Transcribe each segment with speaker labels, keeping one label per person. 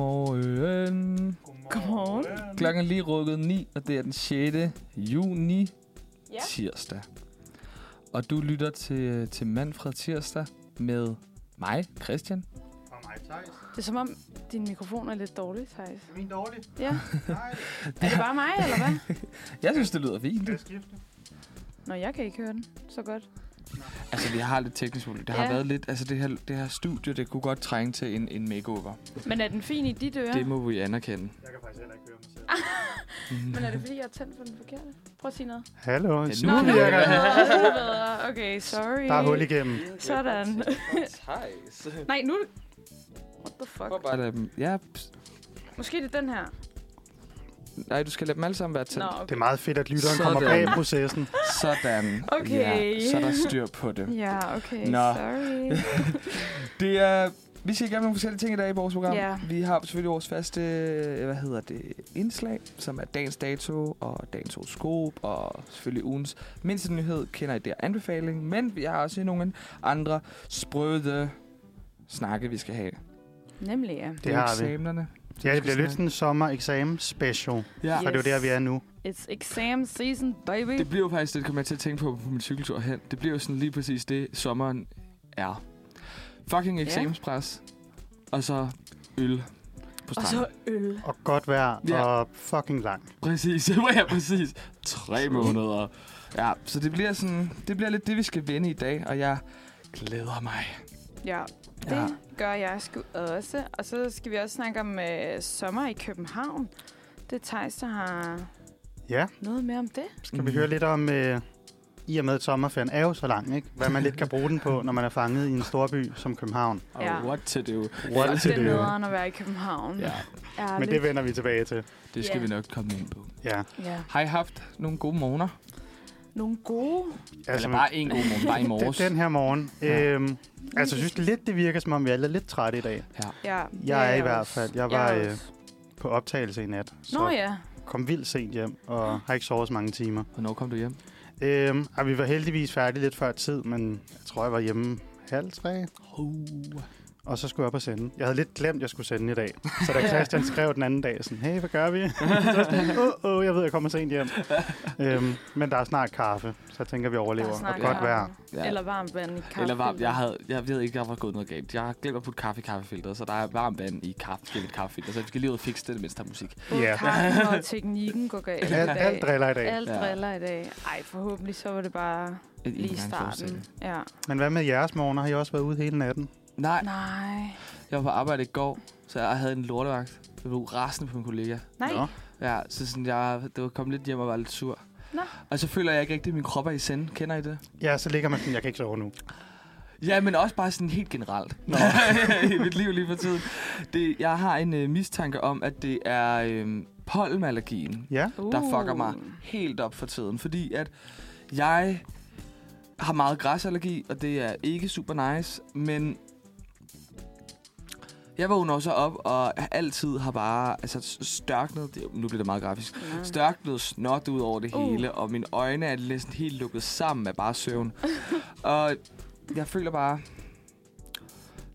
Speaker 1: Godmorgen.
Speaker 2: Godmorgen.
Speaker 1: Klokken er lige rykket 9, og det er den 6. juni
Speaker 2: Ja.
Speaker 1: tirsdag. Og du lytter til, til Manfred Tirsdag med mig, Christian.
Speaker 3: Og mig, Thijs.
Speaker 2: Det er som om, din mikrofon er lidt dårlig, Thijs.
Speaker 3: Er min dårlig?
Speaker 2: Ja.
Speaker 3: Nej,
Speaker 2: Er det bare mig, eller hvad?
Speaker 1: Jeg synes, det lyder fint.
Speaker 3: skal jeg skifte?
Speaker 2: Nå, jeg kan ikke høre den så godt.
Speaker 1: Altså, vi har lidt teknisk problem. Det har
Speaker 2: Ja.
Speaker 1: været lidt... Altså, det her, det her studie, det kunne godt trænge til en, en makeover.
Speaker 2: Men er den fin i dit øre?
Speaker 1: Det må vi anerkende.
Speaker 3: Jeg kan faktisk heller ikke høre mig selv.
Speaker 2: Men er det fordi, jeg har tændt for den forkerte? Prøv at sige noget.
Speaker 3: Hallo,
Speaker 1: Ja,
Speaker 3: nu
Speaker 1: nu
Speaker 2: er det
Speaker 3: virker det.
Speaker 2: bedre. Nu er det bedre. Okay, sorry.
Speaker 3: Der er hul igennem.
Speaker 2: Sådan.
Speaker 1: Thijs.
Speaker 2: Nej, nu... What the fuck?
Speaker 1: Bare lad dem. Ja, pst.
Speaker 2: Måske det er den her.
Speaker 1: nej, du skal lade dem alle sammen være tændt.
Speaker 2: Nå,
Speaker 3: Det
Speaker 2: okay.
Speaker 3: er meget fedt, at lytteren
Speaker 1: Sådan.
Speaker 3: kommer bag processen.
Speaker 1: Sådan.
Speaker 2: Okay.
Speaker 1: Ja, så er der styr på det.
Speaker 2: Ja, okay,
Speaker 1: Nå.
Speaker 2: sorry.
Speaker 1: Det er... Vi skal i gang med nogle forskellige ting i dag i vores program.
Speaker 2: Ja.
Speaker 1: Vi har selvfølgelig vores faste, øh, hvad hedder det, indslag, som er dagens dato og dagens horoskop og selvfølgelig ugens mindste nyhed, kender I der anbefaling. Men vi har også nogle andre sprøde snakke, vi skal have.
Speaker 2: Nemlig, ja.
Speaker 3: Det har vi.
Speaker 1: Eksamenerne.
Speaker 3: Ja, det bliver lidt sådan en sommer-eksamen special.
Speaker 1: Ja.
Speaker 3: Og det er jo der, vi er nu.
Speaker 2: It's exam season, baby.
Speaker 1: Det bliver jo faktisk, det kommer jeg til at tænke på på min cykeltur hen. Det bliver jo sådan lige præcis det, sommeren er. Fucking
Speaker 2: Ja.
Speaker 1: eksamenspres. Og så øl på
Speaker 2: Og
Speaker 1: stranden.
Speaker 2: så øl.
Speaker 3: Og godt vejr
Speaker 1: Ja.
Speaker 3: og fucking lang.
Speaker 1: Præcis, det var jeg præcis. Tre måneder. Ja, så det bliver sådan, det bliver lidt det, vi skal vende i dag, og jeg glæder mig.
Speaker 2: Ja, Det
Speaker 1: Ja.
Speaker 2: gør jeg sgu også. Og så skal vi også snakke om øh, sommer i København. Det er Thijs, der har
Speaker 3: Ja,
Speaker 2: noget mere om det.
Speaker 3: skal
Speaker 1: Mhm.
Speaker 3: vi høre lidt om... Øh, i og med, at sommerferien er jo så lang, ikke? Hvad man lidt kan bruge den på, når man er fanget i en storby som København.
Speaker 1: Oh,
Speaker 2: Ja.
Speaker 1: What to do.
Speaker 3: What
Speaker 2: det
Speaker 3: to
Speaker 2: er
Speaker 3: do.
Speaker 2: nederen at være i København.
Speaker 1: Ja,
Speaker 3: øh? Men det vender vi tilbage til.
Speaker 1: det skal vi
Speaker 2: Ja.
Speaker 1: nok komme ind på.
Speaker 3: Ja,
Speaker 2: ja.
Speaker 1: Har I haft nogle gode morgener?
Speaker 2: Nogle gode...
Speaker 1: Altså, Eller bare en god morgen, bare i morges.
Speaker 3: den, den her morgen.
Speaker 1: Ja.
Speaker 3: Øhm, altså, jeg synes det lidt, det virker, som om vi alle er lidt trætte i dag.
Speaker 2: Ja, det
Speaker 3: er i
Speaker 2: jeg
Speaker 3: hvert
Speaker 2: også.
Speaker 3: fald- jeg var,
Speaker 2: er
Speaker 3: øh,
Speaker 2: også.
Speaker 3: På optagelse i nat. Så
Speaker 2: Nå ja.
Speaker 3: kom vildt sent hjem, og har ikke sovet så mange timer.
Speaker 1: Hvornår kom du hjem?
Speaker 3: Øhm, og vi var heldigvis færdige lidt før tid, men jeg tror, jeg var hjemme halv tre,
Speaker 1: Uh.
Speaker 3: og så skulle jeg op og sende. Jeg havde lidt glemt, at jeg skulle sende i dag. Så da Christian skrev den anden dag, sådan, hey, hvad gør vi? så var jeg sådan, åh, åh, jeg ved, jeg kommer sent hjem. øhm, men der er snart kaffe, så jeg tænker, vi overlever.
Speaker 2: Der er snart
Speaker 3: Og godt
Speaker 2: varmt-
Speaker 3: vejr.
Speaker 1: Ja.
Speaker 2: Eller varmt vand i kaffe.
Speaker 1: Eller varmt. Jeg, havde, jeg ved ikke, der var gået noget galt. Jeg har glemt at putte kaffe i kaffefilteret, så der er varmt vand i kaffe, kaffefilteret. Så vi skal lige ud og fikse det, mens der er musik.
Speaker 2: Både
Speaker 3: Ja.
Speaker 2: kaffen og teknikken går galt i
Speaker 3: Alt,
Speaker 2: dag.
Speaker 3: alt driller i dag.
Speaker 2: Alt
Speaker 1: Ja.
Speaker 2: driller i dag. Ej, forhåbentlig så var det bare
Speaker 1: En
Speaker 2: lige
Speaker 1: engangsforestilling.
Speaker 2: starten. Ja.
Speaker 3: Men hvad med jeres morgener? Har I også været ude hele natten?
Speaker 1: Nej,
Speaker 2: Nej.
Speaker 1: jeg var på arbejde i går, så jeg havde en lortevagt. Jeg blev rasende på en kollega.
Speaker 2: Nej.
Speaker 3: Nå.
Speaker 1: Ja, så sådan, jeg det var kommet lidt hjem og var lidt sur.
Speaker 2: Nå.
Speaker 1: Og så føler jeg ikke rigtigt, at min krop er i sende. Kender I det?
Speaker 3: Ja, så ligger man sådan, jeg kan ikke sove nu.
Speaker 1: Ja, men også bare sådan helt generelt.
Speaker 3: Nå.
Speaker 1: I mit liv lige for tiden. Det, jeg har en øh, mistanke om, at det er øh, pollenallergien,
Speaker 3: Ja,
Speaker 1: der
Speaker 2: Uh.
Speaker 1: fucker mig helt op for tiden. Fordi at jeg har meget græsallergi, og det er ikke super nice, men jeg vågner jo så op, og altid har bare altså, s- størknet, det, nu bliver det meget grafisk,
Speaker 2: Ja.
Speaker 1: størknet snot ud over det
Speaker 2: Uh.
Speaker 1: hele, og mine øjne er næsten helt lukket sammen af bare søvn. og jeg føler bare,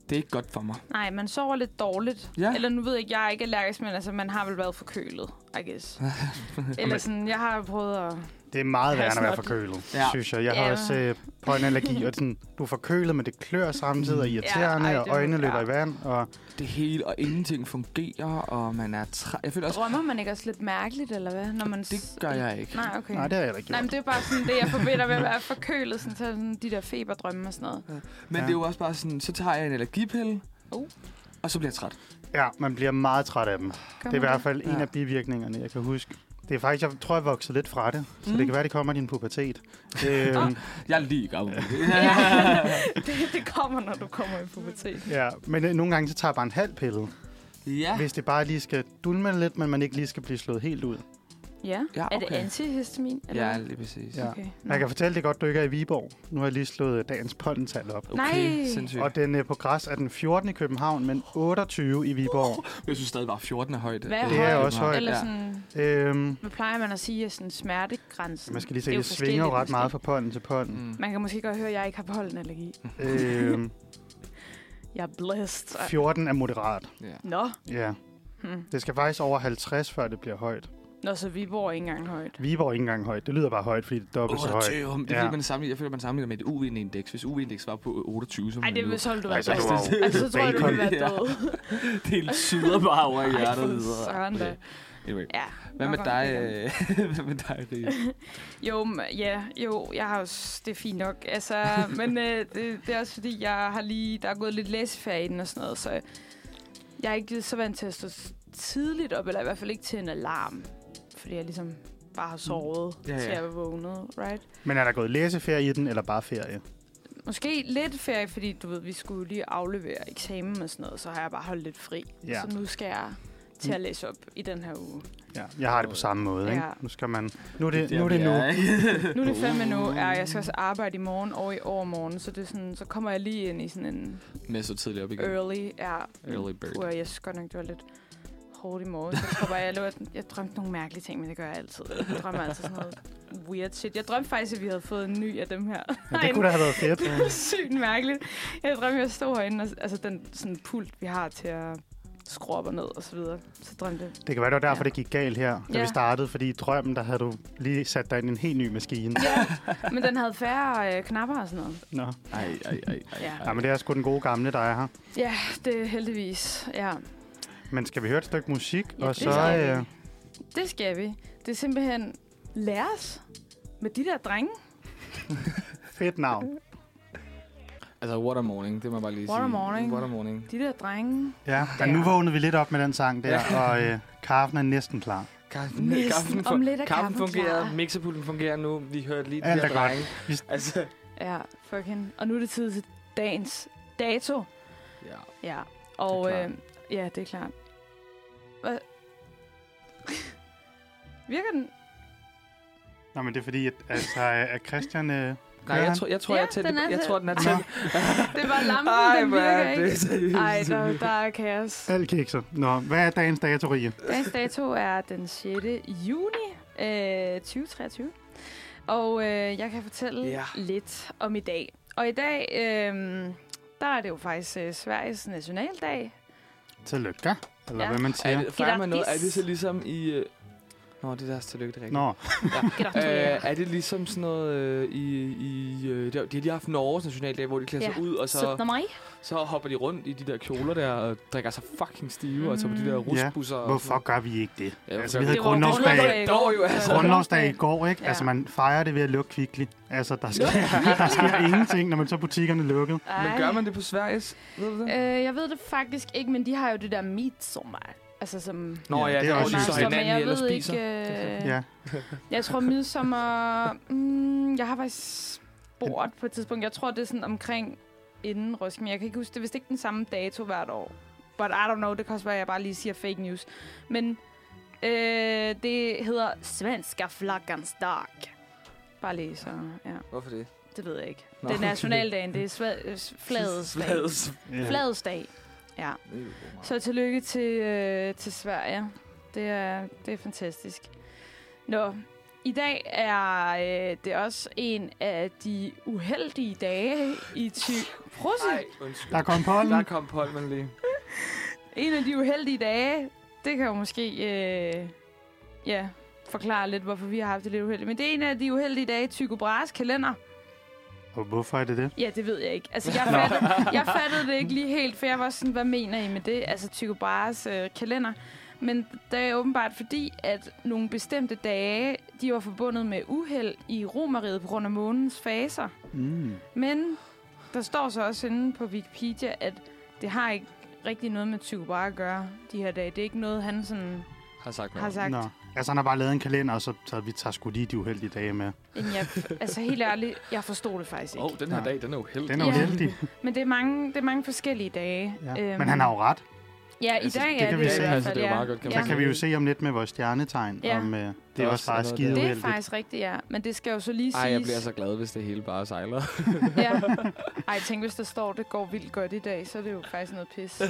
Speaker 1: det er ikke godt for mig.
Speaker 2: Nej, man sover lidt dårligt.
Speaker 1: Ja.
Speaker 2: Eller nu ved jeg ikke, jeg er ikke allergisk, men altså, man har vel været forkølet, I guess. Eller
Speaker 3: altså-
Speaker 2: sådan, jeg har prøvet at...
Speaker 3: det er meget
Speaker 2: Har I
Speaker 3: værre at være
Speaker 2: snot?
Speaker 3: forkølet,
Speaker 1: Ja.
Speaker 3: ja. synes jeg. Jeg har
Speaker 2: Ja.
Speaker 3: også øh, pollenallergi, og det er sådan, du er forkølet, men det klør samtidig og irriterende,
Speaker 2: Mm. Ja,
Speaker 3: ja,
Speaker 2: ej,
Speaker 3: og
Speaker 2: det er-
Speaker 3: øjnene løber
Speaker 2: ja.
Speaker 3: i vand. Og
Speaker 1: Det hele og ingenting fungerer, og man er træ... Jeg
Speaker 3: Altså-
Speaker 1: føler også,
Speaker 2: Drømmer man ikke også lidt mærkeligt, eller hvad? Når man s-
Speaker 1: det gør jeg ikke.
Speaker 2: Nej, okay.
Speaker 3: nej, det har jeg heller ikke
Speaker 2: Nej, men
Speaker 3: gjort.
Speaker 2: det er bare sådan det, jeg forbinder ved at være forkølet. Sådan, så er det sådan de der feberdrømme og sådan noget.
Speaker 1: Men
Speaker 3: Ja.
Speaker 1: det er jo også bare sådan, så tager jeg en allergipille,
Speaker 2: Oh.
Speaker 1: og så bliver jeg træt.
Speaker 3: Ja, man bliver meget træt af dem.
Speaker 2: Gør
Speaker 3: Det er i
Speaker 2: man
Speaker 3: hvert fald en
Speaker 1: Ja.
Speaker 3: af bivirkningerne, jeg kan huske. Det er faktisk, jeg tror, jeg voksede lidt fra det, så
Speaker 1: Mm.
Speaker 3: det kan være, det kommer i din pubertet. øhm,
Speaker 1: Jeg er lige gammel.
Speaker 2: det, det kommer, når du kommer i pubertet.
Speaker 3: ja, men øh, nogle gange, så tager jeg bare en halv pille,
Speaker 1: ja.
Speaker 3: hvis det bare lige skal dulme lidt, men man ikke lige skal blive slået helt ud.
Speaker 2: Ja.
Speaker 1: ja,
Speaker 2: Er det antihistamin? Eller
Speaker 1: Ja,
Speaker 2: hvad?
Speaker 1: lige præcis.
Speaker 3: Ja.
Speaker 2: Okay.
Speaker 3: altså- Jeg kan fortælle, det er godt, du ikke er i Viborg. Nu har jeg lige slået øh, dagens pollental op.
Speaker 1: Okay,
Speaker 2: Nej.
Speaker 1: sindssygt.
Speaker 3: Og den øh, på græs er den 14 i København, men 28 i Viborg.
Speaker 1: Jeg synes stadig bare 14 er højt.
Speaker 2: Hvad er
Speaker 3: Det er også højt.
Speaker 2: Eller
Speaker 1: Ja.
Speaker 2: sådan,
Speaker 3: Øhm,
Speaker 2: hvad plejer man at sige, er sådan smertegrænsen?
Speaker 3: man skal lige se,
Speaker 2: Det er
Speaker 3: det,
Speaker 2: jo
Speaker 3: det svinger jo ret
Speaker 2: forskelligt,
Speaker 3: meget
Speaker 2: måske.
Speaker 3: fra pollen til pollen.
Speaker 1: Mm.
Speaker 3: Mm.
Speaker 2: Man kan måske godt høre, at jeg ikke har pollenallergi.
Speaker 3: øhm,
Speaker 2: Jeg er blæst.
Speaker 3: 14 Øhm, er moderat.
Speaker 1: Ja.
Speaker 2: Nå.
Speaker 3: Ja.
Speaker 2: Hmm.
Speaker 3: Det skal faktisk over 50, før det bliver højt.
Speaker 2: Nå, så vi bor ikke engang højt.
Speaker 3: Viborg er ikke engang højt. Det lyder bare højt, fordi det er dobbelt så højt.
Speaker 1: 28. Det er,
Speaker 3: Ja.
Speaker 1: fordi man sammenligner, jeg føler, man sammenligner med et UV-indeks. Hvis UV-indeks var på 28, så
Speaker 2: Ej,
Speaker 1: ville
Speaker 2: det vil
Speaker 1: man
Speaker 2: så ville du
Speaker 3: Ej,
Speaker 2: være
Speaker 3: så er
Speaker 2: død.
Speaker 3: du
Speaker 1: jo-
Speaker 2: Altså, så tror jeg, du ville være
Speaker 1: Bacon.
Speaker 2: død.
Speaker 1: det hele syder bare over i
Speaker 2: Ej,
Speaker 1: hjertet.
Speaker 2: for
Speaker 1: videre.
Speaker 2: søren da.
Speaker 1: Okay. Anyway.
Speaker 2: Ja.
Speaker 1: Hvad med
Speaker 2: nok om
Speaker 1: dig,
Speaker 2: det.
Speaker 1: øh, hvad med dig, Ria?
Speaker 2: Jo, m- ja, jo, jeg har også, det er fint nok. Altså, men øh, det, det, er også fordi, jeg har lige, der er gået lidt læseferie i den og sådan noget, så jeg er ikke så vant til at stå s- tidligt op, eller i hvert fald ikke til en alarm, fordi jeg ligesom bare har sovet,
Speaker 1: Ja,
Speaker 2: ja,
Speaker 1: Mm. ja.
Speaker 2: ja. til jeg var vågnet, right?
Speaker 3: Men er der gået læseferie i den, eller bare ferie?
Speaker 2: Måske lidt ferie, fordi du ved, vi skulle lige aflevere eksamen og sådan noget, så har jeg bare holdt lidt fri.
Speaker 3: Ja.
Speaker 2: Så nu skal jeg til at læse op i den her uge.
Speaker 3: Ja, jeg har det på samme måde, ikke?
Speaker 2: Ja.
Speaker 3: Nu skal man... Nu er det,
Speaker 1: Der,
Speaker 3: nu. Er det
Speaker 1: vi
Speaker 3: nu.
Speaker 1: ikke?
Speaker 2: Nu er det fandme nu,
Speaker 3: Uh.
Speaker 2: og jeg
Speaker 1: Mm.
Speaker 2: skal også arbejde i morgen og i overmorgen, så, det er sådan, så kommer jeg lige ind i sådan en
Speaker 1: Med så tidligt op igen.
Speaker 2: early, ja,
Speaker 1: Early bird.
Speaker 2: Uah, jeg synes godt nok, det var lidt hårdt i morgen. Jeg tror bare, jeg, lå, at jeg drømte nogle mærkelige ting, men det gør jeg altid. Jeg drømmer altid sådan noget weird shit. Jeg drømte faktisk, at vi havde fået en ny af dem her.
Speaker 3: Ja, det kunne da have været fedt.
Speaker 2: det var sygt mærkeligt. Jeg drømte, at jeg stod herinde, og, altså den sådan pult, vi har til at skrue op og ned og så videre. Så drømte jeg.
Speaker 3: Det kan være, det var derfor,
Speaker 2: Ja.
Speaker 3: det gik galt her, da
Speaker 2: Ja.
Speaker 3: vi startede. Fordi i drømmen, der havde du lige sat dig ind i en helt ny maskine.
Speaker 2: Ja, men den havde færre øh, knapper og sådan noget.
Speaker 3: Nå.
Speaker 1: Ej, ej, ej, ej.
Speaker 2: Ja.
Speaker 1: ej.
Speaker 3: Ja, men det er sgu den gode gamle, der er her.
Speaker 2: Ja, det er heldigvis. Ja,
Speaker 3: Men skal vi høre et stykke musik?
Speaker 2: Ja,
Speaker 3: og
Speaker 2: det
Speaker 3: så,
Speaker 2: skal vi.
Speaker 3: øh,
Speaker 2: det skal vi. Det er simpelthen læres med de der drenge.
Speaker 3: fedt navn.
Speaker 1: Altså, what a morning, det må jeg bare lige
Speaker 2: What a
Speaker 1: sige.
Speaker 2: morning.
Speaker 1: What a morning.
Speaker 2: De der drenge.
Speaker 3: Ja,
Speaker 2: Der.
Speaker 3: men nu vågnede vi lidt op med den sang der,
Speaker 1: Ja.
Speaker 3: og øh, kaffen er næsten klar.
Speaker 1: Kaffen,
Speaker 2: Næsten.
Speaker 1: kaffen,
Speaker 2: Om lidt er
Speaker 1: kaffen
Speaker 2: kaffen
Speaker 1: fungerer,
Speaker 2: klar.
Speaker 1: mixerpulten fungerer nu. Vi hørte lige
Speaker 3: Alt
Speaker 1: de der
Speaker 3: er godt.
Speaker 1: drenge.
Speaker 3: Vi-
Speaker 1: Altså,
Speaker 2: Ja, fucking. Og nu er det tid til dagens dato.
Speaker 1: ja.
Speaker 2: Ja. Og
Speaker 1: Det er
Speaker 2: øh, ja, det er klart. Hvad? Virker den?
Speaker 3: Nå, men det er fordi, at, altså, at Christian... Øh,
Speaker 1: Nej,
Speaker 3: Kører
Speaker 1: jeg,
Speaker 3: han?
Speaker 1: tror, jeg tror,
Speaker 2: Ja,
Speaker 1: jeg, er tæt,
Speaker 2: den er
Speaker 1: jeg
Speaker 2: tæt.
Speaker 1: tror, den er
Speaker 3: Nå,
Speaker 1: tæt.
Speaker 2: Det var lampen,
Speaker 1: Ej,
Speaker 2: den
Speaker 1: hvor
Speaker 2: virker
Speaker 1: er
Speaker 2: ikke.
Speaker 1: det seriøst.
Speaker 2: Ej, der, der er kaos.
Speaker 3: alt kikser. Nå, hvad er dagens dato, Rie?
Speaker 2: Dagens dato er den 6. juni øh, 2023. Og øh, jeg kan fortælle
Speaker 1: Ja.
Speaker 2: ja. lidt om i dag. Og i dag, øh, der er det jo faktisk øh, Sveriges nationaldag.
Speaker 3: Tillykke. Eller
Speaker 2: Ja.
Speaker 3: hvad man
Speaker 1: Er
Speaker 3: siger.
Speaker 1: det, fejrer man noget? Er det så
Speaker 2: Grattis.
Speaker 1: ligesom i... Øh... Nå, det er deres tillykke, det er rigtigt.
Speaker 3: Nå,
Speaker 2: Gratulerer.
Speaker 1: Øh, er det ligesom sådan noget øh, i... i øh, der, de har lige haft Norges nationaldag, hvor de klæder sig
Speaker 2: Ja.
Speaker 1: ud, og
Speaker 3: altså-
Speaker 1: så,
Speaker 2: 17. maj.
Speaker 1: så hopper de rundt i de der kjoler der, og drikker sig fucking stive,
Speaker 2: Mhm.
Speaker 1: og tager på de der
Speaker 2: Ja,
Speaker 1: rusbusser. og
Speaker 3: hvorfor
Speaker 1: sådan-
Speaker 3: gør vi ikke det?
Speaker 1: Ja,
Speaker 3: altså,
Speaker 1: hvorfor
Speaker 3: vi
Speaker 1: gør vi
Speaker 3: havde
Speaker 2: Det var
Speaker 3: grundlovsdag.
Speaker 2: grundlovsdag.
Speaker 1: Det var jo altså...
Speaker 2: Grund-
Speaker 3: Grundlovsdag i går, ikke?
Speaker 2: Ja.
Speaker 3: Altså, man fejrer det ved at lukke kvickly. Altså, der sker, der sker ingenting, når man så er butikkerne lukket.
Speaker 1: Men gør man det på Sveriges? Ved du det?
Speaker 2: Øh, jeg ved det faktisk ikke, men de har jo det der midsommar. Altså som...
Speaker 1: Nå
Speaker 3: Ja,
Speaker 1: ja,
Speaker 3: det
Speaker 1: det
Speaker 3: er
Speaker 1: er
Speaker 3: også
Speaker 1: også
Speaker 3: i
Speaker 1: så
Speaker 3: sommer,
Speaker 1: hinanden, I ellers spiser.
Speaker 2: Øh,
Speaker 3: Ja.
Speaker 2: Jeg tror midsommar... Mm, jeg har faktisk spurgt på et tidspunkt. Jeg tror, det er sådan omkring inden Roskilde. men Jeg kan ikke huske, det er vist ikke den samme dato hvert år. But I don't know, det kan også være, at jeg bare lige siger fake news. Men øh, det hedder Svenska flaggans dag. Bare lige så, ja.
Speaker 1: Hvorfor det?
Speaker 2: Det ved jeg ikke.
Speaker 1: Nå,
Speaker 2: det er
Speaker 1: okay.
Speaker 2: nationaldagen, det er sva- øh, flagets dag.
Speaker 1: Flades.
Speaker 3: Ja.
Speaker 2: Flagets dag. Ja. Så tillykke til, øh, til Sverige. Det er, det er fantastisk. Nå, i dag er øh, det også en af de uheldige dage i 20... Prosit!
Speaker 1: Nej, undskyld.
Speaker 3: Der kom
Speaker 1: Der
Speaker 3: pollen.
Speaker 1: kom Polman lige.
Speaker 2: En af de uheldige dage, det kan jo måske øh, ja, forklare lidt, hvorfor vi har haft det lidt uheldigt. Men det er en af de uheldige dage i Tycho Brahes kalender.
Speaker 3: Og hvorfor er det det?
Speaker 2: Ja, det ved jeg ikke. Altså, jeg fattede, jeg fattede det ikke lige helt, for jeg var sådan, hvad mener I med det? Altså, Tycho Brahes øh, kalender. Men det er åbenbart fordi, at nogle bestemte dage, de var forbundet med uheld i romeriet på grund af månens faser.
Speaker 3: Mm.
Speaker 2: Men der står så også inde på Wikipedia, at det har ikke rigtig noget med Tycho Brahe at gøre, de her dage. Det er ikke noget, han sådan
Speaker 1: Har sagt
Speaker 2: har sagt.
Speaker 3: Nå. Altså, han har bare lavet en kalender, og så, så vi tager sgu lige de uheldige dage med.
Speaker 2: Inden jeg, altså helt ærligt, jeg forstod det faktisk ikke.
Speaker 1: Åh, oh, den her
Speaker 3: Nej.
Speaker 1: dag, den er uheldig.
Speaker 3: Den er
Speaker 2: Ja. Øhm,
Speaker 3: uheldig.
Speaker 2: Men det er mange, det er mange forskellige dage.
Speaker 3: Ja. Men han har jo ret.
Speaker 2: Ja, i
Speaker 1: Altså,
Speaker 2: dag
Speaker 1: det
Speaker 3: kan
Speaker 2: er det,
Speaker 3: vi
Speaker 2: i
Speaker 3: se.
Speaker 2: hvert
Speaker 1: Altså,
Speaker 2: fald,
Speaker 1: det er jo
Speaker 2: ja.
Speaker 1: meget godt, kan man
Speaker 2: ja.
Speaker 3: Så kan vi jo se om lidt med vores stjernetegn,
Speaker 2: Ja.
Speaker 3: om øh, det,
Speaker 1: Der er
Speaker 3: er
Speaker 1: også
Speaker 3: også bare
Speaker 1: noget der.
Speaker 3: skide
Speaker 2: Det er
Speaker 3: uheldigt.
Speaker 2: faktisk rigtigt, ja. Men det skal jo så lige siges...
Speaker 1: Ej, jeg bliver så glad, hvis det hele bare sejler.
Speaker 2: Ja. Ej, tænk, hvis der står, det går vildt godt i dag, så er det jo faktisk noget pis.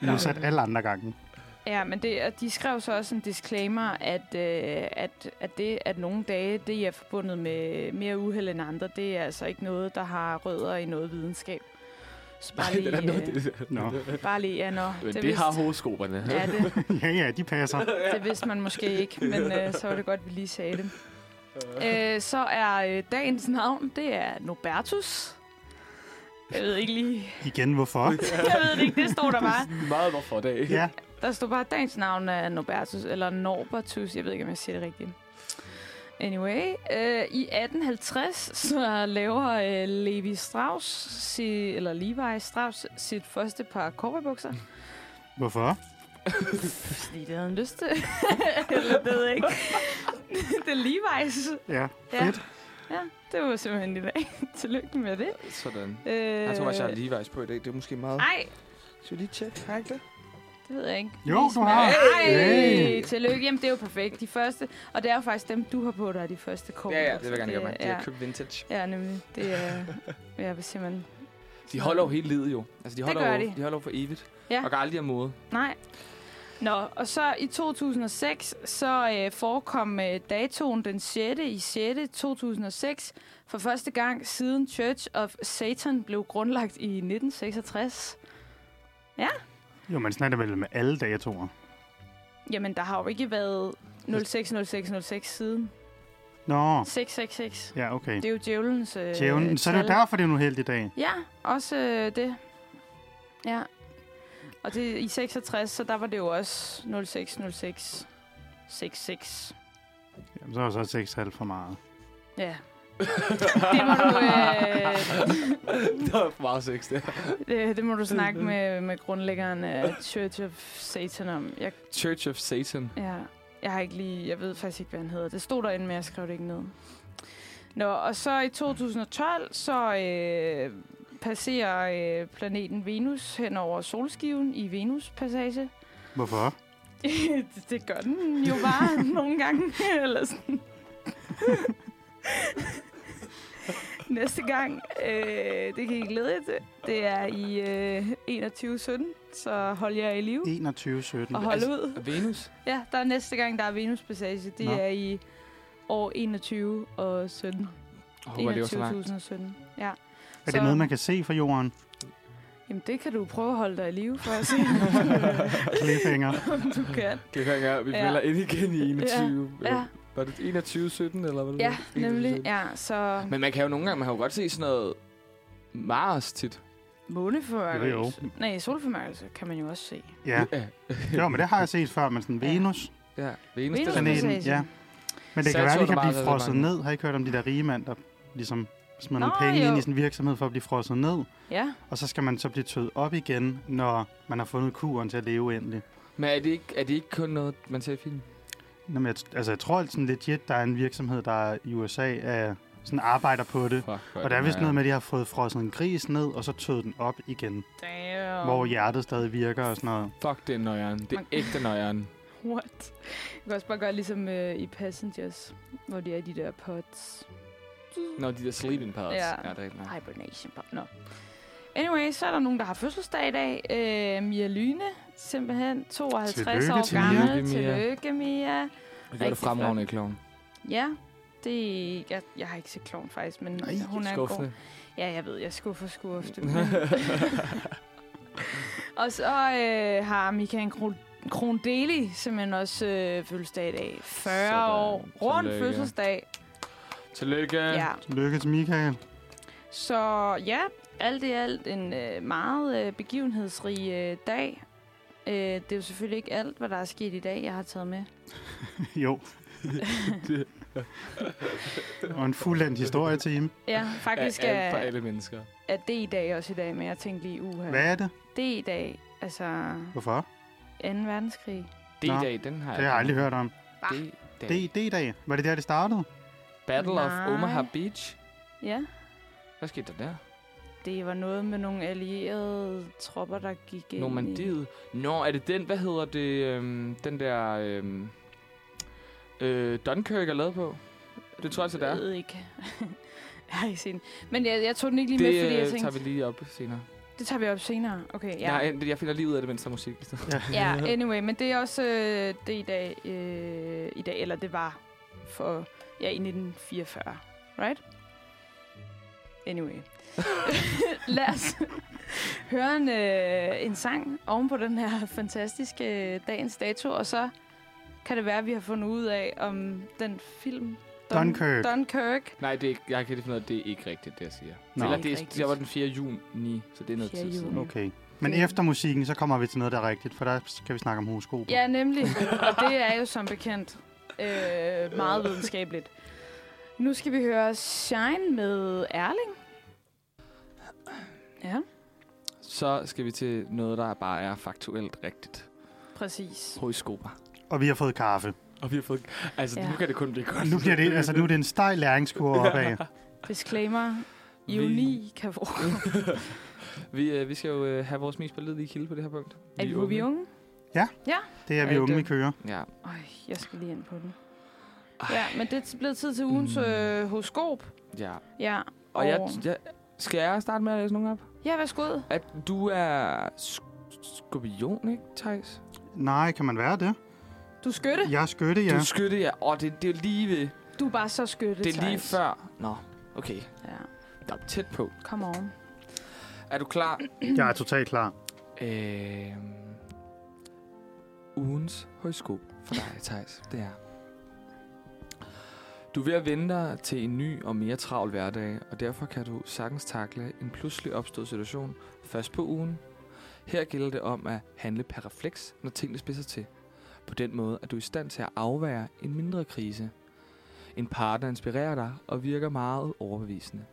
Speaker 3: Modsat alle andre gange.
Speaker 2: Ja, men det, og de skrev så også en disclaimer, at, øh, at, at det, at nogle dage, det er forbundet med mere uheld end andre, det er altså ikke noget, der har rødder i noget videnskab. Så bare
Speaker 4: det
Speaker 2: lige,
Speaker 4: er noget,
Speaker 2: øh,
Speaker 4: det,
Speaker 3: Nå,
Speaker 2: bare lige ja, nå.
Speaker 4: men det,
Speaker 2: vidste-
Speaker 4: har horoskoperne.
Speaker 2: Ja, det,
Speaker 3: ja, ja, de passer.
Speaker 2: det vidste man måske ikke, men øh, så var det godt, at vi lige sagde det. Øh, så er øh, dagens navn, det er Nobertus. Jeg ved ikke lige...
Speaker 3: Igen, hvorfor?
Speaker 2: Jeg ved det ikke, det stod der bare.
Speaker 4: Meget hvorfor dag.
Speaker 3: Ja,
Speaker 2: Der stod bare, at dagens navn er Norbertus, eller Norbertus, jeg ved ikke, om jeg siger det rigtigt. Anyway, øh, i 1850, så laver øh, Levi Strauss, si, eller Levi Strauss, sit første par cowboybukser.
Speaker 3: hvorfor?
Speaker 2: Fordi det havde han lyst til. eller det ved jeg ikke. det er Levi's.
Speaker 3: Ja,
Speaker 2: Ja.
Speaker 3: fedt.
Speaker 2: ja, det var simpelthen i dag. Tillykke med det.
Speaker 1: Sådan.
Speaker 2: Øh,
Speaker 1: Jeg tror faktisk, jeg har ligevejs på i dag. Det er måske meget...
Speaker 2: Ej,
Speaker 1: Skal vi lige tjekke? Har jeg ikke det?
Speaker 2: Det ved jeg ikke.
Speaker 3: Jo,
Speaker 2: Vis
Speaker 3: du
Speaker 2: mig.
Speaker 3: har.
Speaker 2: Ej,
Speaker 3: Hey.
Speaker 2: tillykke. Jamen, det er jo perfekt. De første, og det er jo faktisk dem, du har på dig, de første kort.
Speaker 1: Ja, ja, det vil jeg gerne gøre med. Det
Speaker 2: Ja,
Speaker 1: er købt vintage.
Speaker 2: ja, nemlig. Det er, jeg vil simpelthen...
Speaker 1: De holder jo hele livet jo. Altså, de holder
Speaker 2: gør
Speaker 1: jo,
Speaker 2: de.
Speaker 1: de holder jo for evigt.
Speaker 2: Ja.
Speaker 1: Og går aldrig af mode.
Speaker 2: Nej. Nå, og så i 2006, så øh, forekom øh, datoen den 6. i 6. 2006 for første gang siden Church of Satan blev grundlagt i 1966.
Speaker 3: Jo, men sådan er det vel med alle datoer.
Speaker 2: Jamen, der har jo ikke været 060606 siden.
Speaker 3: Nå,
Speaker 2: 666.
Speaker 3: ja, okay.
Speaker 2: Det er jo djævelens øh,
Speaker 3: Djævlen, så er det
Speaker 2: tal.
Speaker 3: jo derfor, det er en uheldig dag.
Speaker 2: Ja, også øh, det. Ja. Og det i 66, så der var det jo også 06, 06, 66.
Speaker 3: Jamen, så er så 6 halvt for meget.
Speaker 2: Ja. det, må du, øh,
Speaker 4: det var for meget sex, det.
Speaker 2: det, det må du snakke med, med grundlæggeren af Church of Satan om. Jeg,
Speaker 1: Church of Satan.
Speaker 2: ja, jeg har ikke lige, jeg ved faktisk ikke, hvad han hedder. Det stod derinde, men jeg skrev det ikke ned. Nå, og så i 2012, så øh, passerer øh, planeten Venus hen over solskiven i Venus-passage.
Speaker 3: Hvorfor?
Speaker 2: det, det gør den jo bare nogle gange. Eller sådan. Næste gang, øh, det kan I glæde jer til. Det er i øh, 21.17, så hold jer i live
Speaker 3: 2117.
Speaker 2: og hold ud.
Speaker 1: Venus?
Speaker 2: Ja, der er næste gang, der er Venuspassage. Det
Speaker 3: Nå.
Speaker 2: er i år 21 og 17.
Speaker 1: Jeg håber, det var så langt.
Speaker 2: 21.017. Ja.
Speaker 3: Er det noget, man kan se fra jorden?
Speaker 2: Jamen, det kan du prøve at holde dig i live for at se,
Speaker 3: Altså, Cliffhanger.
Speaker 2: om du kan.
Speaker 4: Det kan jeg, vi
Speaker 2: Ja.
Speaker 4: melder ind igen i 21.
Speaker 2: Ja,
Speaker 4: Var det 21, 17, eller hvad det
Speaker 2: ja
Speaker 4: var?
Speaker 2: nemlig. Ja, så...
Speaker 1: Men man kan jo nogle gange, man kan jo godt se sådan noget Mars tit.
Speaker 2: Måneformørkelse?
Speaker 3: Jo, jo.
Speaker 2: Nej, solformørkelse kan man jo også se.
Speaker 3: Ja. Jo, men det har jeg set før, men sådan
Speaker 2: Ja.
Speaker 3: Venus.
Speaker 1: Ja, Venus.
Speaker 2: Venus
Speaker 1: det er der-
Speaker 3: Venus. Planeten, ja. Men det kan
Speaker 1: Saturn
Speaker 3: være, at vi
Speaker 1: er
Speaker 3: kan
Speaker 1: meget
Speaker 3: blive frosset
Speaker 1: relevant.
Speaker 3: ned. Har I ikke hørt om de der rige mænd, der ligesom smider
Speaker 2: Nå,
Speaker 3: nogle penge
Speaker 2: jo.
Speaker 3: ind i sådan en virksomhed for at blive frosset ned?
Speaker 2: Ja.
Speaker 3: Og så skal man så blive tøet op igen, når man har fundet kuren til at leve endelig.
Speaker 1: Men er det, ikke, er det ikke kun noget, man ser i film?
Speaker 3: Nå, men jeg, t- altså, jeg tror sådan legit, der er en virksomhed, der i USA er, sådan arbejder på det.
Speaker 1: Fuck,
Speaker 3: Og der er vist noget med, at de har fået frosset en gris ned, og så tøet den op igen.
Speaker 2: Damn.
Speaker 3: Hvor hjertet stadig virker og sådan noget.
Speaker 1: Fuck, det er nøjeren. Det er
Speaker 2: Man-
Speaker 1: ægte nøjeren.
Speaker 2: What? Jeg kan også bare gøre ligesom øh, i Passengers, hvor de er i de der pods.
Speaker 1: Når de der sleeping pads.
Speaker 2: Ja.
Speaker 1: ja det er rigtigt.
Speaker 2: Hibernation pod. Nå. Anyway, så er der nogen, der har fødselsdag i dag. Øh, Mia Lyne, simpelthen 52
Speaker 3: Tillykke
Speaker 2: år
Speaker 3: til
Speaker 2: gammel.
Speaker 1: Mia.
Speaker 2: Tillykke, Mia.
Speaker 1: Vi gør
Speaker 2: Rigtig
Speaker 1: det fremragende i kloven.
Speaker 2: Ja, det jeg, jeg har ikke set klovn faktisk, men
Speaker 3: Nej,
Speaker 2: hun er god.
Speaker 1: Skuffende.
Speaker 2: Ja, jeg ved, jeg skuffer skuffe. og så øh, har Michael Kron Krondeli simpelthen også øh, fødselsdag i dag. 40
Speaker 1: Sådan.
Speaker 2: år. Rund
Speaker 1: Tillykke.
Speaker 2: fødselsdag.
Speaker 1: Tillykke.
Speaker 2: Ja. ja.
Speaker 3: Lykke til Michael.
Speaker 2: Så ja, alt i alt en øh, meget øh, begivenhedsrig øh, dag. Øh, det er jo selvfølgelig ikke alt, hvad der er sket i dag, jeg har taget med.
Speaker 3: jo. og en fuldendt historietime.
Speaker 2: Ja, faktisk
Speaker 1: Af- af- For
Speaker 2: er,
Speaker 1: alle mennesker.
Speaker 2: er det i dag også i dag, men jeg tænkte lige, uha.
Speaker 3: Hvad er det?
Speaker 2: Det er i dag, altså
Speaker 3: Hvorfor?
Speaker 2: 2. verdenskrig.
Speaker 1: D-Dag, den har
Speaker 3: Det har jeg aldrig hørt om.
Speaker 1: D-Day.
Speaker 3: D-dag. Var det der, det startede?
Speaker 1: Battle
Speaker 2: Nej.
Speaker 1: of Omaha Beach.
Speaker 2: Ja.
Speaker 1: Hvad skete der der?
Speaker 2: Det var noget med nogle allierede tropper, der gik ind i...
Speaker 1: Normandiet. Nå, er det den, hvad hedder det, øhm, den der øhm, øh, Dunkirk er lavet på? Det tror jeg, så det er.
Speaker 2: Jeg ved ikke. jeg har ikke set den. Men jeg, jeg tog den ikke lige med, fordi
Speaker 1: Det
Speaker 2: jeg
Speaker 1: øh, tager
Speaker 2: tænkte,
Speaker 1: vi lige op senere.
Speaker 2: det tager vi op senere. Okay,
Speaker 1: Ja.
Speaker 2: ja.
Speaker 1: Jeg, jeg finder lige ud af det, mens der er musik.
Speaker 2: ja, anyway, men det er også øh, det i dag, øh, i dag, eller det var for, ja, i 1944, right? Anyway. Lad os høre en, øh, en sang oven på den her fantastiske øh, dagens dato, og så kan det være, at vi har fundet ud af, om den film...
Speaker 3: Dunkirk.
Speaker 2: Dunkirk.
Speaker 1: Nej, det er, ikke- jeg kan ikke finde ud af, det er ikke rigtigt, det jeg siger.
Speaker 3: Nå.
Speaker 1: Eller
Speaker 2: Det er
Speaker 1: det,
Speaker 2: ikke
Speaker 1: er,
Speaker 2: rigtigt.
Speaker 1: det var den 4. juni, så det er noget
Speaker 2: 4.
Speaker 1: tid siden.
Speaker 2: juni.
Speaker 3: Okay. Men efter musikken, så kommer vi til noget, der er rigtigt, for der kan vi snakke om horoskoper.
Speaker 2: Ja, nemlig. Og det er jo som bekendt øh, meget videnskabeligt. Nu skal vi høre Shine med Erling. Ja,
Speaker 1: Så skal vi til noget, der bare er faktuelt rigtigt.
Speaker 2: præcis.
Speaker 1: Horoskoper.
Speaker 3: Og vi har fået kaffe.
Speaker 1: Og vi har fået... Altså,
Speaker 2: Ja.
Speaker 1: nu kan det kun blive godt.
Speaker 3: Nu, bliver det, altså, nu er det en stejl læringskurve opad.
Speaker 2: Disclaimer. Ironi kan få.
Speaker 1: Vi, øh, vi skal jo øh, have vores mest beledige kilde på det her punkt.
Speaker 2: Er vi, vi unge?
Speaker 3: Det er vi
Speaker 1: Ja,
Speaker 3: unge,
Speaker 1: det-
Speaker 3: vi kører.
Speaker 1: Ja.
Speaker 2: Øj, jeg skal lige ind på den. Ja, men det er blevet tid til ugens øh, horoskop.
Speaker 1: ja.
Speaker 2: Ja,
Speaker 1: Og jeg, jeg, skal jeg starte med at læse nogen op?
Speaker 2: ja, værsgo.
Speaker 1: At du er sk- skorpion, ikke, Thijs?
Speaker 3: Nej, kan man være det?
Speaker 2: Du er skytte.
Speaker 3: Jeg er skytte,
Speaker 1: Ja. Du
Speaker 3: ja.
Speaker 1: er skytte, ja. Og det, det er lige ved.
Speaker 2: Du er bare så skytte,
Speaker 1: Det, det er lige
Speaker 2: Theis.
Speaker 1: før. Nå, okay.
Speaker 2: Ja,
Speaker 1: Der er tæt på.
Speaker 2: come on.
Speaker 1: Er du klar?
Speaker 3: Jeg er totalt klar.
Speaker 1: Øh, ugens højskole for dig, Thijs, det er... Du er ved at vende dig til en ny og mere travl hverdag, og derfor kan du sagtens takle en pludselig opstået situation først på ugen. Her gælder det om at handle per refleks, når tingene spidser til. På den måde er du i stand til at afvære en mindre krise. En partner inspirerer dig og virker meget overbevisende.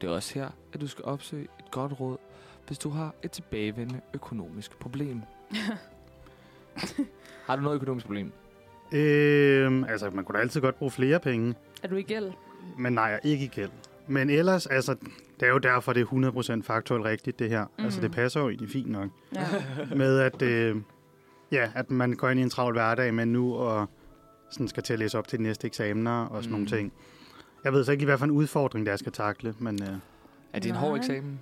Speaker 1: Det er også her, at du skal opsøge et godt råd hvis du har et tilbagevendende økonomisk problem. har du noget økonomisk problem?
Speaker 3: Øhm, altså, man kunne da altid godt bruge flere penge.
Speaker 2: Er du i gæld?
Speaker 3: Men nej, jeg er ikke i gæld. Men ellers, altså, det er jo derfor, det er 100% faktuelt rigtigt, det her. Mm. Altså, det
Speaker 2: Mhm.
Speaker 3: passer jo egentlig fint nok.
Speaker 2: Ja.
Speaker 3: Med at, øh, ja, at man går ind i en travl hverdag med nu, og sådan skal til at læse op til de næste eksamener og sådan mm. nogle
Speaker 1: Mhm.
Speaker 3: ting. Jeg ved så ikke lige, hvad for en udfordring, der skal takle, men øh,
Speaker 1: Er det en hård
Speaker 2: Nej.
Speaker 1: eksamen?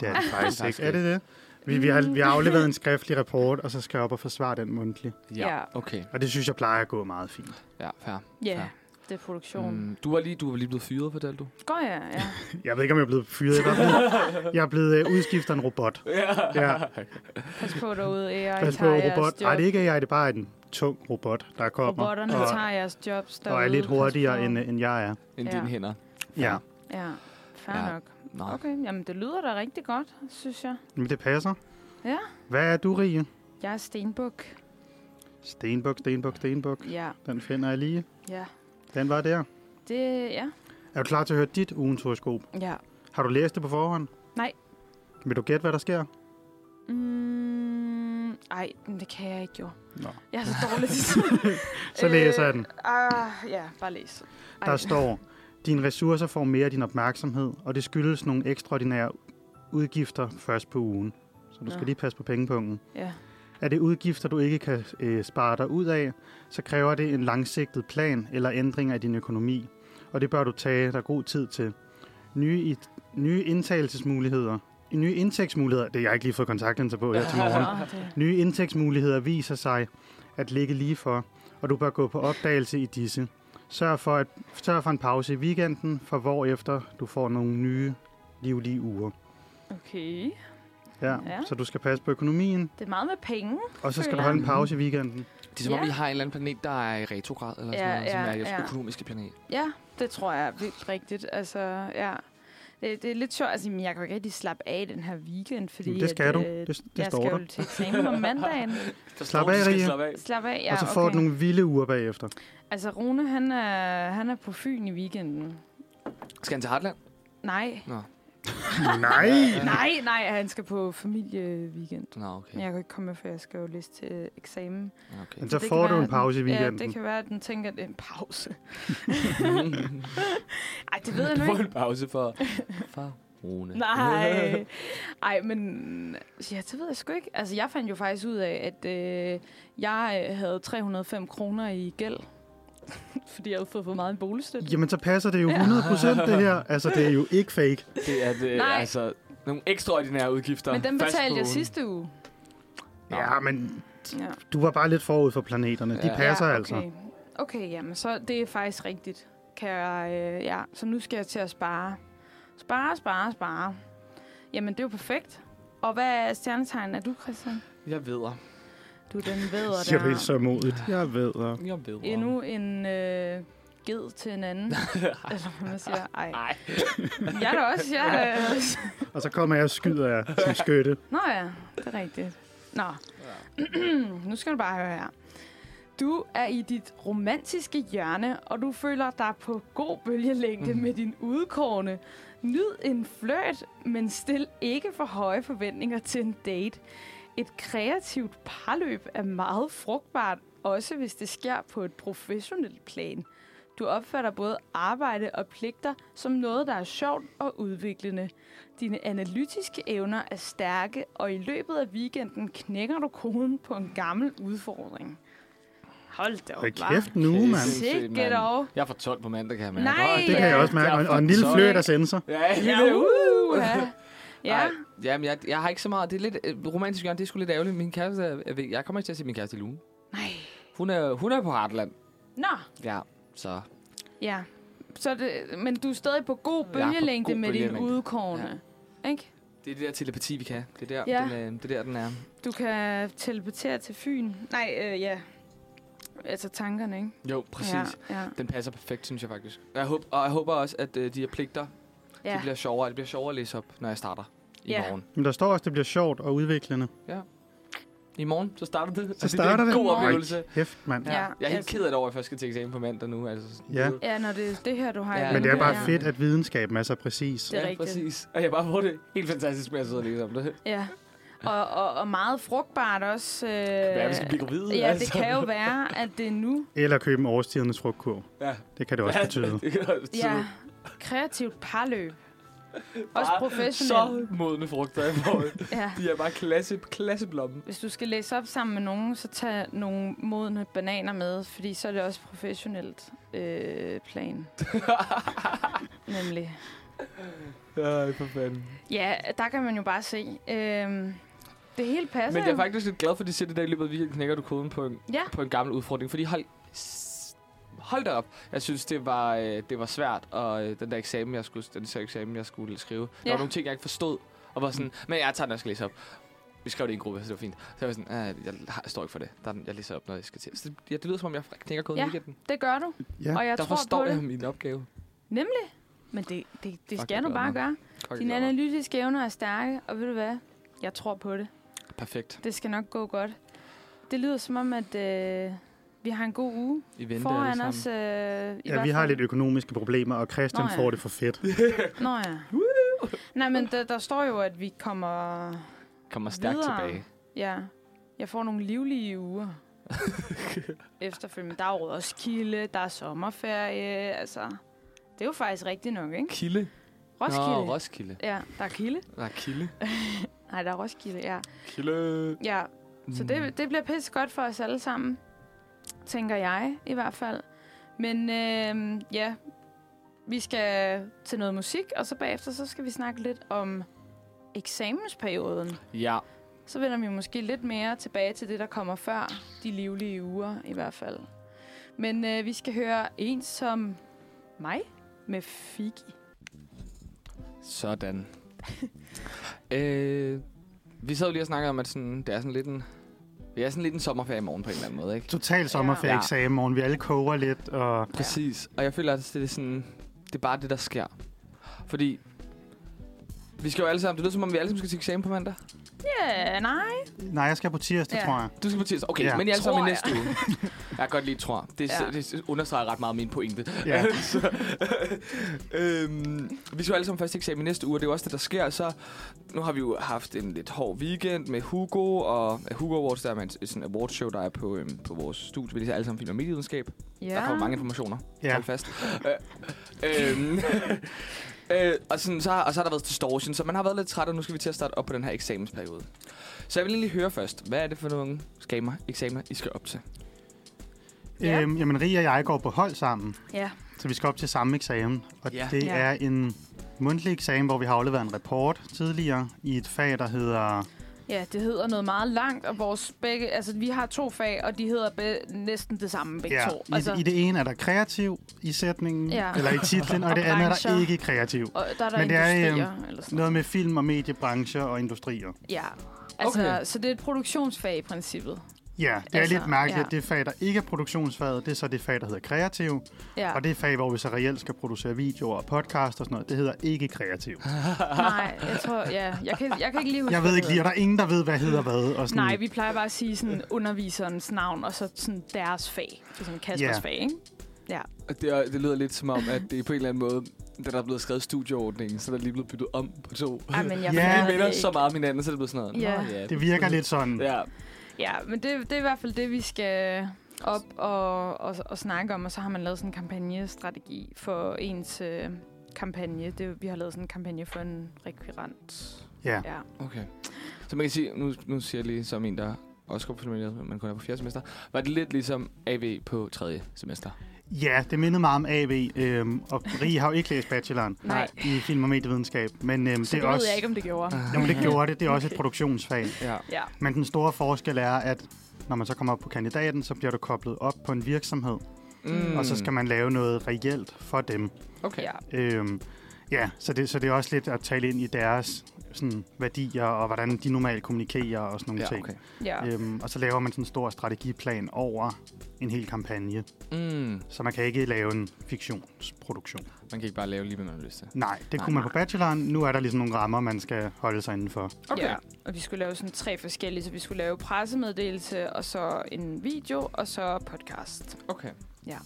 Speaker 3: det er det faktisk
Speaker 1: Tak
Speaker 3: ikke.
Speaker 1: skal
Speaker 3: Er det det? Vi, vi, har, vi har afleveret en skriftlig rapport, og så skal jeg op og forsvare den mundtligt.
Speaker 2: Ja.
Speaker 1: Okay,
Speaker 3: Og det synes jeg plejer at gå meget fint.
Speaker 1: ja, fair.
Speaker 2: Ja, det er produktion. Mm.
Speaker 1: Mm, du, var lige, du var lige blevet fyret, fortalte du?
Speaker 2: Går jeg? Ja.
Speaker 3: Jeg ved ikke, om jeg er blevet fyret. Jeg er blevet, jeg er blevet øh, udskiftet af en robot. Ja.
Speaker 2: Pas på derude, AI
Speaker 3: Pas på,
Speaker 2: tager jeres
Speaker 3: robot.
Speaker 2: job.
Speaker 3: Nej, det er ikke AI, det er bare en tung robot, der kommer.
Speaker 2: Robotterne
Speaker 3: og,
Speaker 2: tager jeres jobs derude.
Speaker 3: og er lidt
Speaker 2: Pas på.
Speaker 3: hurtigere, øh, end, end jeg er.
Speaker 1: End
Speaker 2: Ja.
Speaker 1: dine hænder?
Speaker 3: Ja,
Speaker 2: Ja, fair
Speaker 1: Ja.
Speaker 2: ja. nok.
Speaker 1: Nå.
Speaker 2: Okay, jamen det lyder da rigtig godt, synes jeg.
Speaker 3: men det passer.
Speaker 2: Ja.
Speaker 3: Hvad er du, Rie?
Speaker 2: Jeg er stenbuk.
Speaker 3: Stenbuk, stenbuk, stenbuk.
Speaker 2: Ja,
Speaker 3: Den finder jeg lige.
Speaker 2: ja.
Speaker 3: Den var der.
Speaker 2: Det, ja.
Speaker 3: Er du klar til at høre dit ugens horoskop?
Speaker 2: Ja.
Speaker 3: Har du læst det på forhånd?
Speaker 2: Nej.
Speaker 3: Vil du gætte, hvad der sker?
Speaker 2: Mm, ej, men det kan jeg ikke jo.
Speaker 3: Nå.
Speaker 2: Jeg er så dårlig til sådan.
Speaker 3: Så læser jeg den.
Speaker 2: Ah, ja, bare læs. Ej.
Speaker 3: Der står, dine ressourcer får mere af din opmærksomhed, og det skyldes nogle ekstraordinære udgifter først på ugen. Så du skal
Speaker 2: Nå.
Speaker 3: lige passe på pengepunkten.
Speaker 2: Ja.
Speaker 3: Er det udgifter, du ikke kan øh, spare dig ud af, så kræver det en langsigtet plan eller ændringer i din økonomi, og det bør du tage dig god tid til. Nye, i, nye indtagelsesmuligheder. Nye indtægtsmuligheder, det har jeg ikke lige fået kontaktlinser på her til morgen.
Speaker 2: Nå, det.
Speaker 3: Nye indtægtsmuligheder viser sig at ligge lige for, og du bør gå på opdagelse i disse. Sørg for, at, sørg for en pause i weekenden, for hvorefter du får nogle nye livlige uger.
Speaker 2: Okay.
Speaker 3: Ja,
Speaker 2: Ja.
Speaker 3: ja. Så du skal passe på økonomien,
Speaker 2: Det er meget med penge.
Speaker 3: og så skal du
Speaker 2: Føler
Speaker 3: holde en
Speaker 1: jeg.
Speaker 3: pause i weekenden.
Speaker 1: Det er som om,
Speaker 2: Ja.
Speaker 1: I har en eller anden planet, der er i retrograd, eller sådan
Speaker 2: Ja,
Speaker 1: noget, som
Speaker 2: ja,
Speaker 1: er jeres
Speaker 2: ja.
Speaker 1: økonomiske planet.
Speaker 2: Ja, det tror jeg er vildt rigtigt. Altså, ja. Det, det er lidt sjovt. Altså, jamen, jeg kan jo ikke rigtig slappe af i den her weekend, fordi...
Speaker 3: Fordi det skal
Speaker 2: at,
Speaker 3: du.
Speaker 2: øh,
Speaker 3: Det, det
Speaker 2: jeg
Speaker 3: står
Speaker 2: skal
Speaker 3: der.
Speaker 2: jo til eksamen om mandagen.
Speaker 1: Der
Speaker 3: Slap af, Rie.
Speaker 1: af.
Speaker 2: Slap af, ja,
Speaker 3: Ja, og så får
Speaker 2: okay.
Speaker 3: du nogle vilde uger bagefter.
Speaker 2: Altså, Rune, han er, han er på Fyn i weekenden.
Speaker 1: Skal han til Heartland?
Speaker 2: Nej.
Speaker 3: Nej!
Speaker 2: Nej, nej, han skal på familieweekend.
Speaker 1: Nå, okay.
Speaker 2: Men jeg kan ikke komme med, for jeg skal jo læse til eksamen.
Speaker 1: okay.
Speaker 3: Men så
Speaker 2: Det kan
Speaker 3: får du
Speaker 2: være,
Speaker 3: en pause i
Speaker 2: Ja,
Speaker 3: weekenden.
Speaker 2: det kan være, at den tænker, at det er en pause. Ej, det ved jeg
Speaker 1: Du
Speaker 2: nu
Speaker 1: får
Speaker 2: ikke.
Speaker 1: en pause for, for Rune.
Speaker 2: Nej. Ej, men ja, det ved jeg sgu ikke. Altså, jeg fandt jo faktisk ud af, at øh, jeg øh, havde 305 kroner i gæld. Fordi jeg havde fået for meget i boligstøtte.
Speaker 3: Jamen, så passer det jo 100% det her. Altså, det er jo ikke fake.
Speaker 1: Det er det,
Speaker 2: Nej.
Speaker 1: altså nogle ekstraordinære udgifter.
Speaker 2: Men den
Speaker 1: Først
Speaker 2: betalte
Speaker 1: på
Speaker 2: jeg
Speaker 1: ugen.
Speaker 2: sidste uge.
Speaker 1: Nå.
Speaker 3: Ja, men
Speaker 2: Ja.
Speaker 3: du var bare lidt forud for planeterne. De
Speaker 1: Ja.
Speaker 3: passer
Speaker 2: ja, okay.
Speaker 3: altså.
Speaker 2: Okay, jamen så det er faktisk rigtigt. Kan jeg, øh, ja, så nu skal jeg til at spare. Spare, spare, spare. Jamen, det er jo perfekt. Og hvad er stjernetegnen er du, Christian?
Speaker 1: Jeg ved.
Speaker 2: Du er den vædder
Speaker 5: Jeg vil
Speaker 2: der.
Speaker 5: så modigt. Jeg ved det.
Speaker 1: Jeg ved.
Speaker 2: Endnu en øh, ged til en anden. Eller hvad man siger. Ej.
Speaker 1: Ej.
Speaker 2: Jeg er da også. Jeg er da også.
Speaker 5: Og så kommer jeg og skyder jer som skytte.
Speaker 2: Nå ja, det er rigtigt. Nå. nu skal du bare høre her. Du er i dit romantiske hjørne, og du føler dig på god bølgelængde med din udkårne. Nyd en fløjt, men stil ikke for høje forventninger til en date. Et kreativt parløb er meget frugtbart, også hvis det sker på et professionelt plan. Du opfatter både arbejde og pligter som noget, der er sjovt og udviklende. Dine analytiske evner er stærke, og i løbet af weekenden knækker du koden på en gammel udfordring. Hold da op,
Speaker 5: Hold
Speaker 2: hva'?
Speaker 5: kæft nu,
Speaker 1: Yes.
Speaker 5: mand.
Speaker 2: Sikke dog.
Speaker 1: Jeg får 12 på mandag, kan jeg mærke.
Speaker 2: Nej,
Speaker 1: Åh,
Speaker 5: Det kan jeg også mærke. Og- Og en lille
Speaker 1: Sorry.
Speaker 5: fløjt af sensor.
Speaker 1: Ja,
Speaker 2: Ja,
Speaker 1: lille uh.
Speaker 2: uh, ja.
Speaker 1: Ej, jamen, jeg, jeg har ikke så meget. Det er lidt øh, romantisk, Jørgen. Det er sgu lidt ærgerligt. Min kæreste er, er væk. Jeg kommer ikke til at se min kæreste i lugen.
Speaker 2: Nej.
Speaker 1: Hun er, hun er på Heartland.
Speaker 2: Nå,
Speaker 1: Ja, så
Speaker 2: ja. Så det, men du er stadig på god bølgelængde
Speaker 1: god
Speaker 2: med din
Speaker 1: bølgelængde.
Speaker 2: udkårne. Ja. Ikke?
Speaker 1: det er det der telepati, vi kan. Det er der,
Speaker 2: Ja.
Speaker 1: den, øh, det er der den er.
Speaker 2: Du kan teleportere til Fyn. Nej, øh, ja. Altså tankerne, ikke?
Speaker 1: Jo, præcis. Ja.
Speaker 2: Ja, ja.
Speaker 1: Den passer perfekt, synes jeg faktisk. Og jeg håber, og jeg håber også, at øh, de her pligter, ja.
Speaker 2: ja.
Speaker 1: det bliver sjovere. Det bliver sjovere at læse op, når jeg starter i
Speaker 2: Ja.
Speaker 1: morgen.
Speaker 5: Men der står også, at det bliver sjovt og udviklende.
Speaker 1: I morgen, så starter det.
Speaker 5: Så
Speaker 1: Og Altså, det
Speaker 5: starter
Speaker 1: bliver
Speaker 5: det.
Speaker 1: en god
Speaker 2: Ej.
Speaker 1: oplevelse.
Speaker 5: Hæft, mand.
Speaker 1: Ja.
Speaker 2: Ja,
Speaker 1: jeg er helt
Speaker 2: altså-
Speaker 1: ked af det over, at jeg først skal til eksamen på mandag nu. Altså, sådan,
Speaker 5: Ja.
Speaker 1: du ved.
Speaker 2: ja, når det er det her, du har. i
Speaker 1: Ja.
Speaker 5: Men det er
Speaker 2: vente,
Speaker 5: bare
Speaker 2: ja.
Speaker 5: fedt, at videnskaben er så præcis.
Speaker 2: Det er
Speaker 1: ja,
Speaker 2: rigtigt.
Speaker 1: præcis. Og jeg bare får det helt fantastisk med at sidde og læse om det.
Speaker 2: Ja. Og, og, og meget frugtbart også. Øh,
Speaker 1: Det er, vi skal blive gravide. altså.
Speaker 2: ja, det kan jo være, at det er nu.
Speaker 5: Eller købe en årstidernes frugtkurv.
Speaker 1: Ja.
Speaker 5: Det kan det også betyde.
Speaker 1: det kan også betyde.
Speaker 2: Ja. Kreativt parløb. Også
Speaker 1: Bare Så
Speaker 2: professionelt.
Speaker 1: modne frugter, jeg får.
Speaker 2: Ja.
Speaker 1: De er bare klasse, klasseblommen.
Speaker 2: Hvis du skal læse op sammen med nogen, så tag nogle modne bananer med, fordi så er det også professionelt øh, plan. Nemlig.
Speaker 1: Ej, for fanden.
Speaker 2: Ja, der kan man jo bare se. Øhm, det hele passer
Speaker 1: Men jeg er
Speaker 2: jo.
Speaker 1: faktisk lidt glad for, at de siger det der i løbet af weekenden, knækker du koden på en,
Speaker 2: Altså- Ja,
Speaker 1: på en gammel udfordring. Fordi hold, s- hold da op. Jeg synes, det var, øh, det var svært. Og øh, den der eksamen, jeg skulle, den der eksamen, jeg skulle skrive. Der
Speaker 2: Ja.
Speaker 1: var nogle ting, jeg ikke forstod. Og var sådan, men jeg tager den, jeg skal læse op. Vi skrev det i en gruppe, så det var fint. Så jeg var sådan, "Ah, jeg har- står ikke for det. Der er den, jeg læser op, når jeg skal til. Så det, ja, det lyder, som om jeg knækker koden
Speaker 2: Ja.
Speaker 1: i weekenden.
Speaker 2: det gør du.
Speaker 5: Ja.
Speaker 2: Og jeg
Speaker 1: der
Speaker 2: tror
Speaker 1: forstår
Speaker 2: på
Speaker 1: jeg
Speaker 2: det.
Speaker 1: min opgave.
Speaker 2: Nemlig. Men det, det, det
Speaker 1: Fuck,
Speaker 2: skal
Speaker 1: jeg
Speaker 2: du
Speaker 1: glæder
Speaker 2: bare
Speaker 1: mig.
Speaker 2: gøre.
Speaker 1: Fuck,
Speaker 2: Dine
Speaker 1: jeg glæder mig.
Speaker 2: analytiske evner er stærke, og ved du hvad? Jeg tror på det.
Speaker 1: Perfekt.
Speaker 2: Det skal nok gå godt. Det lyder som om, at øh, vi har en god uge
Speaker 1: I venter alle
Speaker 2: foran
Speaker 1: sammen.
Speaker 2: os. Øh, i
Speaker 5: Ja, vi
Speaker 2: hvert
Speaker 5: har
Speaker 2: fald.
Speaker 5: lidt økonomiske problemer, og Christian
Speaker 2: Nå ja.
Speaker 5: får det for fedt.
Speaker 2: Nå ja. Nej, men der, der står jo, at vi kommer...
Speaker 1: Kommer stærkt
Speaker 2: videre.
Speaker 1: tilbage.
Speaker 2: Ja, jeg får nogle livlige uger. Efterfølgende. Der er jo Roskilde, der er sommerferie, altså... Det er jo faktisk rigtigt nok, ikke?
Speaker 1: Kilde.
Speaker 2: Roskilde.
Speaker 1: Nå, Roskilde.
Speaker 2: ja, der er Kilde.
Speaker 1: Nej, Kilde.
Speaker 2: Nej, der er Roskilde, ja.
Speaker 1: Kilde.
Speaker 2: Ja, Så det, det bliver pisse godt for os alle sammen, tænker jeg i hvert fald. Men øh, ja, vi skal til noget musik, og så bagefter så skal vi snakke lidt om eksamensperioden.
Speaker 1: Ja.
Speaker 2: Så vender vi måske lidt mere tilbage til det, der kommer før de livlige uger i hvert fald. Men øh, vi skal høre en som mig med Figi.
Speaker 1: Sådan. øh, vi sad jo lige og snakkede om, at sådan, det er sådan lidt en... Vi er sådan lidt en sommerferie i morgen på en eller anden måde, ikke?
Speaker 5: Total sommerferieeksamen, morgen. Vi alle koger lidt, og
Speaker 1: Præcis. Og jeg føler, at det er sådan... Det er bare det, der sker. Fordi... Vi skal jo alle sammen... Det lyder som om, vi alle sammen skal til eksamen på mandag.
Speaker 2: Ja, yeah, nej.
Speaker 5: nej, jeg skal på tirsdag,
Speaker 2: Ja.
Speaker 5: tror jeg.
Speaker 1: Du skal på tirsdag. Okay,
Speaker 5: Ja.
Speaker 1: ja. men I er alle sammen i næste
Speaker 2: Tror
Speaker 1: uge. jeg kan godt lide tror. Det,
Speaker 2: Ja.
Speaker 1: ja. det understreger ret meget min pointe.
Speaker 5: Ja.
Speaker 1: så, øhm, vi skal jo alle sammen først til eksamen i næste uge, og det er jo også det, der sker. Så nu har vi jo haft en lidt hård weekend med Hugo, og øh, Hugo Awards, der er en sådan en awardshow, der er på, øhm, på vores studie. Vi læser alle sammen film og medievidenskab. Ja. Der kommer mange informationer. Ja.
Speaker 5: Ja.
Speaker 1: Hold fast. Øh, øhm, øh, og, sådan, så har, og så har der været distortion, så man har været lidt træt, og nu skal vi til at starte op på den her eksamensperiode. Så jeg vil egentlig høre først, hvad er det for nogle skamer, eksamener, I skal op til?
Speaker 2: Ja.
Speaker 5: Øhm, jamen, Rie og jeg går på hold sammen,
Speaker 2: Ja,
Speaker 5: så vi skal op til samme eksamen. Og
Speaker 1: Ja.
Speaker 5: det
Speaker 2: Ja.
Speaker 5: er en mundtlig eksamen, hvor vi har afleveret en rapport tidligere i et fag, der hedder
Speaker 2: Ja, det hedder noget meget langt, og vores begge... Altså, vi har to fag, og de hedder be- næsten det samme begge
Speaker 3: Ja.
Speaker 2: to.
Speaker 3: I,
Speaker 2: Altså,
Speaker 3: I det ene er der kreativ i sætningen,
Speaker 2: Ja.
Speaker 3: ja. eller i titlen, og,
Speaker 2: Og
Speaker 3: og det andet er der
Speaker 2: brancher.
Speaker 3: ikke kreativ.
Speaker 2: og der er der
Speaker 3: Men det er, øhm,
Speaker 2: industrier, eller sådan noget.
Speaker 3: Noget med film og mediebrancher og industrier.
Speaker 2: Ja. Altså,
Speaker 1: Okay.
Speaker 2: okay. så det er et produktionsfag i princippet.
Speaker 3: Ja, det er
Speaker 2: Altså,
Speaker 3: lidt mærkeligt,
Speaker 2: ja.
Speaker 3: at det fag, der ikke er produktionsfaget, det er så det fag, der hedder kreativ.
Speaker 2: Ja.
Speaker 3: Og det fag, hvor vi så reelt skal producere videoer og podcast og sådan noget, det hedder ikke kreativ.
Speaker 2: Nej, jeg tror... Ja, jeg kan, jeg kan ikke lige huske,
Speaker 3: Jeg ved
Speaker 2: hvad
Speaker 3: ikke
Speaker 2: det
Speaker 3: lige, og der er ingen, der ved, hvad hedder hvad. Og sådan.
Speaker 2: Nej, vi plejer bare at sige sådan underviserens navn, og så sådan deres fag. Så sådan Kaspers
Speaker 3: Ja.
Speaker 2: yeah. fag, ikke?
Speaker 1: Og Det, er, det lyder lidt som om, at det er på en eller anden måde, da der er blevet skrevet studieordningen, så er der lige blevet byttet om på to.
Speaker 2: Ej, men jeg
Speaker 3: Ja.
Speaker 2: fatter
Speaker 1: Vi
Speaker 2: det
Speaker 1: minder
Speaker 2: ikke.
Speaker 1: så meget om hinanden, så det er blevet sådan noget. "Nå,
Speaker 2: Ja.
Speaker 1: ja
Speaker 3: Det virker lidt sådan. Ja.
Speaker 1: Ja,
Speaker 2: Ja, men det, det er i hvert fald det, vi skal op og, og, og snakke om. Og så har man lavet sådan en kampagnestrategi for ens øh, kampagne. Det, vi har lavet sådan en kampagne for en rekvirent.
Speaker 3: ja.
Speaker 2: Ja.
Speaker 1: okay. Så man kan sige, nu, nu siger jeg lige som en, der også går på familien, men man kun er på fjerde semester. Var det lidt ligesom AV på tredje semester?
Speaker 3: ja, det mindede meget om AV, øhm, og Rie har jo ikke læst bacheloren
Speaker 2: Nej.
Speaker 3: i film- og medievidenskab, men øhm,
Speaker 2: Så det,
Speaker 3: det er
Speaker 2: ved
Speaker 3: også... Ah.
Speaker 2: jeg ikke, om det gjorde.
Speaker 3: Jamen, det gjorde det. Det er også et produktionsfag.
Speaker 1: Ja.
Speaker 2: Ja.
Speaker 3: Men den store forskel er, at når man så kommer op på kandidaten, så bliver du koblet op på en virksomhed, mm.
Speaker 2: Mm.
Speaker 3: og så skal man lave noget reelt for dem.
Speaker 1: Okay.
Speaker 2: ja.
Speaker 3: Øhm, ja, så det, så det er også lidt at tale ind i deres sådan, værdier, og hvordan de normalt kommunikerer og sådan nogle
Speaker 1: Ja,
Speaker 3: ting.
Speaker 1: okay.
Speaker 2: ja.
Speaker 3: Øhm, og så laver man sådan en stor strategiplan over en hel kampagne,
Speaker 1: Mm.
Speaker 3: så man kan ikke lave en fiktionsproduktion.
Speaker 1: Man kan ikke bare lave lige, hvad man har lyst til.
Speaker 3: Nej, det
Speaker 1: Nej,
Speaker 3: kunne man
Speaker 2: nej.
Speaker 3: på bacheloren. Nu er der ligesom nogle rammer, man skal holde sig indenfor.
Speaker 1: Okay.
Speaker 2: Ja, og vi skulle lave sådan tre forskellige, så vi skulle lave pressemeddelelse, og så en video, og så podcast.
Speaker 1: Okay.
Speaker 2: Ja.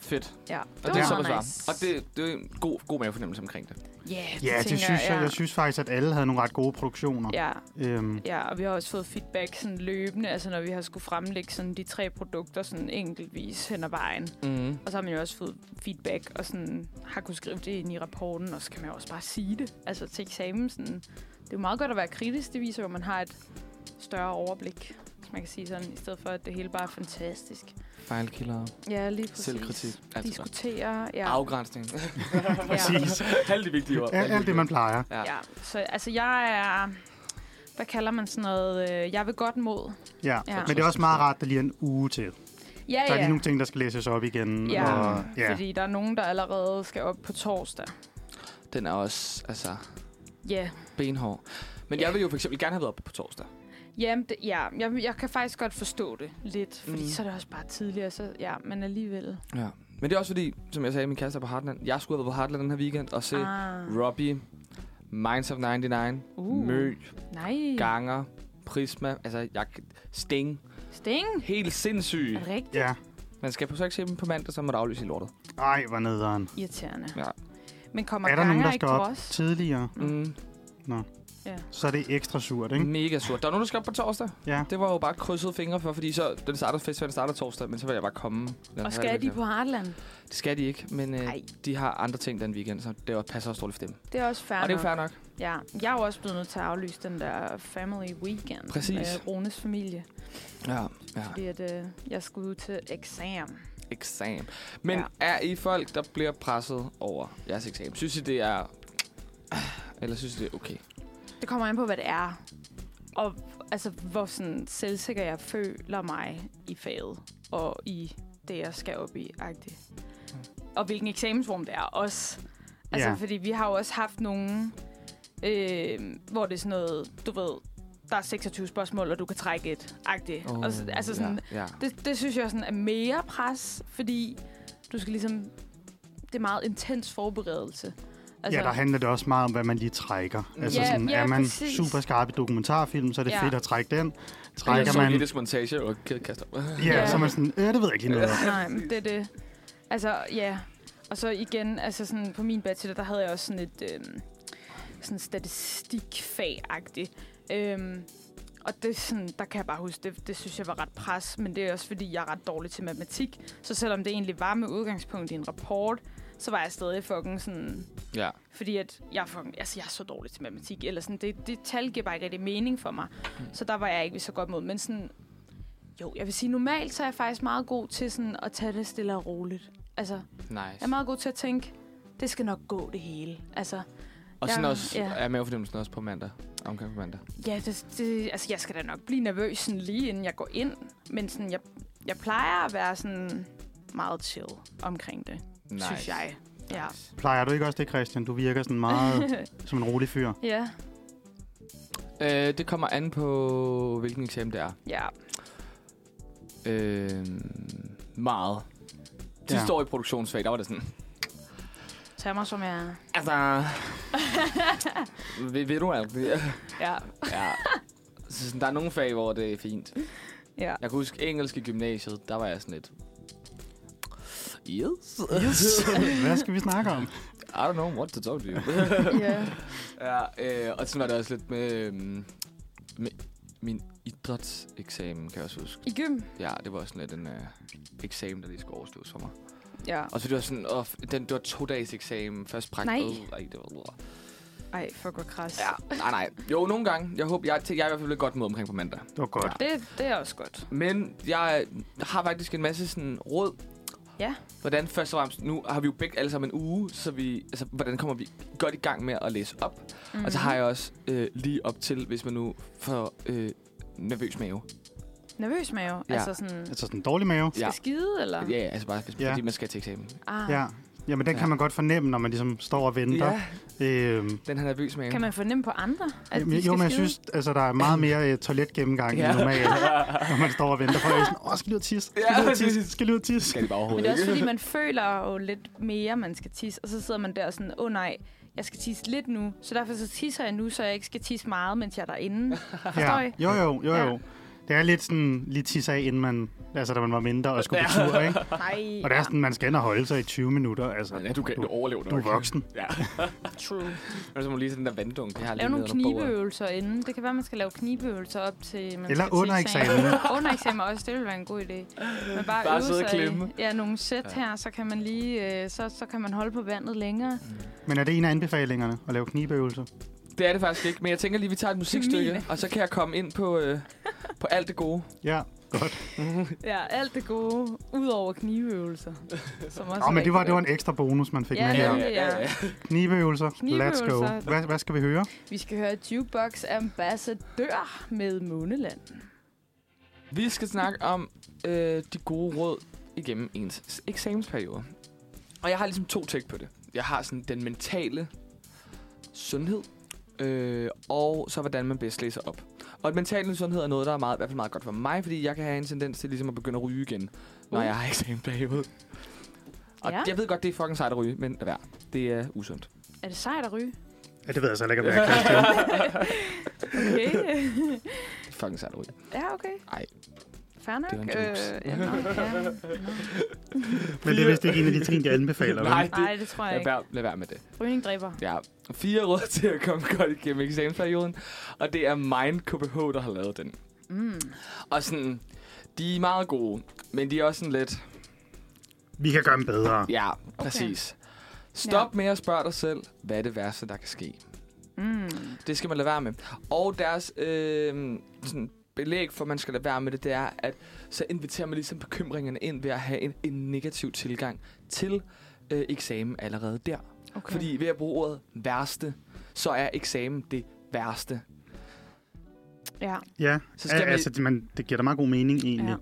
Speaker 1: Fedt.
Speaker 2: Ja,
Speaker 1: Og
Speaker 2: det
Speaker 1: det
Speaker 2: var
Speaker 1: er så
Speaker 2: meget
Speaker 1: svar.
Speaker 2: nice.
Speaker 1: Og det, det er en god, god mavefornemmelse omkring det.
Speaker 2: yeah, det,
Speaker 3: Ja,
Speaker 2: tænker
Speaker 3: det synes jeg.
Speaker 2: ja.
Speaker 3: Jeg synes faktisk, at alle havde nogle ret gode produktioner.
Speaker 2: Ja,
Speaker 3: Øhm,
Speaker 2: ja, og vi har også fået feedback sådan løbende, altså når vi har skulle fremlægge sådan de tre produkter sådan enkeltvis hen ad vejen.
Speaker 1: Mm.
Speaker 2: Og så har man jo også fået feedback og sådan har kunne skrive det ind i rapporten, og så kan man jo også bare sige det. Altså til eksamen, sådan, det er jo meget godt at være kritisk, det viser jo, at man har et større overblik, hvis man kan sige sådan, i stedet for at det hele bare er fantastisk.
Speaker 1: Fejlkilder.
Speaker 2: Ja, lige præcis.
Speaker 1: Selvkritik. Alt det der.
Speaker 2: Diskutere, ja.
Speaker 1: Afgrænsning.
Speaker 2: ja.
Speaker 3: præcis.
Speaker 1: Alle de vigtige ord.
Speaker 3: Alt, alt det, man plejer.
Speaker 2: ja. Så altså, jeg er... Hvad kalder man sådan noget? øh, Jeg vil godt mod.
Speaker 3: Ja.
Speaker 2: Ja.
Speaker 3: ja. Men det er også meget rart, at der lige er en uge til.
Speaker 2: Ja,
Speaker 3: Der er lige
Speaker 2: ja.
Speaker 3: nogle ting, der skal læses op igen.
Speaker 2: Ja.
Speaker 3: Og, ja.
Speaker 2: Fordi der er nogen, der allerede skal op på torsdag.
Speaker 1: Den er også altså,
Speaker 2: Ja,
Speaker 1: benhård. Men
Speaker 2: Ja.
Speaker 1: jeg vil jo for eksempel gerne have været oppe på torsdag.
Speaker 2: Jamen, det, ja. Jeg, jeg kan faktisk godt forstå det lidt, fordi
Speaker 1: Mm.
Speaker 2: mm. så er det også bare tidligere, så ja, men alligevel.
Speaker 1: Ja. Men det er også fordi, som jeg sagde, min kæreste er på Heartland. Jeg skulle have været på Heartland den her weekend og se ah.
Speaker 2: Ah,
Speaker 1: Robbie, Minds of 99, uh.
Speaker 2: Uh.
Speaker 1: Mø,
Speaker 2: nej.
Speaker 1: Ganger, Prisma, altså jeg, Sting.
Speaker 2: Sting?
Speaker 1: Helt sindssygt.
Speaker 2: Er det rigtigt?
Speaker 3: ja.
Speaker 1: Man skal på så ikke se dem på mandag, så må der aflyse i lortet.
Speaker 3: Ej, hvor nederen.
Speaker 2: Irriterende.
Speaker 1: Ja.
Speaker 2: Men kommer
Speaker 3: Er der nogen,
Speaker 2: Ganger
Speaker 3: der
Speaker 2: ikke
Speaker 3: skal
Speaker 2: på
Speaker 3: op
Speaker 2: os?
Speaker 3: tidligere,
Speaker 1: Mm.
Speaker 3: så er det ekstra surt, ikke?
Speaker 1: Mega surt. Der er nogen, der skal op på torsdag.
Speaker 3: Ja.
Speaker 1: Det var jo bare krydsede fingre for, fordi så, den starter, festivalen starter torsdag, men så vil jeg bare komme. den her
Speaker 2: Og skal de
Speaker 1: weekend.
Speaker 2: på Heartland?
Speaker 1: Det skal de ikke, men øh,
Speaker 2: Nej.
Speaker 1: de har andre ting den weekend, så det var- passer også dårligt for dem.
Speaker 2: Det er også fair
Speaker 1: og det er
Speaker 2: nok.
Speaker 1: jo fair nok.
Speaker 2: Ja, jeg er jo også blevet nødt til at aflyse den der family weekend
Speaker 1: Præcis.
Speaker 2: med Rones familie,
Speaker 1: Ja, ja.
Speaker 2: fordi at, øh, jeg skulle ud til eksamen.
Speaker 1: Eksamen. Men ja.
Speaker 2: Ja.
Speaker 1: er I folk, der bliver presset over jeres eksamen? Synes I, det er... Eller synes I, det er okay?
Speaker 2: Det kommer an på, hvad det er, og altså, hvor sådan, selvsikker jeg føler mig i faget og i det, jeg skal op i. -agtigt. Og hvilken eksamensform det er også. Altså,
Speaker 3: Ja.
Speaker 2: fordi vi har jo også haft nogle, øh, hvor det er sådan noget, du ved, der er 26 spørgsmål, og du kan trække et-agtigt. Oh, og, så- altså sådan,
Speaker 1: Ja, ja.
Speaker 2: Det, det synes jeg sådan er mere pres, fordi du skal ligesom... Det er meget intens forberedelse.
Speaker 3: Altså, ja, der handler det også meget om, hvad man lige trækker. Altså,
Speaker 2: Ja,
Speaker 3: sådan,
Speaker 2: ja,
Speaker 3: er man
Speaker 2: præcis.
Speaker 3: super skarp i dokumentarfilm, så er det
Speaker 2: Ja.
Speaker 3: fedt at trække den.
Speaker 1: Ej, jeg
Speaker 3: Trækker
Speaker 1: så lige
Speaker 3: man...
Speaker 1: det montage og kædekaster.
Speaker 3: Ja,
Speaker 2: Ja.
Speaker 3: så er man sådan, øh, det ved jeg ikke lige noget om.
Speaker 2: Nej, men det er det. Altså, ja. Og så igen, altså sådan på min bachelor, der havde jeg også sådan et øh, sådan statistikfag-agtigt. Øhm, og det er sådan, der kan jeg bare huske, det, det synes jeg var ret pres, men det er også fordi, jeg er ret dårlig til matematik. Så selvom det egentlig var med udgangspunkt i en rapport, så var jeg stadig fucking sådan
Speaker 1: ja.
Speaker 2: Fordi at jeg, er fucking, altså jeg er så dårlig til matematik, eller sådan, det, det tal giver bare ikke rigtig mening for mig. Så der var jeg ikke så godt mod, men sådan, jo, jeg vil sige, normalt så er jeg faktisk meget god til sådan at tage det stille og roligt. Altså, jeg
Speaker 1: Nice.
Speaker 2: er meget god til at tænke, det skal nok gå det hele. Altså,
Speaker 1: Og sådan
Speaker 2: Ja,
Speaker 1: også
Speaker 2: ja.
Speaker 1: er mavefornemmelsen også på mandag. omgang på mandag.
Speaker 2: Ja, det, det, altså jeg skal da nok blive nervøs sådan lige inden jeg går ind, men sådan, jeg, jeg plejer at være sådan meget chill omkring det, nice. synes jeg. Ja.
Speaker 3: Plejer du ikke også det, Christian? Du virker sådan meget som en rolig fyr.
Speaker 2: ja,
Speaker 1: Øh, det kommer an på, hvilken eksamen det er.
Speaker 2: ja.
Speaker 1: Øh, meget. De
Speaker 3: Ja.
Speaker 1: ja. står i produktionsfag, der var det sådan,
Speaker 2: Tag mig som jeg er.
Speaker 1: altså, ved, ved du alt det?
Speaker 2: Ja,
Speaker 1: Ja. Så sådan, der er nogle fag, hvor det er fint.
Speaker 2: ja.
Speaker 1: Jeg kan huske engelsk i gymnasiet, der var jeg sådan lidt... Yes. yes.
Speaker 3: Hvad skal vi snakke om?
Speaker 1: I don't know what to talk to you.
Speaker 2: ja.
Speaker 1: ja, øh, og sådan var det også lidt med, øhm, med min idrætseksamen, kan jeg også huske.
Speaker 2: I gym?
Speaker 1: Ja, det var også sådan lidt en øh, eksamen, der lige skulle overstås for mig.
Speaker 2: Ja.
Speaker 1: Og så det var sådan, åh, f- den, det var to dages eksamen, først praktik.
Speaker 2: Nej.
Speaker 1: Øh, nej, det var...
Speaker 2: Ej, fuck hvor kras.
Speaker 1: Ja, nej, nej. Jo, nogle gange. Jeg håber, jeg, jeg er i hvert fald et godt mod omkring på mandag.
Speaker 3: Det var godt.
Speaker 2: Det, det er også godt.
Speaker 1: Men jeg har faktisk en masse sådan råd.
Speaker 2: Ja.
Speaker 1: Hvordan først og fremmest, nu har vi jo begge alle sammen en uge, så vi, altså, hvordan kommer vi godt i gang med at læse op? Mm.
Speaker 2: Mm.
Speaker 3: Altså,
Speaker 1: Og så har jeg også øh, lige op til, hvis man nu får øh, nervøs mave.
Speaker 2: Nervøs mave?
Speaker 1: Ja.
Speaker 2: Ja. Altså sådan,
Speaker 3: Altså sådan en dårlig mave.
Speaker 2: skal ja. skide, eller?
Speaker 1: Ja, altså bare hvis,
Speaker 3: Ja.
Speaker 1: ja. fordi man skal til eksamen.
Speaker 2: Ah.
Speaker 3: Ja. Jamen, den kan
Speaker 1: Ja.
Speaker 3: man godt fornemme, når man ligesom står og venter.
Speaker 1: Ja,
Speaker 3: Øhm,
Speaker 1: den her nervøs mave.
Speaker 2: Kan man fornemme på andre, at
Speaker 3: Jamen,
Speaker 2: de skal
Speaker 3: jo, men jeg
Speaker 2: skide?
Speaker 3: synes, altså, der er meget mere øh, toiletgennemgang
Speaker 1: Ja.
Speaker 3: end normalt, når man står og venter på, at jeg er sådan, åh, skal lige ud og tisse, skal
Speaker 1: Ja,
Speaker 3: lige ud og tisse,
Speaker 1: præcis.
Speaker 3: skal lige ud og tisse.
Speaker 1: Skal de bare
Speaker 2: Men det
Speaker 1: overhovedet
Speaker 2: er også
Speaker 1: ikke?
Speaker 2: fordi, man føler jo lidt mere, man skal tisse. Og så sidder man der og sådan, åh oh, nej, jeg skal tisse lidt nu. Så derfor så tisser jeg nu, så jeg ikke skal tisse meget, mens jeg er derinde. Forstår I?
Speaker 3: Jo, jo, jo,
Speaker 2: Ja.
Speaker 3: jo. Det er lidt sådan, lige tisse af, inden man, altså da man var mindre og skulle på
Speaker 1: Ja.
Speaker 3: tur, ikke?
Speaker 2: Nej.
Speaker 3: Og det er sådan, man skal ind og holde sig i 20 minutter, altså.
Speaker 1: Ja, du kan du overleve det.
Speaker 3: Du er
Speaker 1: nok.
Speaker 3: voksen.
Speaker 1: Ja.
Speaker 2: true.
Speaker 1: Og så må lige sådan den der vanddunk, jeg har lige
Speaker 2: Lav nogle
Speaker 1: nede under bordet.
Speaker 2: knibeøvelser inden. Det kan være, man skal lave knibeøvelser op til... Man
Speaker 3: Eller
Speaker 2: skal til
Speaker 3: under eksamen.
Speaker 2: under eksamen også, det ville være en god idé. Men bare,
Speaker 1: Bare
Speaker 2: øve
Speaker 1: sidde og
Speaker 2: sig i-
Speaker 1: klemme.
Speaker 2: Ja, nogle sæt ja. her, så kan man lige... Øh, så, så kan man holde på vandet længere.
Speaker 1: Mm.
Speaker 3: Men er det en af anbefalingerne, at lave knibeøvelser?
Speaker 1: Det er det faktisk ikke, men jeg tænker lige, vi tager et musikstykke, og så kan jeg komme ind på, øh, på alt det gode.
Speaker 3: Ja.
Speaker 2: Ja, alt det gode, ud over knibeøvelser. Som også
Speaker 3: Nå,
Speaker 2: er
Speaker 3: Ah, men det var,
Speaker 2: rigtig
Speaker 3: det var en ekstra bonus, man fik
Speaker 2: Ja,
Speaker 3: med
Speaker 2: det
Speaker 3: her.
Speaker 2: er ja.
Speaker 3: Knibeøvelser. Let's go.
Speaker 2: Knibeøvelser.
Speaker 3: Hvad, hvad skal vi høre?
Speaker 2: Vi skal høre Jukebox Ambassadør med Måneland.
Speaker 1: Vi skal snakke om øh, de gode råd igennem ens eksamensperiode. Og jeg har ligesom to tæk på det. Jeg har sådan den mentale sundhed, øh, og så hvordan man bedst læser op. Og den mentale sundhed er noget, der er meget, i hvert fald meget godt for mig, fordi jeg kan have en tendens til ligesom at begynde at ryge igen, når
Speaker 2: Uh.
Speaker 1: jeg har eksamensperiode. Og
Speaker 2: Ja.
Speaker 1: jeg ved godt, det er fucking sejt at ryge, men lad være. Det er usundt.
Speaker 2: Er det sejt at ryge?
Speaker 3: Ja, det ved jeg så ikke, om jeg kan.
Speaker 2: Okay.
Speaker 1: Det er fucking sejt at ryge.
Speaker 2: ja, okay.
Speaker 1: Ej.
Speaker 2: Fair nok.
Speaker 1: Det var en jokes.
Speaker 2: Øh, ja, nå, ja, nå.
Speaker 3: Men det er vist ikke en af de ting, jeg anbefaler. vel?
Speaker 1: Nej, det,
Speaker 2: Nej, det tror jeg
Speaker 1: lad,
Speaker 2: ikke.
Speaker 1: være, lad være med det.
Speaker 2: Rygning dræber.
Speaker 1: Ja, fire råd til at komme godt igennem eksamensperioden, og det er Mind KBH, der har lavet den.
Speaker 2: Mm.
Speaker 1: Og sådan, de er meget gode, men de er også sådan lidt,
Speaker 3: Vi kan gøre dem bedre.
Speaker 1: ja, præcis. Stop
Speaker 2: Ja.
Speaker 1: med at spørge dig selv, hvad er det værste, der kan ske?
Speaker 2: Mm.
Speaker 1: Det skal man lade være med. Og deres øh, sådan belæg for, at man skal lade være med det, det er, at så inviterer man ligesom bekymringerne ind ved at have en, en negativ tilgang til øh, eksamen allerede der.
Speaker 2: Okay.
Speaker 1: Fordi ved at bruge ordet værste, så er eksamen det værste.
Speaker 2: Ja.
Speaker 3: Ja,
Speaker 1: Så
Speaker 3: så
Speaker 1: skal
Speaker 3: skal
Speaker 1: vi-
Speaker 3: altså, det, man, det giver da meget god mening egentlig.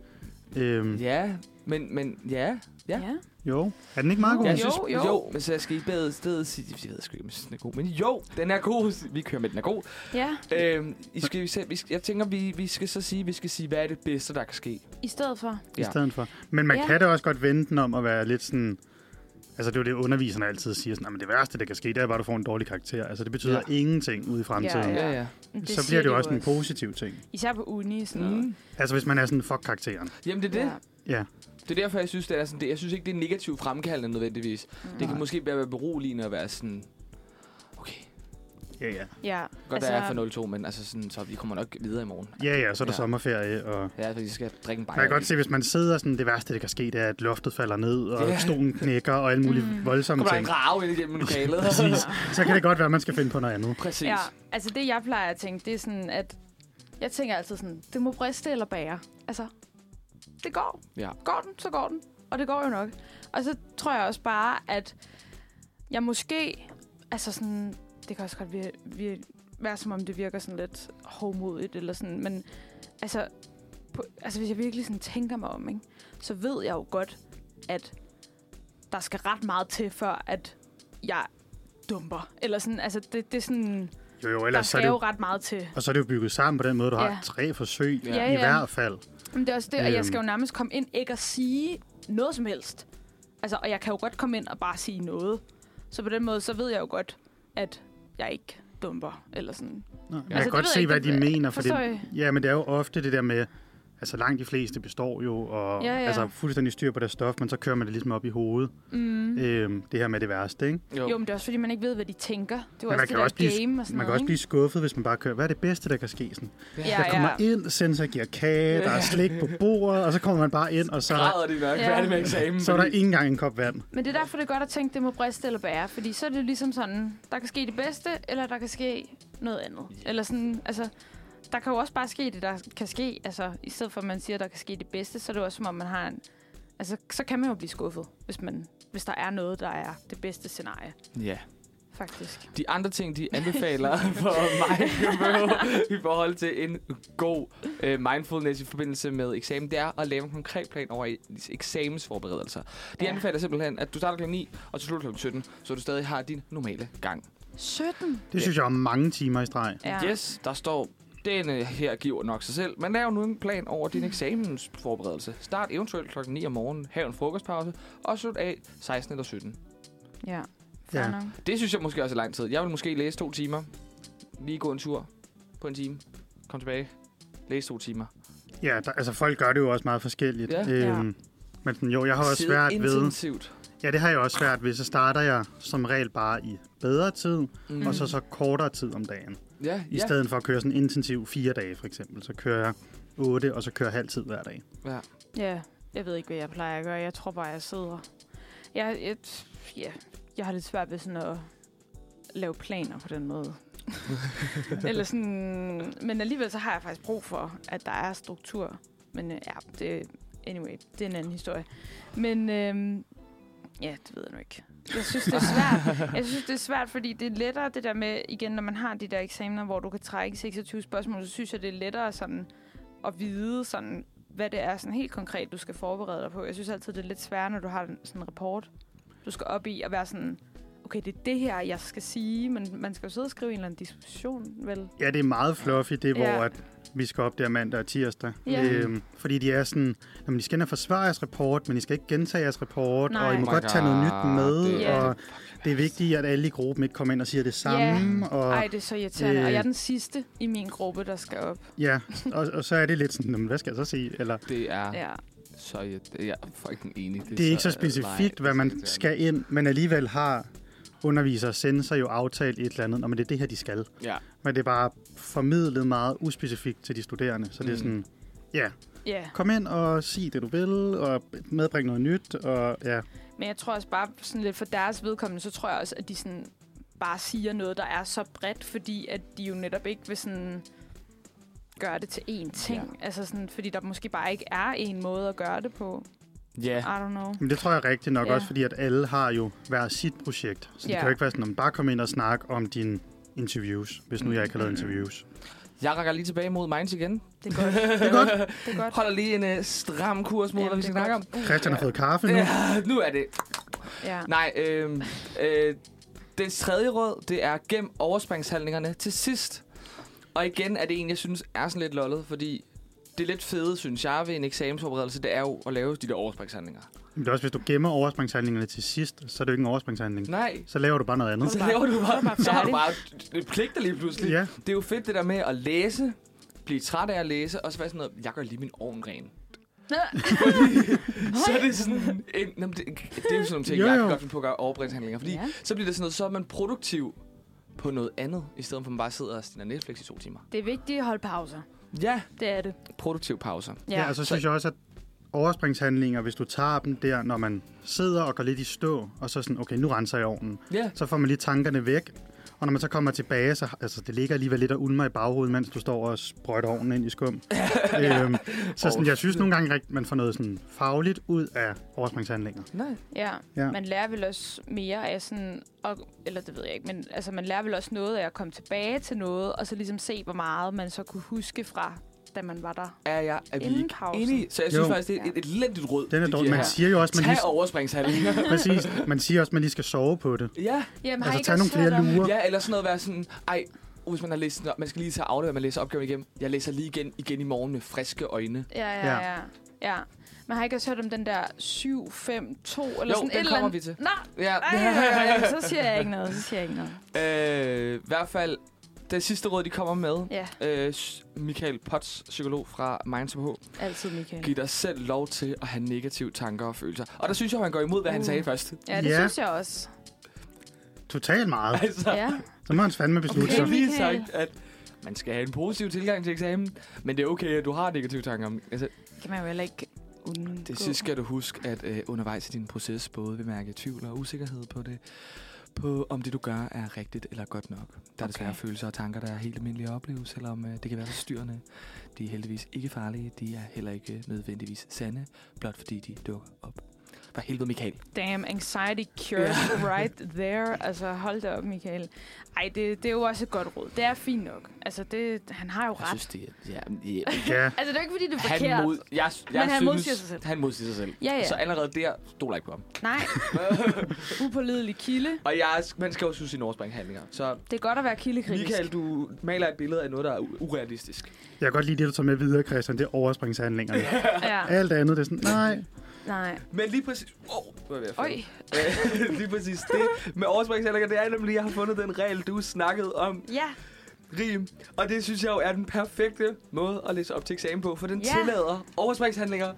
Speaker 3: Ja. Øhm,
Speaker 2: Mm.
Speaker 3: ja.
Speaker 1: Ja, men, men ja, Ja.
Speaker 2: ja.
Speaker 3: Jo, er den ikke meget god?
Speaker 2: Ja,
Speaker 1: Jeg
Speaker 2: Jo,
Speaker 1: synes,
Speaker 2: jo.
Speaker 1: jo. men så jeg skal i bedre sted sige, jeg ved sgu ikke, om jeg synes, den er god, men jo, den er god. Vi kører med, den er god.
Speaker 2: Ja,
Speaker 1: Øhm, I skal, vi skal, vi skal, jeg tænker, vi, vi skal så sige, vi skal sige, hvad er det bedste, der kan ske?
Speaker 2: i stedet for.
Speaker 3: i
Speaker 1: Ja.
Speaker 3: stedet for. Men man
Speaker 2: Ja.
Speaker 3: ja. kan da også godt vente den om at være lidt sådan... Altså, det er jo det, underviserne altid siger. Sådan, "Jamen, det værste, der kan ske, det er bare, at du får en dårlig karakter. Altså, det betyder
Speaker 1: Ja.
Speaker 3: ja. ingenting ude i fremtiden.
Speaker 2: Ja.
Speaker 3: Ja,
Speaker 1: ja.
Speaker 2: Men
Speaker 3: ja. Så
Speaker 2: siger
Speaker 3: bliver det
Speaker 2: de
Speaker 3: jo også en positiv ting.
Speaker 2: Især på uni. Sådan noget.
Speaker 1: Mm.
Speaker 3: Altså, hvis man er sådan, fuck karakteren.
Speaker 1: Jamen, det er det.
Speaker 2: Ja.
Speaker 3: Ja,
Speaker 1: Det er derfor, jeg synes, det er sådan, det, jeg synes ikke, det er negativt fremkaldende nødvendigvis. Mm. Det kan måske bare være beroligende at være sådan, okay,
Speaker 3: ja, ja.
Speaker 2: ja.
Speaker 1: godt altså, der er for 0-2, men altså sådan, så vi kommer nok videre i morgen.
Speaker 3: Ja, ja, så er
Speaker 1: Ja.
Speaker 3: der ja. sommerferie, og...
Speaker 1: Ja, fordi jeg skal drikke en bajer.
Speaker 3: Man kan godt se, hvis man sidder sådan, det værste, der kan ske, det er, at loftet falder ned, og
Speaker 1: Ja.
Speaker 3: yeah. stolen knækker, og alle mulige mm. voldsomme
Speaker 1: Kommer der en
Speaker 3: ting.
Speaker 1: grave ind igennem lokalet?
Speaker 3: Præcis. Så kan det godt være, at man skal finde på noget andet.
Speaker 1: Præcis.
Speaker 2: Ja, altså det jeg plejer at tænke, det er sådan, at jeg tænker altid sådan, det må briste eller bære. Altså, det går.
Speaker 1: Ja.
Speaker 2: Går den, så går den. Og det går jo nok. Og så tror jeg også bare, at jeg måske, altså sådan, det kan også godt vir- vir- være som om, det virker sådan lidt hovmodigt eller sådan, men altså, på, altså hvis jeg virkelig sådan tænker mig om, ikke, så ved jeg jo godt, at der skal ret meget til, før at jeg dumper. Eller sådan, altså det, det er sådan,
Speaker 3: Jo, jo,
Speaker 2: der
Speaker 3: ellers så er
Speaker 2: skal
Speaker 3: det
Speaker 2: jo
Speaker 3: jo,
Speaker 2: ret meget til.
Speaker 3: og så er det jo bygget sammen på den måde, du har
Speaker 2: Ja.
Speaker 3: tre forsøg
Speaker 2: Ja,
Speaker 3: i
Speaker 2: ja.
Speaker 3: hvert fald.
Speaker 2: Men det er også det, og
Speaker 3: Øhm.
Speaker 2: jeg skal jo nærmest komme ind ikke at sige noget som helst. Altså, og jeg kan jo godt komme ind og bare sige noget. Så på den måde, så ved jeg jo godt, at jeg ikke dumper, eller sådan.
Speaker 3: Nå, men jeg
Speaker 2: Altså,
Speaker 3: kan
Speaker 2: det
Speaker 3: godt
Speaker 2: ved
Speaker 3: se,
Speaker 2: jeg
Speaker 3: hvad
Speaker 2: ikke,
Speaker 3: de
Speaker 2: det-
Speaker 3: mener. For
Speaker 2: forstår
Speaker 3: det,
Speaker 2: I?
Speaker 3: ja, men det er jo ofte det der med, altså langt de fleste består jo, og
Speaker 2: Ja, ja.
Speaker 3: altså fuldstændig styr på deres stof, men så kører man det ligesom op i hovedet.
Speaker 2: Mm.
Speaker 3: Øhm, det her med det værste, ikke?
Speaker 2: Jo. jo, men det er også, fordi man ikke ved, hvad de tænker. Det er jo
Speaker 3: man
Speaker 2: også
Speaker 3: kan
Speaker 2: det der
Speaker 3: også blive-
Speaker 2: game og sådan
Speaker 3: Man kan
Speaker 2: noget,
Speaker 3: også blive skuffet, hvis man bare kører, hvad er det bedste, der kan ske? Sådan,
Speaker 2: ikke? Ja,
Speaker 3: jeg kommer
Speaker 2: ja.
Speaker 3: ind, sensor giver kage, der er slik på bordet, og så kommer man bare ind, og så er der,
Speaker 1: Græder de nok
Speaker 2: Ja.
Speaker 1: færdig med eksamen.
Speaker 3: så er der ikke engang en kop vand.
Speaker 2: Men det er derfor, det er godt at tænke, det må briste eller bære. Fordi så er det ligesom sådan, der kan ske det bedste, eller der kan ske noget andet. Eller sådan, altså, der kan jo også bare ske det, der kan ske. Altså, i stedet for, at man siger, at der kan ske det bedste, så er det jo også, som om man har en... Altså, så kan man jo blive skuffet, hvis, man, hvis der er noget, der er det bedste scenarie,
Speaker 1: Ja.
Speaker 2: faktisk.
Speaker 1: De andre ting, de anbefaler for mig i forhold til en god øh, mindfulness i forbindelse med eksamen, det er at lave en konkret plan over i- eksamensforberedelser. De
Speaker 2: Ja.
Speaker 1: anbefaler simpelthen, at du starter kl. 9 og til slutter kl. 17, så du stadig har din normale gang.
Speaker 2: 17?
Speaker 3: Det synes jeg er mange timer i streg.
Speaker 2: Ja.
Speaker 1: Yes, der står, denne her giver nok sig selv, men lav nu en plan over din eksamensforberedelse. Start eventuelt kl. 9 om morgenen, have en frokostpause, og slut af 16 eller 17.
Speaker 2: Ja.
Speaker 3: Ja.
Speaker 2: Ja. Nok.
Speaker 1: Det synes jeg måske også er lang tid. Jeg vil måske læse to timer. Lige gå en tur på en time. Kom tilbage. Læse to timer.
Speaker 3: Ja, der, altså folk gør det jo også meget forskelligt.
Speaker 1: Ja.
Speaker 3: Øhm, Men sådan, jo, jeg har også
Speaker 1: Sidde
Speaker 3: svært ved...
Speaker 1: intensivt.
Speaker 3: Ja, det har jeg også svært ved. Så starter jeg som regel bare i bedre tid, mm.
Speaker 1: Mm.
Speaker 3: og så så kortere tid om dagen.
Speaker 1: Ja,
Speaker 3: I
Speaker 1: ja.
Speaker 3: stedet for at køre sådan intensiv fire dage, for eksempel. Så kører jeg otte, og så kører jeg halv tid hver dag.
Speaker 1: ja.
Speaker 2: Ja, jeg ved ikke, hvad jeg plejer at gøre. Jeg tror bare, jeg sidder. Jeg, jeg, ja, jeg har lidt svært ved sådan at lave planer på den måde. Eller sådan, men alligevel så har jeg faktisk brug for, at der er struktur. Men øh, ja, det, anyway, det er en anden historie. Men øhm, ja, det ved jeg nu ikke. Jeg synes, det er svært. Jeg synes, det er svært, fordi det er lettere det der med, igen, når man har de der eksamener, hvor du kan trække 26 spørgsmål, så synes jeg, det er lettere sådan at vide, sådan, hvad det er sådan helt konkret, du skal forberede dig på. Jeg synes altid, det er lidt sværere, når du har en- sådan en rapport, du skal op i at være sådan, okay, det er det her, jeg skal sige, men man skal jo sidde og skrive en eller anden diskussion, vel?
Speaker 3: Ja, det er meget fluffy, det hvor
Speaker 2: Ja.
Speaker 3: at vi skal op der mandag og tirsdag.
Speaker 2: Ja.
Speaker 3: Øhm, fordi de er sådan, jamen, I skal ind og forsvare jeres rapport, men I skal ikke gentage jeres rapport,
Speaker 2: Nej.
Speaker 3: og I må
Speaker 1: Oh my
Speaker 3: godt tage noget nyt
Speaker 1: God,
Speaker 3: med,
Speaker 1: det
Speaker 2: er-
Speaker 3: og det er vigtigt, at alle i gruppen ikke kommer ind og siger det samme. Og,
Speaker 2: Ej, det er så irriterende.
Speaker 3: øh,
Speaker 2: Øh. Og jeg er den sidste i min gruppe, der skal op.
Speaker 3: ja, og, og så er det lidt sådan, "Nå, men hvad skal jeg så sige? Eller,
Speaker 1: Det er ja.
Speaker 2: Ja.
Speaker 1: så... Jeg, jeg er fucking enig.
Speaker 3: det er ikke så specifikt, hvad man skal ind, men alligevel har underviser og sensor jo aftalt et eller andet, om det er det her, de skal.
Speaker 1: Ja.
Speaker 3: Men det er bare formidlet meget uspecifikt til de studerende, så det er
Speaker 1: Mm.
Speaker 3: sådan, ja,
Speaker 2: Ja,
Speaker 3: kom ind og sig det, du vil, og medbring noget nyt, og ja.
Speaker 2: men jeg tror også bare sådan lidt for deres vedkommende, så tror jeg også, at de sådan bare siger noget, der er så bredt, fordi at de jo netop ikke vil sådan gøre det til én ting. Ja. Altså sådan, fordi der måske bare ikke er en måde at gøre det på.
Speaker 1: Ja.
Speaker 2: I don't know.
Speaker 3: Men det tror jeg rigtigt nok
Speaker 2: Ja.
Speaker 3: også, fordi at alle har jo hver sit projekt, så det
Speaker 2: Ja.
Speaker 3: kan jo ikke være sådan, om bare kom ind og snak om dine interviews, hvis nu jeg ikke har lavet interviews.
Speaker 1: Jeg rækker lige tilbage mod Minds igen.
Speaker 2: Det er godt. det er godt. Det er godt.
Speaker 1: Holder lige en uh, stram kurs mod,
Speaker 2: Jamen,
Speaker 1: hvad vi
Speaker 2: det
Speaker 1: skal
Speaker 2: er
Speaker 1: snakke om.
Speaker 2: godt. Uh,
Speaker 3: Christian har fået kaffe nu.
Speaker 1: Ja, nu er det
Speaker 2: Ja.
Speaker 1: Nej, øh, øh, den tredje råd, det er gem overspringshandlingerne til sidst. Og igen er det en, jeg synes er sådan lidt lollet, fordi det lidt fede, synes jeg, ved en eksamensforberedelse, det er jo at lave de der overspringshandlinger.
Speaker 3: Men det er også, hvis du gemmer overspringshandlingerne til sidst, så er det jo ikke en overspringshandling.
Speaker 1: Nej,
Speaker 3: Så laver du bare noget andet.
Speaker 1: så laver du bare,
Speaker 2: bare
Speaker 1: så har du
Speaker 2: færdig.
Speaker 1: bare pligter lige pludselig.
Speaker 3: Ja.
Speaker 1: Det er jo fedt det der med at læse, blive træt af at læse, og så være sådan noget, jeg gør lige min ovn ren. Så er det sådan en, nå, men det, det er jo sådan nogle ting,
Speaker 3: Jo,
Speaker 1: jo, jo. jeg
Speaker 3: jo.
Speaker 1: kan godt finde på at gøre overbringshandlinger. Fordi ja.
Speaker 2: Ja.
Speaker 1: så bliver det sådan noget, så er man produktiv på noget andet, i stedet for at man bare sidder og stiller Netflix i to timer.
Speaker 2: Det er vigtigt at holde pauser.
Speaker 1: Ja,
Speaker 2: Det er det.
Speaker 1: produktiv pauser.
Speaker 3: Ja,
Speaker 2: altså-
Speaker 3: ja og så synes jeg også, at overspringshandlinger, hvis du tager dem der, når man sidder og går lidt i stå, og så sådan, okay, nu renser jeg ovnen,
Speaker 1: Ja,
Speaker 3: så får man lige tankerne væk, Og når man så kommer tilbage, så altså, det ligger alligevel lidt og ulmer i baghovedet, mens du står og sprøjter ovnen ind i skum. øhm, så sådan, jeg synes nogle gange, at man får noget sådan fagligt ud af overspringshandlinger.
Speaker 6: Nej.
Speaker 2: Ja.
Speaker 3: Ja.
Speaker 2: ja. Man lærer vel også mere af sådan, og, eller det ved jeg ikke, men altså, man lærer vel også noget af at komme tilbage til noget, og så ligesom se, hvor meget man så kunne huske fra, da man var der.
Speaker 1: Er jeg er vi
Speaker 2: Inden
Speaker 1: ikke
Speaker 2: pausen.
Speaker 1: enige? Så jeg synes
Speaker 3: Jo.
Speaker 1: faktisk, det er et, et elendigt råd.
Speaker 3: Den er
Speaker 1: de
Speaker 3: dårlig.
Speaker 1: giver
Speaker 3: Man
Speaker 1: her.
Speaker 3: siger jo også, man
Speaker 1: Tag
Speaker 3: lige,
Speaker 1: overspringshandlinger.
Speaker 3: præcis, man siger også, man lige skal sove på det.
Speaker 1: ja.
Speaker 2: Jamen,
Speaker 3: Altså, tag nogle flere lurer.
Speaker 1: ja, eller sådan noget være sådan, ej, hvis man har læst, sådan- man skal lige tage afleveret, man læser opgaven igen. Jeg læser lige igen, igen i morgen med friske øjne.
Speaker 2: Ja,
Speaker 3: Ja.
Speaker 2: ja, ja. ja. Man har ikke også hørt om den der 7, 5, 2, eller sådan
Speaker 1: Jo,
Speaker 2: et
Speaker 1: den
Speaker 2: eller
Speaker 1: kommer
Speaker 2: andet.
Speaker 1: vi til.
Speaker 2: Nå,
Speaker 1: Ja,
Speaker 2: ej, ej, ej, så siger jeg ikke noget, så siger jeg ikke noget.
Speaker 1: Øh, I hvert fald, det sidste råd, de kommer med,
Speaker 2: Ja,
Speaker 1: øh, s- Michael Potts, psykolog fra Minds H,
Speaker 2: altid Michael.
Speaker 1: giver dig selv lov til at have negative tanker og følelser. Og der synes jeg, man går imod, hvad han
Speaker 2: Uh.
Speaker 1: sagde først.
Speaker 2: Ja, det
Speaker 3: Ja.
Speaker 2: synes jeg også.
Speaker 3: Totalt meget.
Speaker 1: Altså,
Speaker 2: Ja.
Speaker 3: Så må han fandme beslutte
Speaker 1: okay,
Speaker 3: sig.
Speaker 1: lige
Speaker 2: Michael.
Speaker 1: sagt, at man skal have en positiv tilgang til eksamen, men det er okay, at du har negative tanker. om- Altså,
Speaker 2: Det kan man jo heller ikke undgå.
Speaker 1: Det sidste skal du huske, at øh, undervejs i din proces både vil mærke tvivl og usikkerhed på det, på om det du gør er rigtigt eller godt nok. Der er okay. desværre følelser og tanker, der er helt almindelige at opleve, selvom øh, det kan være forstyrrende. De er heldigvis ikke farlige, de er heller ikke øh, nødvendigvis sande, blot fordi de dukker op. For helvede, Michael.
Speaker 2: Damn, anxiety cures right there. Altså, hold da op, Michael. Ej, det, det er jo også et godt råd. Det er fint nok. Altså, det, han har jo
Speaker 1: Jeg
Speaker 2: ret.
Speaker 1: synes, det er... Ja, ja.
Speaker 3: Ja,
Speaker 2: Altså, det er jo ikke, fordi det er
Speaker 1: Han,
Speaker 2: forkert.
Speaker 1: mod, jeg, jeg
Speaker 2: Men han
Speaker 1: synes,
Speaker 2: modsiger sig selv.
Speaker 1: Han modsiger sig selv.
Speaker 2: Ja, ja.
Speaker 1: Så allerede der stoler jeg ikke på ham.
Speaker 2: Nej. Upålidelig kilde.
Speaker 1: Og jeg, er- man skal jo synes sine overspringhandlinger. Så
Speaker 2: Det er godt at være kildekritisk.
Speaker 1: Michael, du maler et billede af noget, der er u- urealistisk.
Speaker 3: jeg kan godt lide det, du tager med videre, Christian. Det er overspringshandlingerne.
Speaker 2: Ja.
Speaker 3: Alt andet, det er sådan, nej.
Speaker 2: Nej.
Speaker 1: Men lige præcis... Åh, oh, hvad er jeg ved at
Speaker 2: Øj.
Speaker 1: falde? Øh, lige præcis det med overspringshandlinger, det er nemlig, at jeg har fundet den regel, du snakkede om,
Speaker 2: Ja.
Speaker 1: rim. Og det synes jeg jo er den perfekte måde at læse op til eksamen på, for den
Speaker 2: Ja.
Speaker 1: tillader overspringshandlinger.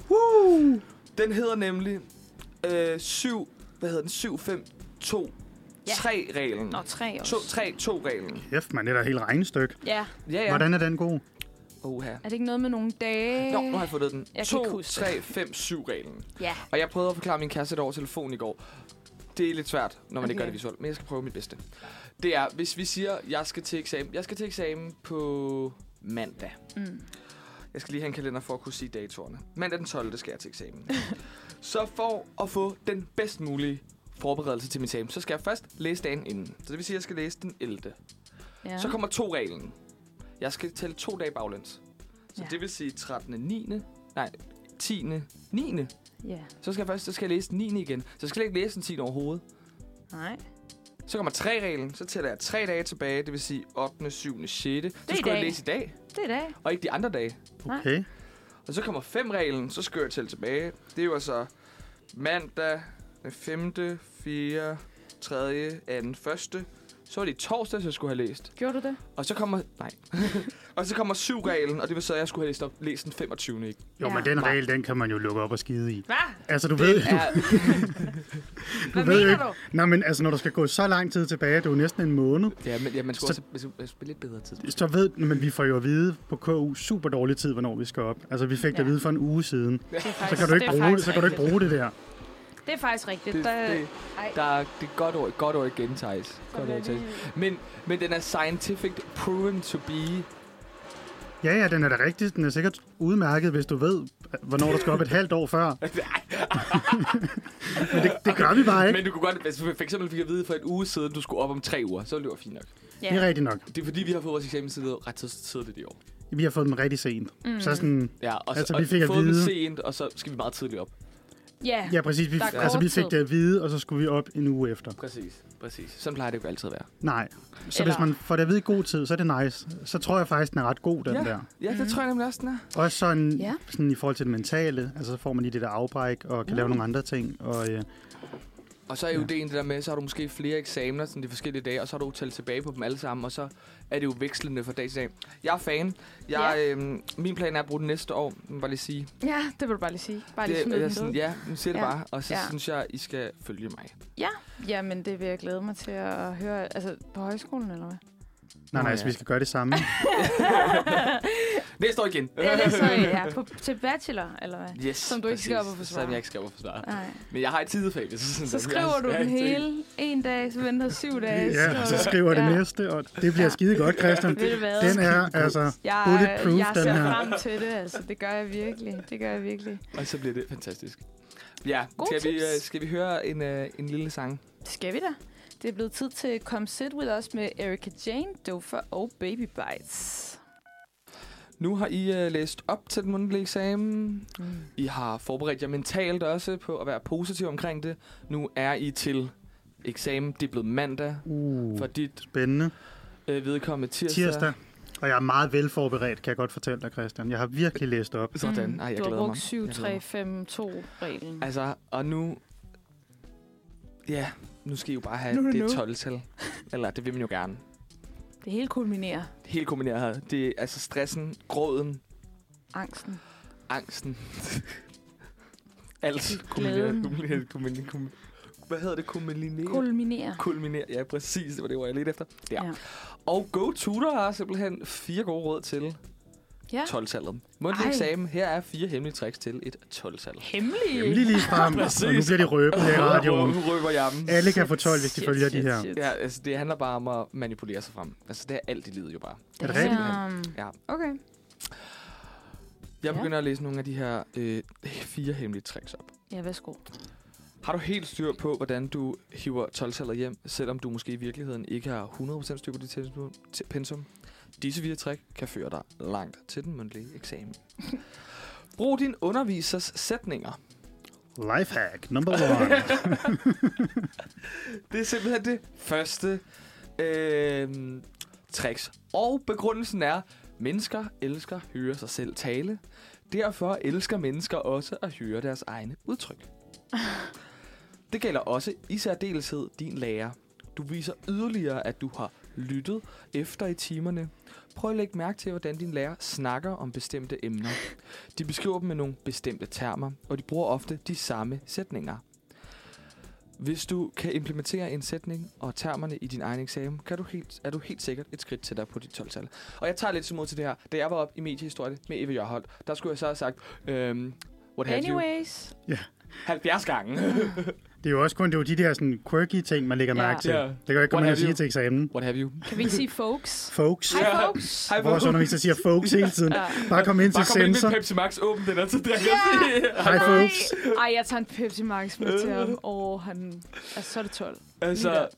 Speaker 1: Den hedder nemlig øh, 7... Hvad hedder den? 7, 5, 2,
Speaker 2: Ja.
Speaker 1: 3-reglen.
Speaker 2: Nå, tre også.
Speaker 1: 2-3-2-reglen.
Speaker 3: Kæft, man, det er da helt regnestykke.
Speaker 2: Ja.
Speaker 1: Ja, ja.
Speaker 3: Hvordan er den god?
Speaker 1: Oh, her.
Speaker 2: Er det ikke noget med nogle dage?
Speaker 1: Nå, nu har jeg fundet den.
Speaker 2: kan ikke
Speaker 1: 2,
Speaker 2: huske
Speaker 1: 3, 5, 7-reglen.
Speaker 2: Ja.
Speaker 1: Og jeg prøvede at forklare min kæreste det over telefon i går. Det er lidt svært, når man okay. ikke
Speaker 2: Okay.
Speaker 1: gør det visuelt, men jeg skal prøve mit bedste. Det er, hvis vi siger, jeg skal til eksamen. Jeg skal til eksamen på mandag.
Speaker 2: Mm.
Speaker 1: Jeg skal lige have en kalender for at kunne sige datorerne. Mandag den 12. skal jeg til eksamen. så for at få den bedst mulige forberedelse til min eksamen, så skal jeg først læse dagen inden. Så det vil sige, at jeg skal læse den 11.
Speaker 2: Ja.
Speaker 1: Så kommer to reglen. Jeg skal tælle to dage baglæns. Så
Speaker 2: Ja.
Speaker 1: det vil sige 13. 9. Nej, 10. 9.
Speaker 2: Ja.
Speaker 1: Så skal jeg først så skal jeg læse den 9. igen. Så skal jeg ikke læse den 10. overhovedet.
Speaker 2: Nej.
Speaker 1: Så kommer 3-reglen. Så tæller jeg 3 dage tilbage, det vil sige 8., 7., 6. Så
Speaker 2: i
Speaker 1: skal jeg
Speaker 2: dag.
Speaker 1: læse i dag,
Speaker 2: Det er i dag.
Speaker 1: og ikke de andre dage.
Speaker 3: Okay.
Speaker 1: Og så kommer 5-reglen, så skal jeg tælle tilbage. Det er jo altså mandag, den 5., 4., 3., 2., 1. Så var det i torsdag, jeg skulle have læst.
Speaker 2: Gjorde du det?
Speaker 1: Og så kommer... Nej. og så kommer 7-reglen, og det vil så, at jeg skulle have læst, op, læst den 25. Ikke?
Speaker 3: Jo,
Speaker 2: Ja.
Speaker 3: men den regel, den kan man jo lukke op og skide i.
Speaker 2: Hvad?
Speaker 3: Altså, du ved,
Speaker 1: Det
Speaker 3: du,
Speaker 1: er
Speaker 3: ved
Speaker 2: Hvad mener
Speaker 3: ikke.
Speaker 2: du?
Speaker 3: nej, men altså, når du skal gå så lang tid tilbage, det er jo næsten en måned,
Speaker 1: Ja, men ja, man skulle
Speaker 3: Så-
Speaker 1: også man skulle spille lidt bedre tid.
Speaker 3: så ved, men vi får jo at vide på KU super dårlig tid, hvornår vi skal op. Altså, vi fik det at
Speaker 2: Ja.
Speaker 3: vide for en uge siden.
Speaker 2: Det er faktisk,
Speaker 3: Så kan du ikke
Speaker 2: det er
Speaker 3: bruge det,
Speaker 2: faktisk
Speaker 3: så kan du ikke
Speaker 2: rigtigt.
Speaker 3: bruge det der.
Speaker 2: Det er faktisk rigtigt.
Speaker 1: Det,
Speaker 2: der,
Speaker 1: det,
Speaker 2: ej,
Speaker 1: der er, det er godt ord, godt ord igen, Thijs.
Speaker 2: så
Speaker 1: Godt
Speaker 2: bliver
Speaker 1: ord, Thijs.
Speaker 2: lige-
Speaker 1: Men, men den er scientific proven to be.
Speaker 3: Ja, ja, den er da rigtig. Den er sikkert udmærket, hvis du ved, hvornår du skal op et halvt år før. men det, det gør vi bare ikke.
Speaker 1: Men du kunne godt, hvis vi for eksempel fik at vide for en uge siden, du skulle op om tre uger, så ville det være fint nok.
Speaker 3: Det er rigtigt nok.
Speaker 1: Det er fordi, vi har fået vores eksamen tidligere- ret tid- tidligt i år.
Speaker 3: Vi har fået dem rigtig sent. Mm. Så sådan,
Speaker 1: Ja, og,
Speaker 3: Altså,
Speaker 1: og
Speaker 3: vi fik at
Speaker 1: fået
Speaker 3: vide-
Speaker 1: den sent, og så skal vi meget tidligt op.
Speaker 2: Ja.
Speaker 3: ja, præcis. Vi,
Speaker 2: Der er
Speaker 3: altså,
Speaker 2: kort
Speaker 3: vi fik
Speaker 2: tid.
Speaker 3: det at vide, og så skulle vi op en uge efter.
Speaker 1: Præcis, præcis. Sådan plejer det jo altid at være.
Speaker 3: Nej. Så
Speaker 2: Eller-
Speaker 3: hvis man får det at vide i god tid, så er det nice. Så tror jeg faktisk, den er ret god, den
Speaker 1: ja,
Speaker 3: der.
Speaker 1: ja,
Speaker 2: Mhm.
Speaker 1: det tror jeg nemlig også, den er.
Speaker 3: Også sådan, ja.
Speaker 2: Ja.
Speaker 3: sådan i forhold til det mentale, altså så får man lige det der afbræk, og kan mm. lave nogle andre ting. Og, øh,
Speaker 1: Og så er jo ja. det der med, så har du måske flere eksamener sådan de forskellige dage, og så har du talt tilbage på dem alle sammen, og så er det jo vekslende fra dag til dag. Jeg er fan. Jeg, ja. øhm, min plan er at bruge det næste år, må jeg bare lige sige.
Speaker 2: ja, det vil du bare lige sige. Bare lige
Speaker 1: Det,
Speaker 2: smide
Speaker 1: jeg er
Speaker 2: den
Speaker 1: sådan,
Speaker 2: ja.
Speaker 1: ja, nu siger det
Speaker 2: Ja.
Speaker 1: bare, og så ja.
Speaker 2: Ja.
Speaker 1: synes jeg, I skal følge mig.
Speaker 2: Jamen, det vil jeg glæde mig til at høre. Altså, på højskolen, eller hvad?
Speaker 1: Nå,
Speaker 3: nej, nej,
Speaker 1: ja.
Speaker 3: så vi skal gøre det samme.
Speaker 1: Næste år igen.
Speaker 2: Ja, det er så, ja. På, til bachelor, eller hvad?
Speaker 1: Yes,
Speaker 2: Som du ikke skal op og forsvare.
Speaker 1: Som jeg ikke skal op og forsvare.
Speaker 2: Nej.
Speaker 1: Men jeg har et tidefag, hvis sådan,
Speaker 2: Så skriver du den hele en dag, så venter syv dage.
Speaker 3: Ja, så skriver det
Speaker 2: Ja.
Speaker 3: næste, og det bliver skide godt, Christian.
Speaker 2: Ved du hvad?
Speaker 3: Den er altså...
Speaker 2: jeg,
Speaker 3: bulletproof,
Speaker 2: jeg ser
Speaker 3: den her.
Speaker 2: frem til det, altså. Det gør jeg virkelig. Det gør jeg virkelig.
Speaker 1: Og så bliver det fantastisk. Ja,
Speaker 2: Gode
Speaker 1: skal vi,
Speaker 2: tips.
Speaker 1: øh, skal vi høre en, øh, en lille sang?
Speaker 2: Skal vi da? Det er blevet tid til Come Sit With Us med Erika Jane, Dofa og Baby Bites.
Speaker 1: Nu har I øh, læst op til den mundtlige eksamen. Mm. I har forberedt jer mentalt også på at være positiv omkring det. Nu er I til eksamen. Det er blevet mandag
Speaker 3: Uh,
Speaker 1: for dit
Speaker 3: spændende.
Speaker 1: øh, vedkommende tirsdag.
Speaker 3: Tirsdag. Og jeg er meget velforberedt, kan jeg godt fortælle dig, Christian. Jeg har virkelig læst op.
Speaker 1: Sådan.
Speaker 2: Mm.
Speaker 1: Ej, jeg
Speaker 2: du har
Speaker 1: glæder
Speaker 2: brugt
Speaker 1: mig. Jeg glæder mig.
Speaker 2: 7-3-5-2-reglen.
Speaker 1: Altså, og nu... Ja, nu skal I jo bare have
Speaker 2: Nu er det
Speaker 1: det
Speaker 2: nu.
Speaker 1: 12-tal. Eller det vil man jo gerne.
Speaker 2: Det hele kulminerer.
Speaker 1: Helt kombineret her. Det er altså stressen, gråden,
Speaker 2: Angsten.
Speaker 1: angsten. Alt
Speaker 2: Glæden.
Speaker 1: kombineret. kombineret, kombineret, kombineret. Hvad hedder det? Kombineret?
Speaker 2: Kulminerer.
Speaker 1: Kulminere. Ja, præcis. Det var det, ord, jeg lidt efter. Ja.
Speaker 2: Ja.
Speaker 1: ja. Og GoTutor har simpelthen fire gode råd til
Speaker 2: Ja.
Speaker 1: 12-tallet. Mundtlig
Speaker 2: Ej.
Speaker 1: eksamen. Her er fire hemmelige tricks til et 12-tal.
Speaker 2: Hemmelige.
Speaker 3: Lige lige frem,
Speaker 1: Præcis.
Speaker 3: og nu bliver de røbet her i radioen.
Speaker 1: Nu røber jeg dem.
Speaker 3: Alle kan få 12, hvis de
Speaker 2: Shit,
Speaker 3: følger de
Speaker 2: shit,
Speaker 3: her.
Speaker 2: shit.
Speaker 1: Ja, altså det handler bare om at manipulere sig frem. Altså det er alt i livet jo bare.
Speaker 3: Er det rigtigt?
Speaker 2: Damn.
Speaker 1: Ja.
Speaker 2: Okay.
Speaker 1: Jeg
Speaker 2: Ja.
Speaker 1: begynder at læse nogle af de her øh, fire hemmelige tricks op.
Speaker 2: Ja, værsgo.
Speaker 1: Har du helt styr på, hvordan du hiver 12-tallet hjem, selvom du måske i virkeligheden ikke har 100% styr på dit pensum- t- pensum? Disse fire trick kan føre dig langt til den mundtlige eksamen. Brug din undervisers sætninger.
Speaker 3: Lifehack number one.
Speaker 1: Det er simpelthen det første øh, tricks. Og begrundelsen er, mennesker elsker at høre sig selv tale. Derfor elsker mennesker også at høre deres egne udtryk. Det gælder også i særdeleshed din lærer. Du viser yderligere, at du har lyttet efter i timerne. Prøv at lægge mærke til, hvordan din lærer snakker om bestemte emner. De beskriver dem med nogle bestemte termer, og de bruger ofte de samme sætninger. Hvis du kan implementere en sætning og termerne i din egen eksamen, kan du helt, er du helt sikkert et skridt tættere på dit 12-tal. Og jeg tager lidt som mod til det her. Da jeg var op i mediehistorie med Eva Jørholt, der skulle jeg så have sagt, øhm, what have you,
Speaker 2: Anyways.
Speaker 1: 70 gange.
Speaker 3: Det er jo også kun det er jo de der sådan, quirky ting, man lægger
Speaker 2: Ja.
Speaker 3: mærke til.
Speaker 1: Ja.
Speaker 3: Det kan jo ikke
Speaker 1: What
Speaker 3: komme ind og
Speaker 1: have
Speaker 3: sige
Speaker 1: you?
Speaker 3: til eksamen.
Speaker 1: What have you?
Speaker 2: Kan vi ikke sige folks?
Speaker 3: Folks.
Speaker 2: Hej,
Speaker 1: Ja.
Speaker 2: folks.
Speaker 1: Hej,
Speaker 3: Vores underviser siger folks hele tiden.
Speaker 2: Ja.
Speaker 3: Bare kom ind
Speaker 1: Bare
Speaker 3: til
Speaker 1: kom ind
Speaker 3: sensor.
Speaker 1: med Pepsi Max, åbn den her til der.
Speaker 3: Hej folks.
Speaker 2: Ej, jeg tager en Pepsi Max med til ham. Åh, oh, han... Altså, så er det 12.
Speaker 1: Altså,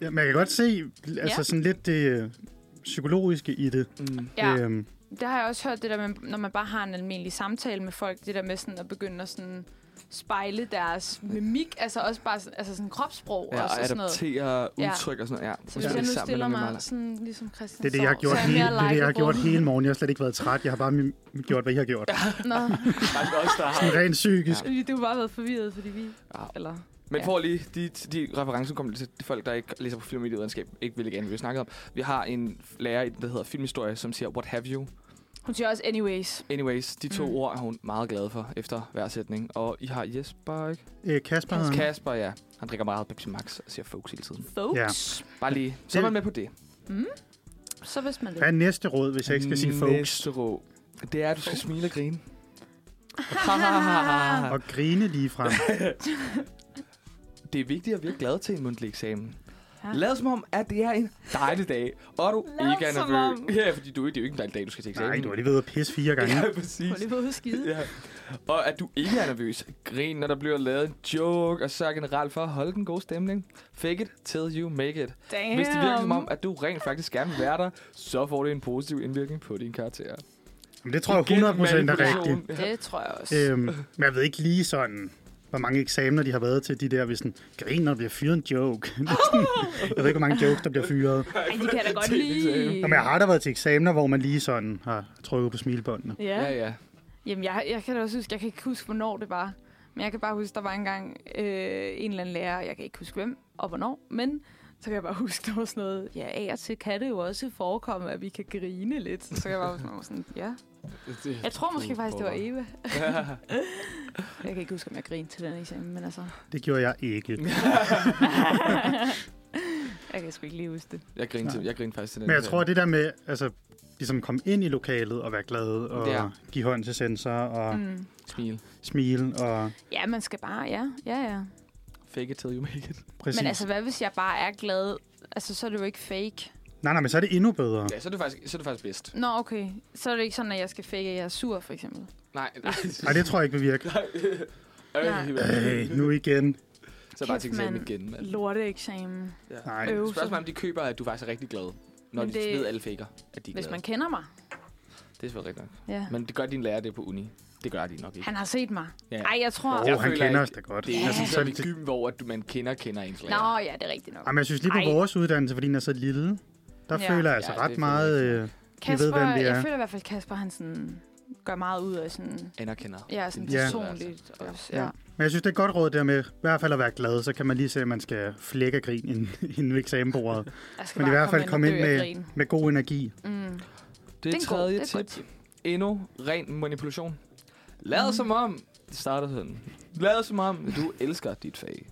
Speaker 3: Ja, man kan godt se altså,
Speaker 2: Ja.
Speaker 3: sådan lidt det øh, psykologiske i det.
Speaker 1: mm,
Speaker 2: Ja,
Speaker 3: Øhm,
Speaker 2: det har jeg også hørt, det der med, når man bare har en almindelig samtale med folk, det der med sådan at begynde at sådan spejle deres mimik, altså også bare sådan, altså sådan kropssprog
Speaker 1: ja,
Speaker 2: og
Speaker 1: og
Speaker 2: så sådan noget.
Speaker 1: adaptere
Speaker 2: Ja.
Speaker 1: udtryk og sådan noget. Ja,
Speaker 2: Så hvis jeg
Speaker 1: det
Speaker 2: nu
Speaker 1: sammen
Speaker 2: stiller
Speaker 1: med
Speaker 2: mig
Speaker 1: Mala.
Speaker 2: sådan ligesom Christian
Speaker 3: det er det, jeg har
Speaker 2: Sorg,
Speaker 3: gjort,
Speaker 2: så er
Speaker 3: hele,
Speaker 2: mere
Speaker 3: det, er det, jeg har gjort
Speaker 2: likeable.
Speaker 3: hele morgen. Jeg har slet ikke været træt. Jeg har bare mi- gjort, hvad I har gjort.
Speaker 2: Nå,
Speaker 1: Faktisk også, der har-
Speaker 3: Sådan rent psykisk.
Speaker 2: fordi du har bare været forvirret, fordi vi...
Speaker 1: Ja.
Speaker 2: Eller...
Speaker 1: Men
Speaker 2: Ja.
Speaker 1: for lige de, de referencer kommer til de folk, der ikke læser på film og medievidenskab, ikke vil gerne, vi har snakket om. Vi har en lærer, i den, der hedder filmhistorie, som siger, what have you?
Speaker 2: Hun siger også anyways.
Speaker 1: Anyways, de to
Speaker 2: Mm.
Speaker 1: mm. ord er hun meget glad for efter hver sætning. Og I har Jesper, ikke?
Speaker 3: Øh, Kasper,
Speaker 1: Mm.
Speaker 3: han,
Speaker 1: Kasper, ja. Han drikker meget Pepsi Max og siger folks hele tiden.
Speaker 2: Folks.
Speaker 1: Bare lige. Så er
Speaker 3: Det-
Speaker 1: man med på det.
Speaker 2: Så hvis man det.
Speaker 3: hvad er næste råd, hvis jeg ikke skal sige folks?
Speaker 1: Næste råd, det er, at du skal smile og grine.
Speaker 3: Og grine lige frem.
Speaker 1: det er vigtigt at virke glad til en mundtlig eksamen.
Speaker 2: Ja.
Speaker 1: Ja. Lad som om, at det er en dejlig dag, og du
Speaker 2: Lad
Speaker 1: ikke er
Speaker 2: som om.
Speaker 1: nervøs. Ja, fordi du, det er jo ikke en dejlig dag, du skal til eksamen.
Speaker 3: Nej, du har lige været ude at pisse fire gange.
Speaker 1: Ja,
Speaker 2: Prøv
Speaker 1: præcis.
Speaker 2: lige at skide.
Speaker 1: Ja. Og at du ikke er nervøs. Grin, når der bliver lavet en joke, og sørg generelt for at holde den gode stemning. Fake it till you make it.
Speaker 2: Damn.
Speaker 1: Hvis det virker som
Speaker 2: Ehm.
Speaker 1: om, at du rent faktisk gerne vil være der, så får det en positiv indvirkning på din karakter.
Speaker 3: Men det tror jeg 100 procent er rigtigt.
Speaker 2: Det tror jeg også.
Speaker 3: Øhm, men jeg ved ikke lige sådan, hvor mange eksamener de har været til de der, hvis sådan, griner, der bliver fyret en joke. Det er sådan- jeg ved ikke, hvor mange jokes, der bliver fyret.
Speaker 2: Ej, de kan da godt lide.
Speaker 3: Nå, men jeg har da været til eksamener, hvor man lige sådan har trykket på smilbåndene.
Speaker 1: Ja, ja.
Speaker 2: Jamen, jeg, jeg kan da også huske, jeg kan ikke huske, hvornår det var. Men jeg kan bare huske, der var engang øh, en eller anden lærer, jeg kan ikke huske hvem og hvornår, men så kan jeg bare huske, der var sådan noget, ja, af og til kan det jo også forekomme, at vi kan grine lidt. Så kan jeg bare huske, sådan, ja. Jeg tror måske faktisk, det var Eva. jeg kan ikke huske, om jeg grinede til den eksamen, men altså,
Speaker 3: Det gjorde jeg ikke.
Speaker 2: jeg kan sgu ikke lige huske det.
Speaker 1: Jeg griner, til, jeg griner faktisk til den.
Speaker 3: Men jeg
Speaker 1: her.
Speaker 3: tror, det der med, altså, ligesom komme ind i lokalet og være glad og
Speaker 1: Ja.
Speaker 3: ja. give hånd til sensor og mm.
Speaker 2: Mm.
Speaker 1: Smil.
Speaker 3: smile og
Speaker 2: Ja, man skal bare, ja, ja, ja.
Speaker 1: Fake it till you make it.
Speaker 3: præcis.
Speaker 2: Men altså, hvad hvis jeg bare er glad? Altså, så er det jo ikke fake.
Speaker 3: Nej, nej, men så er det endnu bedre.
Speaker 1: Ja, så er det faktisk, så er det faktisk bedst.
Speaker 2: Nå, okay. Så er det ikke sådan, at jeg skal fake, at jeg er sur, for eksempel.
Speaker 1: Nej, nej.
Speaker 3: Nej, det tror jeg ikke vil virke.
Speaker 1: Øh,
Speaker 3: Øh, nu igen.
Speaker 1: så er bare
Speaker 2: Kæft,
Speaker 1: til eksamen
Speaker 2: mand.
Speaker 1: igen, mand.
Speaker 2: Lorteeksamen.
Speaker 1: Ja.
Speaker 3: Nej.
Speaker 2: Øv,
Speaker 1: Spørgsmålet er,
Speaker 2: så,
Speaker 1: om de køber, at du faktisk er rigtig glad, når
Speaker 2: Men
Speaker 1: de
Speaker 2: det-
Speaker 1: ved alle faker, at de er
Speaker 2: hvis
Speaker 1: glade.
Speaker 2: man kender mig.
Speaker 1: Det er selvfølgelig rigtigt nok.
Speaker 2: Ja.
Speaker 1: Men det gør din lærer det på uni. Det gør de nok ikke.
Speaker 2: Han har set mig.
Speaker 1: Ja.
Speaker 2: Ej, jeg tror...
Speaker 3: Åh,
Speaker 1: Jeg
Speaker 3: oh, han
Speaker 1: føler ikke-
Speaker 3: kender os da godt.
Speaker 1: Det er
Speaker 3: Altså,
Speaker 1: ikke
Speaker 3: så
Speaker 1: sådan
Speaker 3: er
Speaker 1: i
Speaker 3: det, det,
Speaker 1: gym, hvor at du, man kender, kender ens lærer.
Speaker 2: Nå, ja, det er rigtigt nok.
Speaker 3: Jamen, jeg synes lige på
Speaker 2: Ej.
Speaker 3: vores uddannelse, fordi den er så lille, der
Speaker 2: Ja.
Speaker 3: ja. føler jeg altså
Speaker 1: Ja,
Speaker 3: ja,
Speaker 1: det
Speaker 3: ret
Speaker 1: føler
Speaker 3: meget...
Speaker 1: jeg
Speaker 3: Øh,
Speaker 2: Kasper,
Speaker 3: ved, hvem det
Speaker 2: jeg
Speaker 3: er.
Speaker 2: føler i hvert fald, at Kasper han sådan, gør meget ud af sådan...
Speaker 1: Anerkender.
Speaker 2: Ja, sådan
Speaker 1: Din
Speaker 3: Ja.
Speaker 2: personligt
Speaker 1: Ja.
Speaker 2: også. Ja.
Speaker 3: Ja. men jeg synes, det er et godt råd der med, i hvert fald at være glad, så kan man lige se, at man skal flække og grin inden, inden ved eksamenbordet.
Speaker 2: Jeg skal
Speaker 3: Men i
Speaker 2: bare
Speaker 3: hvert fald komme ind
Speaker 2: og dø af
Speaker 3: med,
Speaker 2: grin.
Speaker 3: med god energi.
Speaker 2: Mm.
Speaker 1: Det
Speaker 2: er
Speaker 1: er
Speaker 2: en god-
Speaker 1: tredje
Speaker 2: det er et godt
Speaker 1: tip. Endnu ren manipulation. Lad mm. som om... Det starter sådan. Lad som om, du elsker dit fag.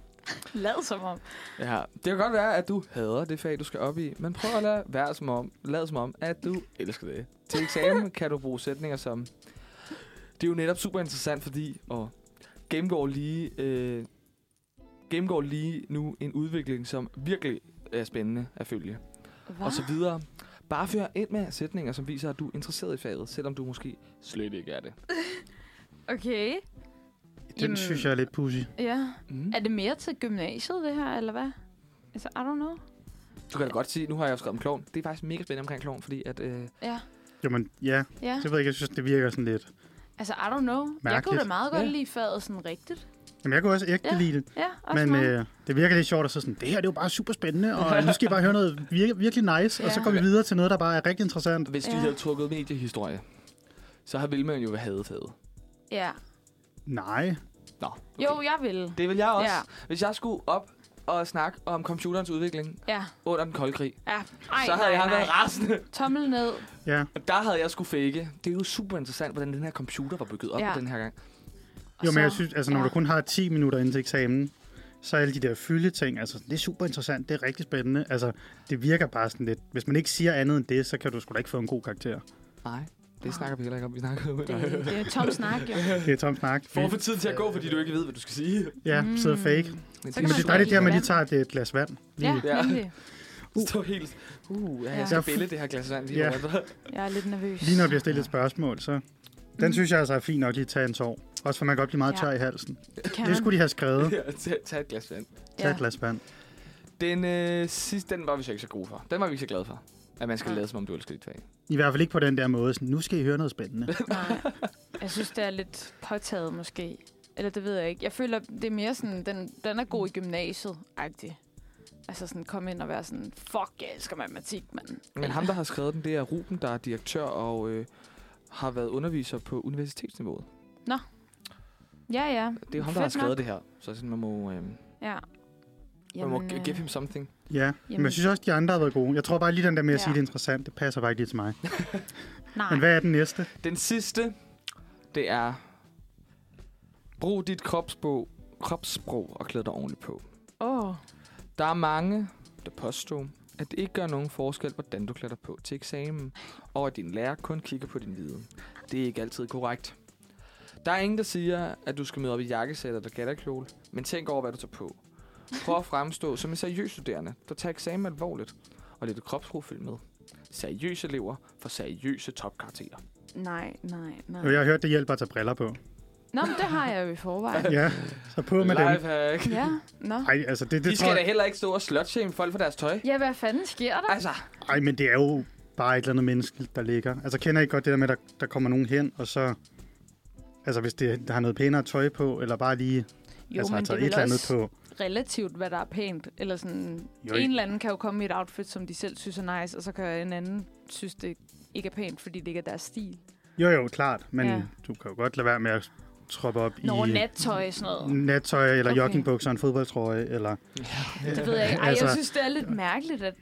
Speaker 2: Lad som om.
Speaker 1: Ja, det kan godt være, at du hader det fag, du skal op i, men prøv at lade være som om, lad som om, at du elsker det. Til eksamen kan du bruge sætninger som, det er jo netop super interessant, fordi, og gennemgår lige, øh, gennemgår lige nu en udvikling, som virkelig er spændende at følge
Speaker 2: Hva?
Speaker 1: og så videre. Bare fyr ind med sætninger, som viser, at du er interesseret i faget, selvom du måske slet ikke er det.
Speaker 2: Okay.
Speaker 3: Den Jamen. synes jeg er lidt pussy.
Speaker 2: Ja.
Speaker 1: Mm.
Speaker 2: Er det mere til gymnasiet, det her, eller hvad? Altså, I don't know.
Speaker 1: Du kan da godt sige, nu har jeg jo skrevet om klovn. Det er faktisk mega spændende omkring klovn, fordi at... Øh,
Speaker 2: Ja.
Speaker 3: Jamen, ja,
Speaker 2: Ja.
Speaker 3: det ved jeg ikke. Jeg synes, det virker sådan lidt...
Speaker 2: Altså, I don't know. Jeg kunne
Speaker 3: Mærkeligt.
Speaker 2: da meget godt
Speaker 1: Ja.
Speaker 2: lide faget sådan rigtigt.
Speaker 3: Jamen, jeg kunne også ægte
Speaker 2: Ja.
Speaker 3: ja. lide det.
Speaker 2: Ja, også
Speaker 3: Men
Speaker 2: mig.
Speaker 3: øh, det virker lidt sjovt at så sådan, det her det er jo bare super spændende, og nu skal I bare høre noget vir- virkelig nice, og så
Speaker 2: Ja.
Speaker 3: går vi videre til noget, der bare er rigtig interessant.
Speaker 1: hvis de
Speaker 2: Ja.
Speaker 1: havde trukket mediehistorie, så havde- ville man jo have hadet faget.
Speaker 2: Ja.
Speaker 3: Nej.
Speaker 1: Nå, okay.
Speaker 2: Jo, jeg ville.
Speaker 1: Det vil jeg også.
Speaker 2: Ja.
Speaker 1: Ja. Hvis jeg skulle op og snakke om computerens udvikling
Speaker 2: Ja.
Speaker 1: under den kolde krig,
Speaker 2: ja. Ej,
Speaker 1: så havde
Speaker 2: nej,
Speaker 1: jeg
Speaker 2: nej.
Speaker 1: været rasende.
Speaker 2: Tommel ned.
Speaker 3: Ja.
Speaker 1: Og der havde jeg skulle fake. Det er jo super interessant, hvordan den her computer var bygget op
Speaker 2: Ja.
Speaker 1: ja. den her gang.
Speaker 2: og
Speaker 3: Jo,
Speaker 2: så-
Speaker 3: men jeg synes, altså, når
Speaker 2: ja.
Speaker 3: du kun har 10 minutter inden til eksamen, så er alle de der fylde ting, altså, det er super interessant, det er rigtig spændende. Altså, det virker bare sådan lidt, hvis man ikke siger andet end det, så kan du sgu da ikke få en god karakter.
Speaker 1: Nej, det snakker vi heller ikke om. Vi snakker om.
Speaker 2: Det, det er en tom snak, jo.
Speaker 3: Det er tom snak.
Speaker 1: Får for tid til at gå, fordi du ikke ved, hvad du skal sige.
Speaker 3: Ja, sidder
Speaker 2: Mm.
Speaker 3: fake.
Speaker 2: Så kan
Speaker 3: Men
Speaker 2: man
Speaker 3: det er
Speaker 2: gå
Speaker 3: dejligt
Speaker 2: i
Speaker 3: der, man lige
Speaker 2: vand.
Speaker 3: tager et øh, glas vand.
Speaker 2: Ja,
Speaker 1: Ja.
Speaker 2: nemlig.
Speaker 1: Uh. Stå helt... Uh, ja,
Speaker 2: Ja.
Speaker 1: jeg skal
Speaker 3: Jeg-
Speaker 1: bælge det her glas vand lige
Speaker 3: Ja.
Speaker 1: over.
Speaker 2: Jeg er lidt nervøs.
Speaker 3: Lige når der bliver stillet et spørgsmål, så...
Speaker 2: Mm.
Speaker 3: Den synes jeg altså er fint nok lige at tage en tår. Også for man kan godt blive meget
Speaker 2: Ja.
Speaker 3: tør i halsen.
Speaker 2: Det kan
Speaker 3: Det
Speaker 2: man.
Speaker 3: skulle de have skrevet.
Speaker 1: Ja, tag- Tag et glas vand.
Speaker 3: Tag et glas vand.
Speaker 1: Den øh, sidste, den var vi så ikke så gode for. Den var vi ikke så glade for. At man skal
Speaker 2: Nej.
Speaker 1: lade, som om du elsker dit fag.
Speaker 3: I hvert fald ikke på den der måde. Sådan, nu skal I høre noget spændende.
Speaker 2: Nej. Jeg synes, det er lidt påtaget måske. Eller det ved jeg ikke. Jeg føler, det er mere sådan, den, den er god i gymnasiet agtig Altså sådan, komme ind og være sådan, fuck, jeg elsker matematik, mand.
Speaker 1: Men ham, der har skrevet den, det er Ruben, der er direktør og øh, har været underviser på universitetsniveauet.
Speaker 2: Ja, ja.
Speaker 1: Det er jo ham, der har
Speaker 2: Fedt nok.
Speaker 1: skrevet det her. Så sådan, man må, øh, man
Speaker 2: Ja.
Speaker 1: må
Speaker 2: øh,
Speaker 1: g- give him something.
Speaker 3: Ja,
Speaker 2: Jamen.
Speaker 3: men jeg synes også, de andre har været gode. Jeg tror bare lige den der med at
Speaker 2: Ja.
Speaker 3: sige, det er interessant, det passer bare ikke lige til mig.
Speaker 2: nej.
Speaker 3: Men hvad er den næste?
Speaker 1: Den sidste, det er... Brug dit kropsbog, kropssprog og klæd dig ordentligt på.
Speaker 2: Åh, oh,
Speaker 1: Der er mange, der påstår, at det ikke gør nogen forskel, hvordan du klæder dig på til eksamen, og at din lærer kun kigger på din viden. Det er ikke altid korrekt. Der er ingen, der siger, at du skal møde op i jakkesæt eller gatterkjole, men tænk over, hvad du tager på. Prøv at fremstå som en seriøs studerende, der tager eksamen alvorligt, og lidt kropsprofil med. Seriøse elever for seriøse topkarakterer.
Speaker 2: nej, nej, nej.
Speaker 3: Jo, jeg har hørt, det hjælper at tage briller på.
Speaker 2: Nå, men det har jeg jo i forvejen.
Speaker 3: Ja, så på med dem.
Speaker 1: Lifehack.
Speaker 2: ja, nå.
Speaker 3: Ej, altså det,
Speaker 1: De
Speaker 3: det
Speaker 1: skal
Speaker 3: tror
Speaker 1: da
Speaker 3: jeg...
Speaker 1: heller ikke stå og slotshame folk for deres tøj.
Speaker 2: Ja, hvad fanden sker der?
Speaker 1: Altså,
Speaker 3: Ej, men det er jo bare et eller andet menneske, der ligger. Altså kender I godt det der med, at der, der kommer nogen hen, og så... Altså hvis det der har noget pænere tøj på, eller bare lige
Speaker 2: Jo,
Speaker 3: altså,
Speaker 2: men
Speaker 3: har
Speaker 2: det er
Speaker 3: taget et
Speaker 2: vel
Speaker 3: eller andet
Speaker 2: også
Speaker 3: på.
Speaker 2: relativt, hvad der er pænt. Eller sådan,
Speaker 3: Jo,
Speaker 2: en eller anden kan jo komme i et outfit, som de selv synes er nice, og så kan en anden synes, det ikke er pænt, fordi det ikke er deres stil.
Speaker 3: Jo, jo, klart. Men
Speaker 2: Ja.
Speaker 3: ja. du kan jo godt lade være med at troppe op
Speaker 2: Nå,
Speaker 3: i
Speaker 2: nattøj og sådan
Speaker 3: Mm.
Speaker 2: noget.
Speaker 3: nattøj, eller
Speaker 2: Okay.
Speaker 3: okay. joggingbukser og en fodboldtrøje, eller...
Speaker 2: Det ved jeg ikke. Ej, jeg
Speaker 3: Altså-
Speaker 2: synes, det er lidt mærkeligt, at,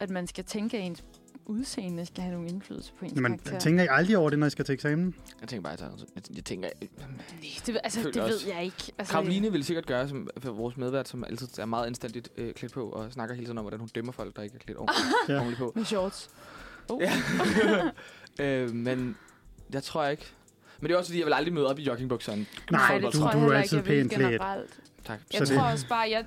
Speaker 2: at man skal tænke, at ens udseende skal have nogen indflydelse på ens
Speaker 3: Jamen,
Speaker 2: karakter.
Speaker 3: tænker I aldrig over det, når I skal til eksamen?
Speaker 1: jeg tænker bare, at jeg tager- jeg- jeg tænker,
Speaker 2: Nej, det, ved- altså,
Speaker 1: Føler
Speaker 2: det ved
Speaker 1: også.
Speaker 2: jeg ikke. Altså,
Speaker 1: Karoline ville sikkert gøre, som for vores medvært, som altid er meget anstændigt øh, klædt på, og snakker hele tiden om, hvordan hun dømmer folk, der ikke er klædt ordentligt,
Speaker 3: Ja.
Speaker 1: ordentligt på.
Speaker 2: Med shorts. Oh.
Speaker 1: Ja. øh, men jeg tror ikke. Men det er også fordi, jeg vil aldrig møde op i joggingbukserne.
Speaker 2: Nej,
Speaker 1: fodbold.
Speaker 2: det tror
Speaker 3: du
Speaker 2: jeg heller
Speaker 3: er
Speaker 2: ikke,
Speaker 3: altid
Speaker 2: jeg vil
Speaker 3: pænt klædt.
Speaker 2: generelt.
Speaker 1: Tak.
Speaker 2: Jeg
Speaker 3: Så
Speaker 2: tror
Speaker 3: det-
Speaker 2: også bare, jeg,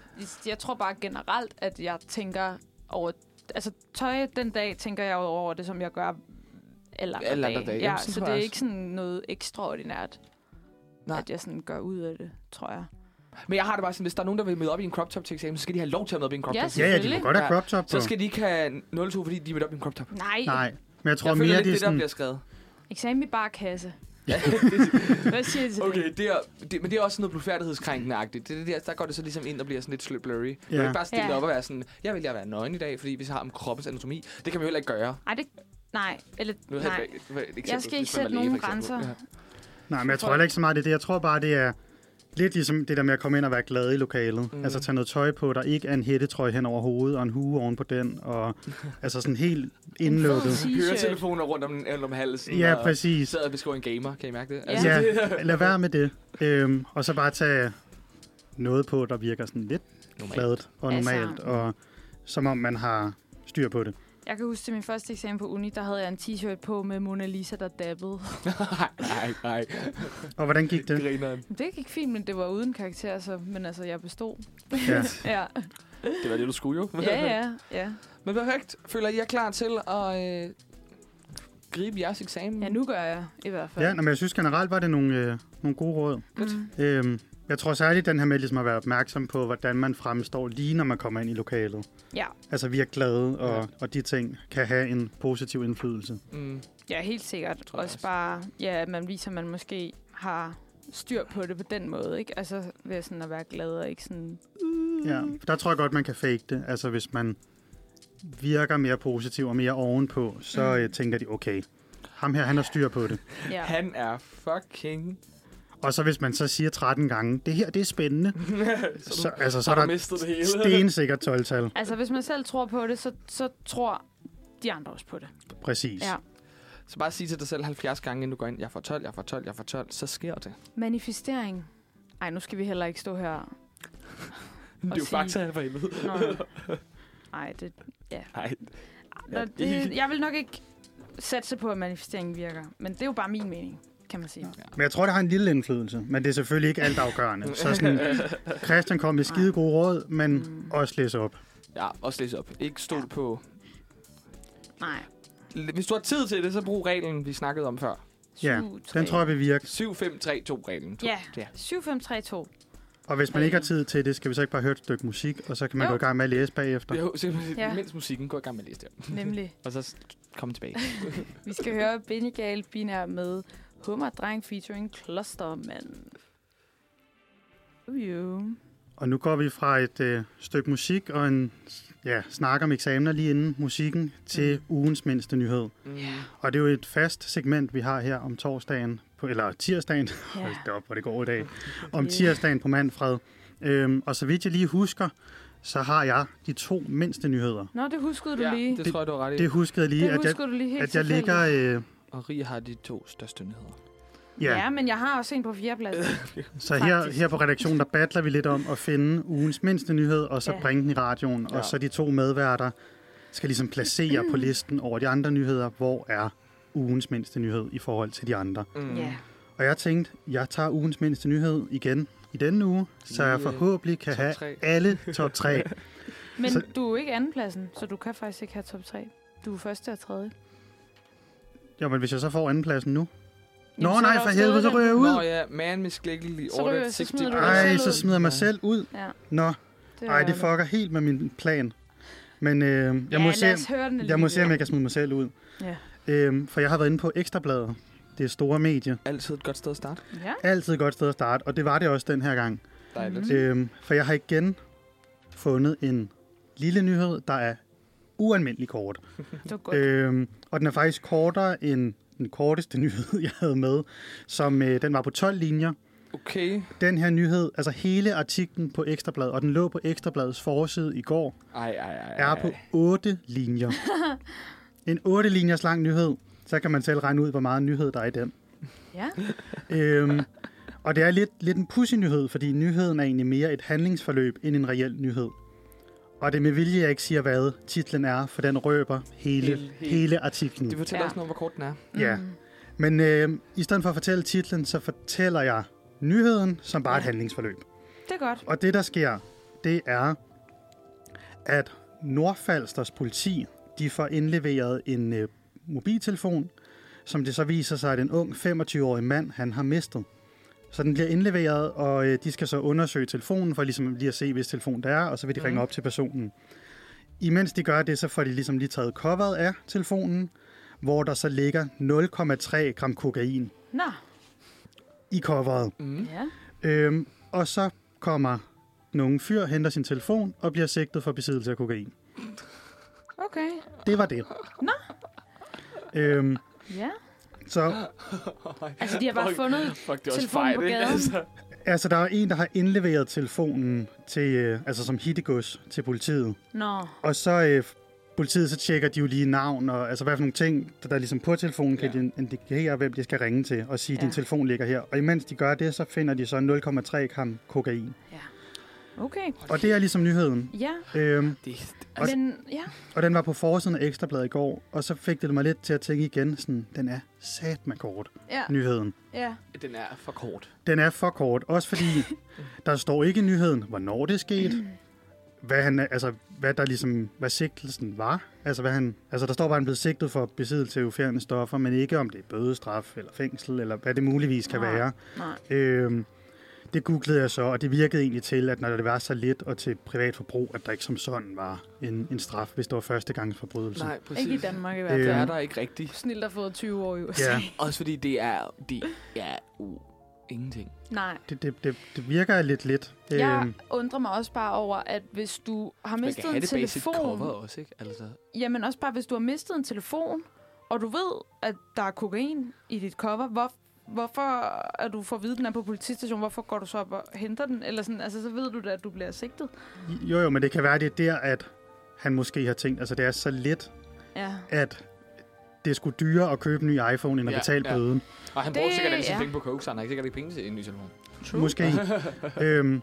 Speaker 2: jeg tror bare generelt, at jeg tænker over... Altså tøj den dag, tænker jeg jo over det, som jeg gør alle andre,
Speaker 1: Alle andre dage.
Speaker 2: Ja,
Speaker 1: Jamen,
Speaker 2: så
Speaker 1: sådan tror
Speaker 2: det er
Speaker 1: jeg også.
Speaker 2: ikke sådan noget ekstraordinært,
Speaker 1: Nej.
Speaker 2: Nej. at jeg sådan gør ud af det, tror jeg.
Speaker 1: Men jeg har det bare sådan, hvis der er nogen, der vil møde op i en crop top til eksamen, så skal de have lov til at møde op i en crop
Speaker 2: Ja,
Speaker 1: top.
Speaker 3: Ja, ja, de
Speaker 2: Selvfølgelig.
Speaker 3: må godt have
Speaker 1: Ja.
Speaker 3: crop top på.
Speaker 1: Så skal de ikke have 02, fordi de er mødt op i en crop top.
Speaker 2: Nej, Nej.
Speaker 3: Nej, men jeg tror
Speaker 1: jeg føler
Speaker 3: mere,
Speaker 1: lidt,
Speaker 3: det er
Speaker 1: det, der
Speaker 3: sådan...
Speaker 1: bliver skrevet.
Speaker 2: eksamen i bare kasse. Hvad siger I til det?
Speaker 1: Okay, det er, det, men det er også sådan noget blufærdighedskrænkende-agtigt. Det, det, der, der går det så ligesom ind og bliver sådan lidt slø blurry. Ja. Man kan
Speaker 3: Ja.
Speaker 1: ikke bare stille
Speaker 2: Ja.
Speaker 1: ja. op og være sådan, jeg vil jeg være nøgen i dag, fordi vi har om kroppens anatomi. Det kan vi jo heller ikke gøre.
Speaker 2: Nej, det... Nej, eller...
Speaker 1: Nu havde
Speaker 2: Nej.
Speaker 1: jeg et- et eksempel,
Speaker 2: Jeg skal
Speaker 1: hvis
Speaker 2: ikke
Speaker 1: man er
Speaker 2: sætte
Speaker 1: læge,
Speaker 2: nogen
Speaker 1: for eksempel.
Speaker 2: grænser.
Speaker 1: Ja.
Speaker 3: Nej, men jeg tror heller ikke så meget, det er det. Jeg tror bare, det er lidt ligesom det der med at komme ind og være glad i lokalet.
Speaker 1: Mm.
Speaker 3: Mm. Altså tage noget tøj på, der ikke er en hættetrøje hen over hovedet, og en hue oven på den, og altså sådan helt indlukket.
Speaker 2: fed t-shirt.
Speaker 1: Høretelefoner rundt om, rundt om halsen.
Speaker 3: Ja,
Speaker 1: og
Speaker 3: præcis.
Speaker 1: Sidder og beskriver en gamer, kan I mærke det? Altså,
Speaker 2: Ja.
Speaker 3: Ja, lad være med det. Øhm, og så bare tage noget på, der virker sådan lidt
Speaker 1: normalt.
Speaker 3: fladet og
Speaker 2: Altså-
Speaker 3: normalt, og som om man har styr på det.
Speaker 2: Jeg kan huske til min første eksamen på uni, der havde jeg en t-shirt på med Mona Lisa, der dabbede.
Speaker 1: nej, nej.
Speaker 3: Og hvordan gik det?
Speaker 1: Grineren.
Speaker 2: Det gik fint, men det var uden karakter, så, men altså, jeg bestod.
Speaker 3: Ja.
Speaker 2: Ja,
Speaker 1: Det var det, du skulle jo.
Speaker 2: ja, ja. ja.
Speaker 1: Men perfekt. Føler I er klar til at øh, gribe jeres eksamen?
Speaker 2: Ja, nu gør jeg i hvert fald.
Speaker 3: Ja, nå, men jeg synes generelt var det nogle, øh, nogle gode råd.
Speaker 2: Mm.
Speaker 3: Øhm, jeg tror særligt den her med ligesom at være opmærksom på, hvordan man fremstår lige når man kommer ind i lokalet.
Speaker 2: Ja.
Speaker 3: Altså vi er glade, og,
Speaker 1: Ja.
Speaker 3: og de ting kan have en positiv indflydelse.
Speaker 1: Mm.
Speaker 2: ja, helt sikkert.
Speaker 1: Tror jeg
Speaker 2: også
Speaker 1: også.
Speaker 2: bare, ja, at man viser, at man måske har styr på det på den måde, ikke? Altså ved sådan at være glad og ikke sådan...
Speaker 3: Ja, for der tror jeg godt, man kan fake det. Altså hvis man virker mere positiv og mere ovenpå, så
Speaker 2: Mm.
Speaker 3: øh, tænker de, okay, ham her, han har styr på det.
Speaker 2: Ja.
Speaker 1: Han er fucking...
Speaker 3: Og så hvis man så siger 13 gange, det her, det er spændende,
Speaker 1: Så,
Speaker 3: så, altså, så
Speaker 1: så
Speaker 3: er
Speaker 1: har du
Speaker 3: der
Speaker 1: mistet det hele.
Speaker 3: stensikkert 12-tal.
Speaker 2: Altså hvis man selv tror på det, så, så tror de andre også på det.
Speaker 3: Præcis.
Speaker 2: Ja.
Speaker 1: Så bare sige til dig selv 70 gange, inden du går ind, jeg får 12, jeg får 12, jeg får 12, så sker det.
Speaker 2: Manifestering. Nej, nu skal vi heller ikke stå her.
Speaker 1: det er jo
Speaker 2: sige-
Speaker 1: fakta for helvede.
Speaker 2: Nå. Nej, det...
Speaker 1: Nej,
Speaker 2: Nå, det, jeg vil nok ikke satse på, at manifesteringen virker. Men det er jo bare min mening, kan man sige.
Speaker 3: Men jeg tror, det har en lille indflydelse, men det er selvfølgelig ikke altafgørende. Så sådan, Christian kom med skide gode råd, men
Speaker 2: Mm.
Speaker 3: også læs op.
Speaker 1: ja, også læs op. Ikke stol på...
Speaker 2: Nej.
Speaker 1: Hvis du har tid til det, så brug reglen, vi snakkede om før.
Speaker 3: Ja,
Speaker 2: Syv, tre.
Speaker 3: Den tror jeg vil virke.
Speaker 1: 7, 5, 3, 2 reglen. To.
Speaker 2: Ja.
Speaker 1: ja.
Speaker 2: 7532.
Speaker 3: Og hvis man ikke har tid til det, skal vi så ikke bare høre et stykke musik, og så kan man jo.
Speaker 2: Jo.
Speaker 3: gå i gang med at læse bagefter.
Speaker 1: Jo, simpelthen,
Speaker 2: Ja.
Speaker 1: ja. mens musikken går i gang med at læse det.
Speaker 2: Nemlig.
Speaker 1: Og så s- kom tilbage.
Speaker 2: Vi skal høre Benegal Binær med Hummerdreng featuring Klostermand. Jo.
Speaker 3: Og nu går vi fra et øh, stykke musik og en ja, snak om eksamener lige inden musikken til
Speaker 2: Mm.
Speaker 3: ugens mindste nyhed.
Speaker 1: Ja.
Speaker 3: Og det er jo et fast segment, vi har her om torsdagen, på, eller tirsdagen,
Speaker 2: Ja.
Speaker 3: Hold da op, hvor det går i dag. Om
Speaker 2: Ja.
Speaker 3: tirsdagen på Manfred. Øhm, og så vidt jeg lige husker, så har jeg de to mindste nyheder.
Speaker 2: Nå, det huskede du
Speaker 1: ja,
Speaker 2: lige.
Speaker 1: det tror jeg, du har ret i.
Speaker 3: Det huskede jeg lige,
Speaker 2: Det
Speaker 3: at jeg,
Speaker 2: huskede du lige helt
Speaker 3: at jeg
Speaker 2: tilfældigt.
Speaker 3: ligger... Øh,
Speaker 1: Og Rie har de to største nyheder.
Speaker 3: ja.
Speaker 2: Ja, men jeg har også en på fjerdepladsen.
Speaker 3: Så her,
Speaker 2: faktisk.
Speaker 3: her på redaktionen, der battler vi lidt om at finde ugens mindste nyhed, og så
Speaker 2: Ja.
Speaker 3: ja. bringe den i radioen.
Speaker 1: Ja.
Speaker 3: Og så de to medværter skal ligesom placere på listen over de andre nyheder, hvor er ugens mindste nyhed i forhold til de andre.
Speaker 1: Mm.
Speaker 2: Ja.
Speaker 3: Og jeg tænkte, jeg tager ugens mindste nyhed igen i denne uge, så jeg
Speaker 1: Lige, øh,
Speaker 3: forhåbentlig kan
Speaker 1: top
Speaker 3: have
Speaker 1: tre.
Speaker 3: alle top 3.
Speaker 2: Men
Speaker 3: mm. Så-
Speaker 2: du er jo ikke andenpladsen, så du kan faktisk ikke have top 3. Du er første og tredje.
Speaker 3: Jo, men hvis jeg så får andenpladsen nu?
Speaker 2: Jamen,
Speaker 3: Nå
Speaker 2: så er
Speaker 3: nej,
Speaker 2: der
Speaker 3: for
Speaker 2: også
Speaker 3: helvede, så
Speaker 2: stadig
Speaker 3: ryger jeg
Speaker 1: Nå
Speaker 3: ud.
Speaker 1: ja, man misklikkelig
Speaker 2: Så ryger-
Speaker 1: order
Speaker 2: så
Speaker 1: 60.
Speaker 2: smider du dig
Speaker 3: Ej,
Speaker 2: selv
Speaker 3: så
Speaker 2: ud.
Speaker 3: smider jeg mig selv ud.
Speaker 2: Ja,
Speaker 3: Nå,
Speaker 2: det
Speaker 3: ej, det
Speaker 2: ærgerligt.
Speaker 3: fucker helt med min plan. Men øh, jeg
Speaker 2: Ja,
Speaker 3: må
Speaker 2: lad
Speaker 3: se,
Speaker 2: os høre den
Speaker 3: Jeg må
Speaker 2: alligevel.
Speaker 3: se, om jeg kan smide mig selv ud.
Speaker 2: Ja.
Speaker 3: Øhm, for jeg har været inde på Ekstrabladet. Det er store medie.
Speaker 1: Altid et godt sted at starte.
Speaker 2: Ja,
Speaker 3: Altid et godt sted at starte, og det var det også den her gang.
Speaker 1: Dejligt.
Speaker 3: Mm. Øhm, for jeg har igen fundet en lille nyhed, der er ualmindelig kort.
Speaker 2: det var godt.
Speaker 3: Øhm, og den er faktisk kortere end den korteste nyhed, jeg havde med, som øh, den var på 12 linjer.
Speaker 1: Okay.
Speaker 3: Den her nyhed, altså hele artiklen på Ekstrabladet, og den lå på Ekstrabladets forside i går,
Speaker 1: Ej, ej, ej.
Speaker 3: er
Speaker 1: ej.
Speaker 3: på 8 linjer. en 8 linjers lang nyhed. Så kan man selv regne ud, hvor meget nyhed der er i den.
Speaker 2: Ja,
Speaker 3: Øhm, og det er lidt, lidt en pussy nyhed, fordi nyheden er egentlig mere et handlingsforløb end en reel nyhed. Og det er med vilje, jeg ikke siger, hvad titlen er, for den røber hele,
Speaker 1: Hele-
Speaker 3: hele,
Speaker 1: hele-
Speaker 3: hele. hele artiklen.
Speaker 1: Det fortæller
Speaker 2: Ja.
Speaker 1: os noget om, hvor kort den er.
Speaker 3: Ja.
Speaker 2: Mm.
Speaker 3: Men øh, i stedet for at fortælle titlen, så fortæller jeg nyheden som bare et handlingsforløb.
Speaker 2: Det er godt.
Speaker 3: Og det, der sker, det er, at Nordfalsters politi, de får indleveret en øh, mobiltelefon, som det så viser sig, at en ung 25-årig mand, han har mistet. Så den bliver indleveret, og øh, de skal så undersøge telefonen, for ligesom lige at se, hvis telefon der er, og så vil de mm. ringe op til personen. Imens de gør det, så får de ligesom lige taget coveret af telefonen, hvor der så ligger 0,3 gram kokain
Speaker 2: Nå.
Speaker 3: i coveret.
Speaker 1: Mm.
Speaker 2: Ja.
Speaker 3: Øhm, og så kommer nogen fyr, henter sin telefon og bliver sigtet for besiddelse af kokain.
Speaker 2: Okay.
Speaker 3: Det var det. Nå. Øhm,
Speaker 2: Ja.
Speaker 3: så
Speaker 2: Altså, de har bare fundet...
Speaker 1: Fuck, det er også
Speaker 2: Telefonen
Speaker 1: fejl,
Speaker 2: på
Speaker 1: ikke?
Speaker 2: gaden.
Speaker 1: Altså,
Speaker 3: altså, der er en, der har indleveret telefonen til, øh, altså som hittegods til politiet.
Speaker 2: Nå.
Speaker 3: Og så øh, politiet, så tjekker de jo lige navn og altså hvad for nogle ting, der, der er ligesom på telefonen, kan
Speaker 1: Ja.
Speaker 3: de indikere, hvem de skal ringe til og sige,
Speaker 2: Ja.
Speaker 3: ja. din telefon ligger her. Og imens de gør det, så finder de så 0,3 gram kokain.
Speaker 2: Okay.
Speaker 3: Og det er ligesom nyheden.
Speaker 2: Ja.
Speaker 3: Øhm,
Speaker 1: det,
Speaker 3: Og-
Speaker 2: Men ja.
Speaker 3: Og den var på forsiden af Ekstrabladet i går, og så fik det mig lidt til at tænke igen, sådan, den er sat med kort,
Speaker 2: Ja.
Speaker 3: nyheden.
Speaker 2: Ja.
Speaker 1: den er for kort.
Speaker 3: Den er for kort, også fordi der står ikke i nyheden, hvornår det skete, hvad, han, altså, hvad der ligesom, hvad sigtelsen var. Altså, hvad han, altså der står bare, at han blev sigtet for besiddelse af eufjerende stoffer, men ikke om det er bødestraf eller fængsel, eller hvad det muligvis kan
Speaker 2: Nej.
Speaker 3: være.
Speaker 2: Nej.
Speaker 3: Øhm, det googlede jeg så, og det virkede egentlig til, at når det var så lidt og til privat forbrug, at der ikke som sådan var en, en straf, hvis det var første gangs forbrydelse.
Speaker 1: Nej, præcis.
Speaker 2: Ikke i Danmark i hvert
Speaker 3: Øh,
Speaker 2: fald.
Speaker 1: Det er
Speaker 3: Øhm.
Speaker 1: der ikke rigtigt.
Speaker 2: Snilt har fået 20 år i USA.
Speaker 3: Ja.
Speaker 1: Også fordi det er, det er uh, ingenting.
Speaker 2: Nej.
Speaker 3: Det, det, det, det virker lidt lidt.
Speaker 2: Jeg
Speaker 3: Øhm,
Speaker 2: undrer mig også bare over, at hvis du har
Speaker 1: Man
Speaker 2: mistet
Speaker 1: kan have
Speaker 2: en
Speaker 1: det basic cover
Speaker 2: telefon...
Speaker 1: også, ikke? Altså,
Speaker 2: Jamen også bare, hvis du har mistet en telefon, og du ved, at der er kokain i dit cover, hvor, hvorfor er du for at vide, den er på politistationen? Hvorfor går du så op og henter den? Eller sådan, altså, så ved du da, at du bliver sigtet.
Speaker 3: jo, jo, men det kan være, det er der, at han måske har tænkt, altså det er så lidt,
Speaker 2: Ja.
Speaker 3: at det skulle dyrere at købe en ny iPhone, end at
Speaker 1: Ja,
Speaker 3: ja, betale
Speaker 1: ja.
Speaker 3: ja. bøden.
Speaker 1: og han bruger
Speaker 2: Det-
Speaker 1: sikkert alle sine
Speaker 2: ja.
Speaker 1: penge på coke, så han har ikke sikkert ikke penge til en ny telefon.
Speaker 3: True. Måske. øhm,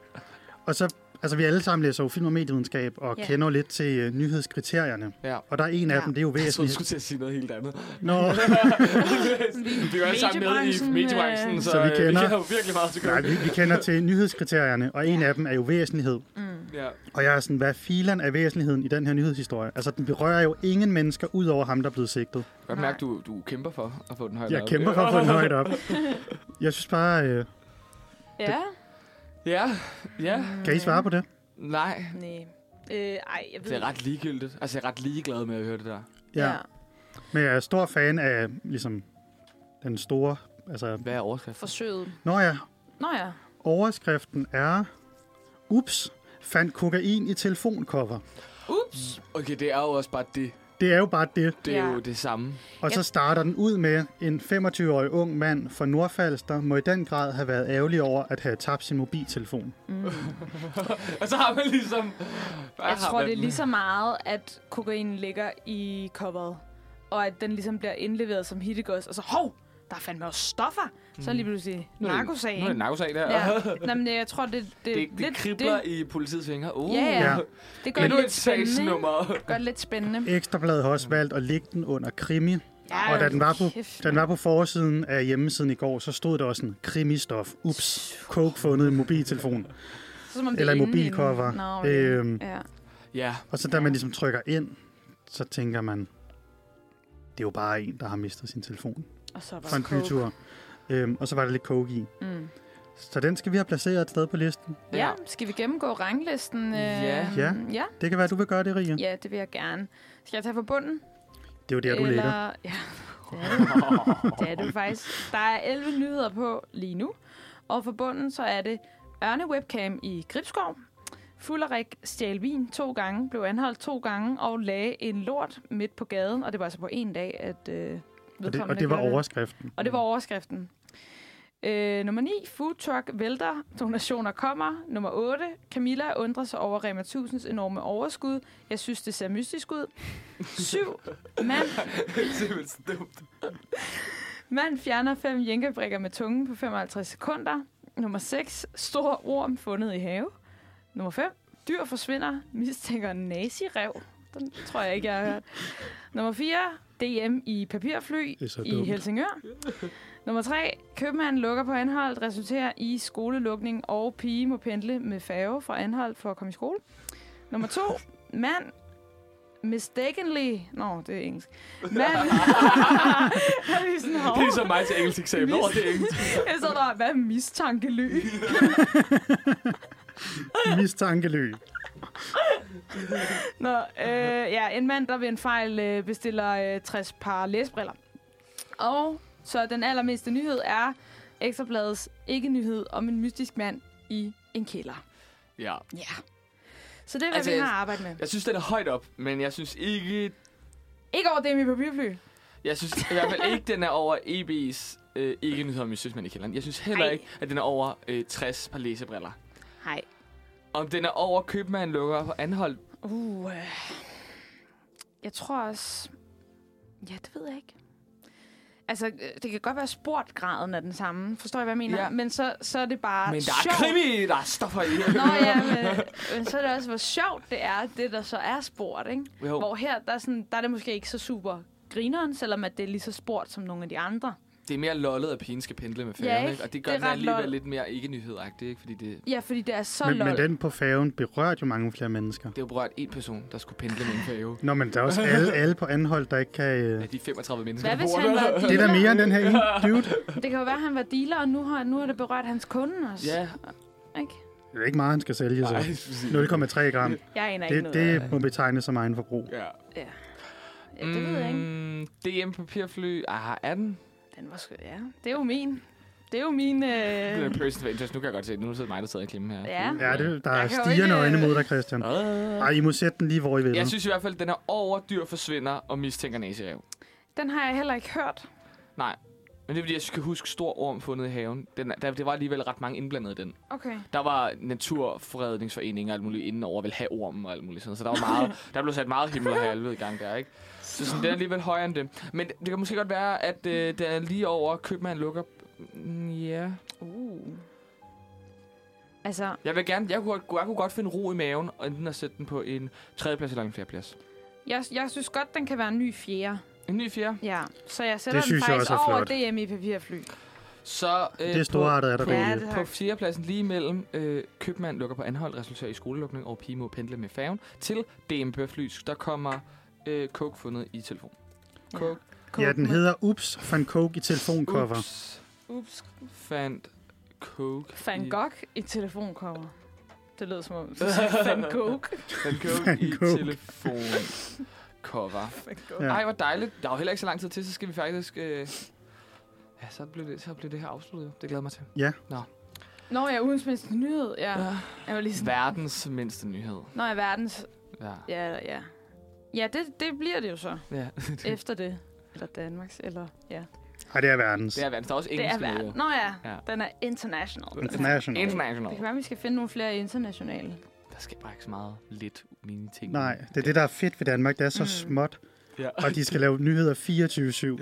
Speaker 3: og så, altså vi alle sammen læser jo film og medievidenskab, og
Speaker 2: Ja.
Speaker 3: yeah. kender jo lidt til øh, nyhedskriterierne.
Speaker 1: Ja.
Speaker 3: Og der er en af
Speaker 2: Ja.
Speaker 3: ja. dem, det er jo
Speaker 1: Jeg troede, du
Speaker 3: væsentligt.
Speaker 1: skulle til at sige noget helt andet.
Speaker 3: Nå,
Speaker 1: Vi er jo alle sammen med i
Speaker 2: Mediebranchen,
Speaker 1: mediebranchen,
Speaker 2: øh,
Speaker 1: så,
Speaker 3: Så vi
Speaker 1: øh,
Speaker 3: kender-
Speaker 1: vi kender jo virkelig meget til
Speaker 3: nej,
Speaker 1: coke.
Speaker 3: vi, vi kender til nyhedskriterierne, og en af dem er jo væsentlighed.
Speaker 2: Mm.
Speaker 1: Ja.
Speaker 3: Og jeg er sådan, hvad filen er væsentligheden i den her nyhedshistorie? Altså, den berører jo ingen mennesker, ud over ham, der er blevet sigtet.
Speaker 1: Jeg kan godt
Speaker 2: Nej.
Speaker 1: mærke, du, du kæmper for at få den højt
Speaker 3: Jeg
Speaker 1: op.
Speaker 3: kæmper for at få den højt op. Jeg synes bare, øh,
Speaker 2: Ja.
Speaker 1: Ja, ja.
Speaker 2: Mm.
Speaker 3: kan I svare på det?
Speaker 1: Nej,
Speaker 2: Nej. Øh, ej, jeg ved
Speaker 1: det er ret ligegyldigt. Altså, jeg er ret ligeglad med at høre det der.
Speaker 2: Ja. ja.
Speaker 3: Men jeg er stor fan af ligesom, den store... Altså,
Speaker 1: Hvad er overskriften?
Speaker 2: Forsøget.
Speaker 3: når jeg
Speaker 2: Nå ja.
Speaker 3: overskriften er... Ups, fandt kokain i telefoncover.
Speaker 2: Ups.
Speaker 1: Okay, det er jo også bare det.
Speaker 3: Det er jo bare det.
Speaker 1: Det er
Speaker 2: Ja.
Speaker 1: jo det samme.
Speaker 3: Og så starter den ud med, en 25-årig ung mand fra Nordfalster må i den grad have været ærgerlig over at have tabt sin mobiltelefon.
Speaker 1: Og så har man ligesom... Bare
Speaker 2: Jeg
Speaker 1: har
Speaker 2: tror,
Speaker 1: man
Speaker 2: det er
Speaker 1: den.
Speaker 2: lige så meget, at kokainen ligger i coveret, og at den ligesom bliver indleveret som hittegods, og så, hov, der er fandme også stoffer. Så lige pludselig
Speaker 1: Mm. Nu er det-
Speaker 2: narkosag,
Speaker 1: Nu er det en
Speaker 2: ikke?
Speaker 1: narkosag, det her.
Speaker 2: Ja.
Speaker 1: Ja.
Speaker 2: Nå, men øh, jeg tror, det, det,
Speaker 1: Det, det, det
Speaker 2: lidt,
Speaker 1: kribler
Speaker 2: det,
Speaker 1: i politiets fingre. Uh.
Speaker 2: Ja, ja.
Speaker 3: Ja.
Speaker 2: det gør
Speaker 1: Men
Speaker 2: det
Speaker 1: nu
Speaker 2: lidt
Speaker 1: et
Speaker 2: spændende. ikke?
Speaker 1: sagsnummer.
Speaker 2: Gør det lidt spændende.
Speaker 3: Ekstrabladet har også valgt at lægge den under krimi.
Speaker 2: Ja,
Speaker 3: Og da den var på,
Speaker 2: kæft,
Speaker 3: da den var på forsiden af hjemmesiden i går, så stod der også sådan, krimistof, ups, coke fundet i mobiltelefon.
Speaker 2: Så som om det
Speaker 3: Eller
Speaker 2: er
Speaker 3: en
Speaker 2: inde i den.
Speaker 3: mobilcover.
Speaker 2: Nå,
Speaker 3: Øhm.
Speaker 2: okay. ja.
Speaker 1: Ja,
Speaker 3: Og så da man ligesom trykker ind, så tænker man, det er jo bare en, der har mistet sin telefon
Speaker 2: Og så
Speaker 3: fra
Speaker 2: var
Speaker 3: en
Speaker 2: coke.
Speaker 3: bytur. Øhm, og så var der lidt coke i.
Speaker 2: Mm.
Speaker 3: Så den skal vi have placeret et sted på listen.
Speaker 2: Ja, skal vi gennemgå ranglisten? øh,
Speaker 1: Ja.
Speaker 3: Ja.
Speaker 2: ja.
Speaker 3: Det kan være, du vil gøre det, Ria.
Speaker 2: Ja, det vil jeg gerne. Skal jeg tage fra bunden?
Speaker 3: Det er jo der, du ligger.
Speaker 2: Ja, det er det. det er det faktisk. Der er 11 nyheder på lige nu. Og for bunden så er det Ørne Webcam i Gribskov. Fullerik stjal vin to gange, blev anholdt to gange og lagde en lort midt på gaden. Og det var altså på en dag, at øh,
Speaker 3: Og det,
Speaker 2: vedkommende
Speaker 3: og det var
Speaker 2: gjorde
Speaker 3: overskriften.
Speaker 2: og det var overskriften. Øh, nummer 9, food truck vælter, donationer kommer. Nummer 8, Camilla undrer sig over Rema 1000's enorme overskud. Jeg synes, det ser mystisk ud. 7, mand,
Speaker 1: simpelthen dumt.
Speaker 2: mand fjerner fem jænkebrikker med tungen på 55 sekunder. Nummer 6, stor orm fundet i have. Nummer 5, Dyr forsvinder, mistænker nazirev. Den tror jeg ikke, jeg har hørt. Nummer 4, DM i papirfly
Speaker 3: Det er så
Speaker 2: i
Speaker 3: dumt.
Speaker 2: Helsingør. Nummer 3, købmanden lukker på Anholdt, resulterer i skolelukning, og pige må pendle med færge fra Anholdt for at komme i skole. Nummer 2, mand mistakenly... Nå, det er engelsk. Mand... Jeg er lige sådan,
Speaker 1: Det er ligesom mig til engelsk eksamen. Nå, det er engelsk.
Speaker 2: jeg sad der, hvad er mistankely?
Speaker 3: Mistankeløg.
Speaker 2: Nå, øh, ja, en mand, der ved en fejl øh, bestiller øh, 60 par læsebriller. Og så den allermeste nyhed er Ekstrabladets ikke-nyhed om en mystisk mand i en kælder.
Speaker 1: Ja.
Speaker 2: Ja. Så det er,
Speaker 1: Altså,
Speaker 2: hvad altså, vi
Speaker 1: jeg-
Speaker 2: har arbejdet med.
Speaker 1: Jeg synes, den er højt op, men jeg synes ikke...
Speaker 2: Ikke over det med papirfly.
Speaker 1: Jeg synes i hvert fald ikke, den er over EB's øh, ikke nyheder om Mystisk Mand i kælderen. Jeg synes heller
Speaker 2: Ej.
Speaker 1: ikke, at den er over øh, 60 par læsebriller.
Speaker 2: Nej.
Speaker 1: Om den er over købmanden lukker på anhold.
Speaker 2: Uh, øh. jeg tror også... Ja, det ved jeg ikke. Altså, øh, det kan godt være, at sportgraden er den samme. Forstår jeg, hvad jeg mener?
Speaker 1: Ja.
Speaker 2: Ja. Men så, så er det bare
Speaker 1: Men der
Speaker 2: sjovt.
Speaker 1: er krimi, der er stoffer i.
Speaker 2: Nå ja, men, men så er det også, hvor sjovt det er, det der så er sport, ikke?
Speaker 1: Jo.
Speaker 2: Hvor her, der er, sådan, der er det måske ikke så super grineren, selvom at det er lige så sport som nogle af de andre.
Speaker 1: Det er mere lollet, at pigen skal pendle med færgen,
Speaker 2: ikke?
Speaker 1: ikke? Og det
Speaker 2: Det
Speaker 1: gør
Speaker 2: er
Speaker 1: det den
Speaker 2: ret
Speaker 1: alligevel
Speaker 2: lol.
Speaker 1: lidt mere ikke nyhedagtig, ikke? Fordi det, det
Speaker 2: Ja, fordi det er så
Speaker 3: Men,
Speaker 2: lol.
Speaker 3: men den på færgen berørte jo mange flere mennesker.
Speaker 1: er jo berørt én person, der skulle pendle med en færge.
Speaker 3: Nå, men der er også alle, alle på anhold, der ikke kan... Øh...
Speaker 1: Af de 35 mennesker,
Speaker 2: Hvad
Speaker 1: der
Speaker 2: hvis
Speaker 1: bor
Speaker 2: han
Speaker 1: der.
Speaker 2: var
Speaker 3: Det er da
Speaker 2: dealer?
Speaker 3: mere end den her ene dude.
Speaker 2: Det kan jo være, at han var dealer, og nu har, nu har det berørt hans kunde også.
Speaker 1: Ja,
Speaker 2: Ikke?
Speaker 3: Det er ikke meget, han skal sælge, så.
Speaker 1: nej, præcis.
Speaker 3: 0,3 gram.
Speaker 2: Jeg aner ikke
Speaker 3: Det,
Speaker 2: noget. af
Speaker 3: det må betegnes som egen forbrug.
Speaker 1: Ja.
Speaker 2: Ja, det ved jeg ikke.
Speaker 1: Mm, DM papirfly. Ah, er den?
Speaker 2: Den var sgu... Ja, det er jo min. Det er jo min... Øh...
Speaker 1: Det er person of interest. Nu kan jeg godt se, nu sidder mig, der sidder i klemme her.
Speaker 2: Ja.
Speaker 3: Ja, det, der
Speaker 2: Jeg
Speaker 3: er
Speaker 2: kan jo
Speaker 3: stigende
Speaker 2: ikke-
Speaker 3: øjne mod dig, Christian.
Speaker 1: Ah.
Speaker 3: Ej, I må sætte den lige, hvor I vil.
Speaker 1: Jeg synes i hvert fald, at den er over dyr forsvinder og mistænker naserev.
Speaker 2: Den har jeg heller ikke hørt.
Speaker 1: Nej. Men det er fordi, jeg skal huske stor orm fundet i haven. Den, er- der, det var alligevel ret mange indblandede i den.
Speaker 2: Okay.
Speaker 1: Der var naturfredningsforeninger og alt muligt inden over, vil have ormen og alt muligt sådan. Så der var meget, der blev sat meget himmel og helvede i gang der, ikke? Så sådan, den er alligevel højere end det. Men det kan måske godt være, at øh, den er lige over købmand lukker. Mm, Ja. Yeah.
Speaker 2: Uh. Altså,
Speaker 1: Jeg vil gerne, jeg kunne, jeg kunne godt finde ro i maven, og enten at sætte den på en tredjeplads eller en fjerdeplads.
Speaker 2: jeg, jeg synes godt, den kan være en ny fjerde.
Speaker 1: En ny fjerde.
Speaker 2: Ja, så jeg sætter den
Speaker 3: synes jeg
Speaker 2: faktisk
Speaker 3: også er
Speaker 2: over
Speaker 3: flot.
Speaker 2: DM i papirfly.
Speaker 1: Så øh,
Speaker 3: Det er storartet, er der
Speaker 1: på,
Speaker 3: går
Speaker 2: Ja,
Speaker 3: i
Speaker 2: det
Speaker 3: det.
Speaker 2: har
Speaker 1: på
Speaker 2: jeg.
Speaker 1: fjerdepladsen lige mellem øh, købmand lukker på anhold, resulterer i skolelukning og pige må pendle med færgen til DMP Flys. Der kommer øh, coke fundet i telefon.
Speaker 2: Ja.
Speaker 1: Coke.
Speaker 3: Ja, den
Speaker 2: Coke.
Speaker 3: hedder Ups van Coke i telefoncover.
Speaker 1: Ups,
Speaker 2: Ups,
Speaker 1: fandt coke.
Speaker 2: Van
Speaker 1: i-
Speaker 2: Gogh i telefoncover. Det lød som om, du sagde Van Gogh.
Speaker 1: Fandt coke
Speaker 3: Fandt
Speaker 1: i
Speaker 3: coke.
Speaker 1: telefon. Cover.
Speaker 3: Ja.
Speaker 1: Ej, hvor dejligt. Der er jo heller ikke så lang tid til, så skal vi faktisk... Øh... Ja, så blev, det, så blev det her afsluttet. Det glæder jeg mig til.
Speaker 2: Nå, jeg er ugens mindste nyhed. Ja, jeg var lige sådan,
Speaker 1: Verdens mindste nyhed.
Speaker 2: Nå, jeg er verdens...
Speaker 1: Ja.
Speaker 2: Ja, ja. Ja, det, det bliver det jo så.
Speaker 1: ja.
Speaker 2: Efter det. Eller Danmarks, eller... Ja.
Speaker 3: Ej, det er verdens.
Speaker 1: Det er verdens. Der er også
Speaker 2: Det er
Speaker 1: engelsk nyheder.
Speaker 2: verden. Nå ja,
Speaker 1: Ja.
Speaker 2: den er international.
Speaker 3: International.
Speaker 2: Det kan
Speaker 1: International.
Speaker 2: være, vi skal finde nogle flere internationale.
Speaker 1: Der sker bare ikke så meget lidt mine ting.
Speaker 3: Nej, det er det, der er fedt ved Danmark. Det er så
Speaker 2: Mm.
Speaker 3: småt,
Speaker 1: Ja.
Speaker 3: og de skal lave nyheder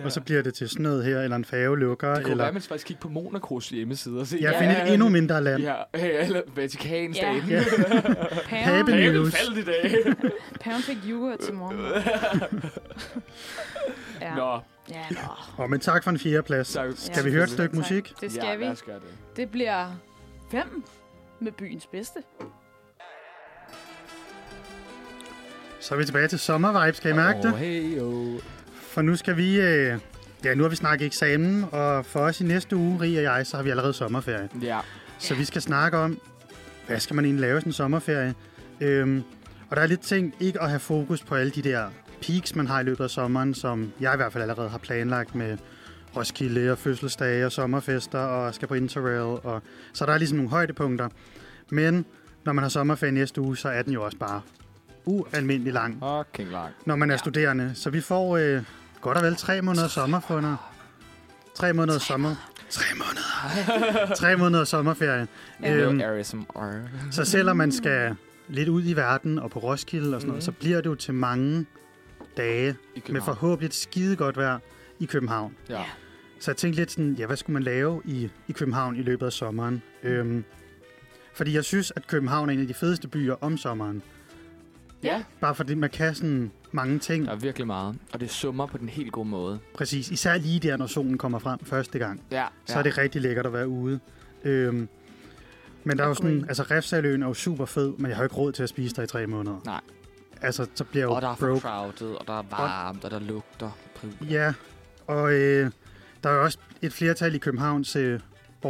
Speaker 3: 24-7, og så bliver det til sådan noget her, eller en færgelukker,
Speaker 1: Det kunne
Speaker 3: eller...
Speaker 1: være, at man faktisk kigge på Monacos hjemmeside og se.
Speaker 3: Jeg finder et endnu mindre land.
Speaker 1: Ja, ja, eller Vatikanstaten.
Speaker 2: Ja.
Speaker 1: Ja.
Speaker 2: Paven,
Speaker 3: Paven.
Speaker 1: Paven
Speaker 3: News.
Speaker 1: faldt i dag.
Speaker 2: Paven fik yoghurt til morgen. ja.
Speaker 1: Nå,
Speaker 2: Ja, nå.
Speaker 3: Og men tak for en fjerdeplads.
Speaker 1: så
Speaker 3: Skal vi høre et stykke
Speaker 2: Tak.
Speaker 3: musik?
Speaker 2: Det skal
Speaker 1: ja,
Speaker 2: vi.
Speaker 1: lad os gøre det.
Speaker 2: Det bliver fem med byens bedste.
Speaker 3: Så er vi tilbage til sommervibes, kan I mærke det?
Speaker 1: Åh, hey, oh.
Speaker 3: For nu skal vi... Øh... Ja, nu har vi snakket eksamen, og for os i næste uge, Rie og jeg, så har vi allerede sommerferie.
Speaker 1: Ja,
Speaker 3: Så vi skal snakke om, hvad skal man egentlig lave i sådan en sommerferie? Øhm, og der er lidt ting ikke at have fokus på alle de der peaks, man har i løbet af sommeren, som jeg i hvert fald allerede har planlagt med Roskilde og fødselsdage og sommerfester og skal på Interrail. Og, så der er ligesom nogle højdepunkter. Men når man har sommerferie næste uge, så er den jo også bare ualmindelig lang,
Speaker 1: fucking langt.
Speaker 3: når man er studerende. Så vi får øh, godt og vel tre måneder sommer for noget. Tre måneder sommer. Tre måneder. tre måneder sommerferie.
Speaker 1: Øhm. ASMR.
Speaker 3: Så selvom man skal lidt ud i verden og på Roskilde og sådan noget, så bliver det jo til mange
Speaker 1: I
Speaker 3: dage med
Speaker 1: København.
Speaker 3: forhåbentlig et skide godt vejr i København.
Speaker 1: Ja.
Speaker 3: Så jeg tænkte lidt sådan, ja, hvad skulle man lave i, i København i løbet af sommeren? Øhm, Fordi jeg synes, at København er en af de fedeste byer om sommeren.
Speaker 2: Ja.
Speaker 3: Bare fordi man kan sådan mange ting.
Speaker 1: Der er virkelig meget, og det summer på den helt gode måde.
Speaker 3: Præcis. Især lige der, når solen kommer frem første gang.
Speaker 1: Ja,
Speaker 3: så ja. er det rigtig lækkert at være ude. Øhm, men der er jo sådan, altså Refsaløen er jo super fed, men jeg har jo ikke råd til at spise der i tre måneder.
Speaker 1: Nej.
Speaker 3: Altså, så bliver jeg jo
Speaker 1: Og der er for
Speaker 3: broke.
Speaker 1: crowded, og der er varmt, og der lugter.
Speaker 3: Ja, og øh, der er jo også et flertal i Københavns øh,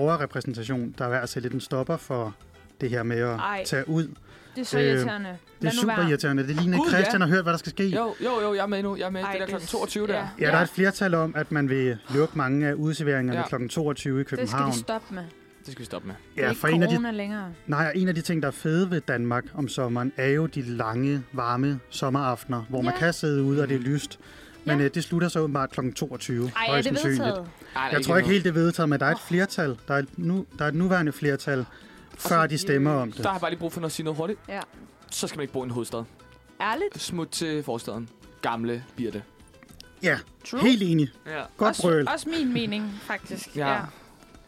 Speaker 3: borgerrepræsentation, der er ved at sætte lidt en stopper for det her med at
Speaker 2: Ej.
Speaker 3: Ej. tage ud.
Speaker 2: Det er så
Speaker 3: Øh,
Speaker 2: irriterende. Øh,
Speaker 3: Det er super irriterende. Det ligner, at
Speaker 1: Gud,
Speaker 3: Christian har hørt, hvad der skal ske.
Speaker 1: Jo, jo, jo, jeg er med nu. Jeg er med. Ej,
Speaker 2: Ej,
Speaker 1: det der
Speaker 2: det-
Speaker 1: klokken 22 der.
Speaker 2: ja.
Speaker 3: Ja, der er et flertal om, at man vil lukke mange af udserveringerne
Speaker 1: Ja.
Speaker 3: ja. kl. 22 i
Speaker 2: Det skal
Speaker 3: København.
Speaker 2: de stoppe med.
Speaker 1: Det skal vi stoppe med.
Speaker 2: Det er
Speaker 3: ja,
Speaker 2: ikke
Speaker 3: for en af de
Speaker 2: corona længere.
Speaker 3: Nej, og en af de ting, der er fede ved Danmark om sommeren, er jo de lange, varme sommeraftener, hvor ja. man
Speaker 2: Ja. Mhm.
Speaker 3: kan sidde ude, og det er lyst. Men
Speaker 2: Ja.
Speaker 3: øh, det slutter så åbenbart kl. 22.
Speaker 2: Ej, er
Speaker 3: højst
Speaker 2: det
Speaker 3: sandsynligt.
Speaker 2: vedtaget?
Speaker 1: Ej, der er
Speaker 3: Jeg tror
Speaker 1: noget.
Speaker 3: ikke helt, det er vedtaget, men der er et flertal. Der er et, nu, der er et nuværende flertal, før de stemmer om det.
Speaker 1: Der har jeg bare lige brug for noget at sige noget hurtigt.
Speaker 2: Ja.
Speaker 1: Så skal man ikke bo i en hovedstad.
Speaker 2: Ærligt?
Speaker 1: Smut til forstaden. Gamle Birte.
Speaker 3: Ja,
Speaker 2: True.
Speaker 3: helt enig.
Speaker 1: Ja.
Speaker 3: Godt brøl.
Speaker 2: også, også min mening, faktisk.
Speaker 1: Ja.
Speaker 2: ja.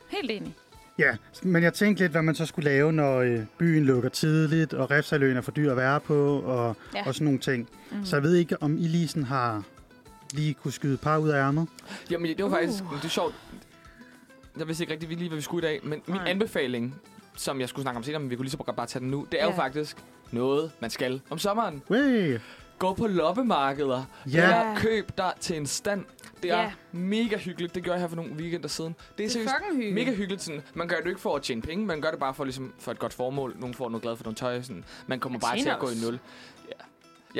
Speaker 2: Helt enig.
Speaker 3: Ja, men jeg tænkte lidt, hvad man så skulle lave, når øh, byen lukker tidligt, og Refsaløen er for dyr at være på, og,
Speaker 2: Ja. Mhm.
Speaker 3: ja. og sådan nogle ting. Mm. Så jeg ved ikke, om I lige sådan har lige kunne skyde et par ud af ærmet.
Speaker 1: Jamen, det var
Speaker 2: Uh.
Speaker 1: faktisk... Det er sjovt. Jeg vidste ikke rigtig lige, hvad vi skulle i dag, men min
Speaker 2: Nej.
Speaker 1: anbefaling, som jeg skulle snakke om senere, men vi kunne lige så godt bare tage den nu, det er jo
Speaker 2: Ja.
Speaker 1: faktisk noget, man skal om sommeren.
Speaker 3: Way!
Speaker 1: Gå på loppemarkeder.
Speaker 3: Ja.
Speaker 1: Eller køb dig til en stand. Det er
Speaker 2: Ja.
Speaker 1: mega hyggeligt. Det gjorde jeg her for nogle weekender siden. Det er
Speaker 2: Det er
Speaker 1: seriøst
Speaker 2: fucking hyggeligt.
Speaker 1: mega hyggeligt. Sådan. Man gør det jo ikke for at tjene penge, man gør det bare for, ligesom, for et godt formål. Nogle får noget glad for nogle tøj. Sådan. Man kommer
Speaker 2: Man
Speaker 1: bare til
Speaker 2: tjener
Speaker 1: at gå i
Speaker 2: også.
Speaker 1: nul. Ja.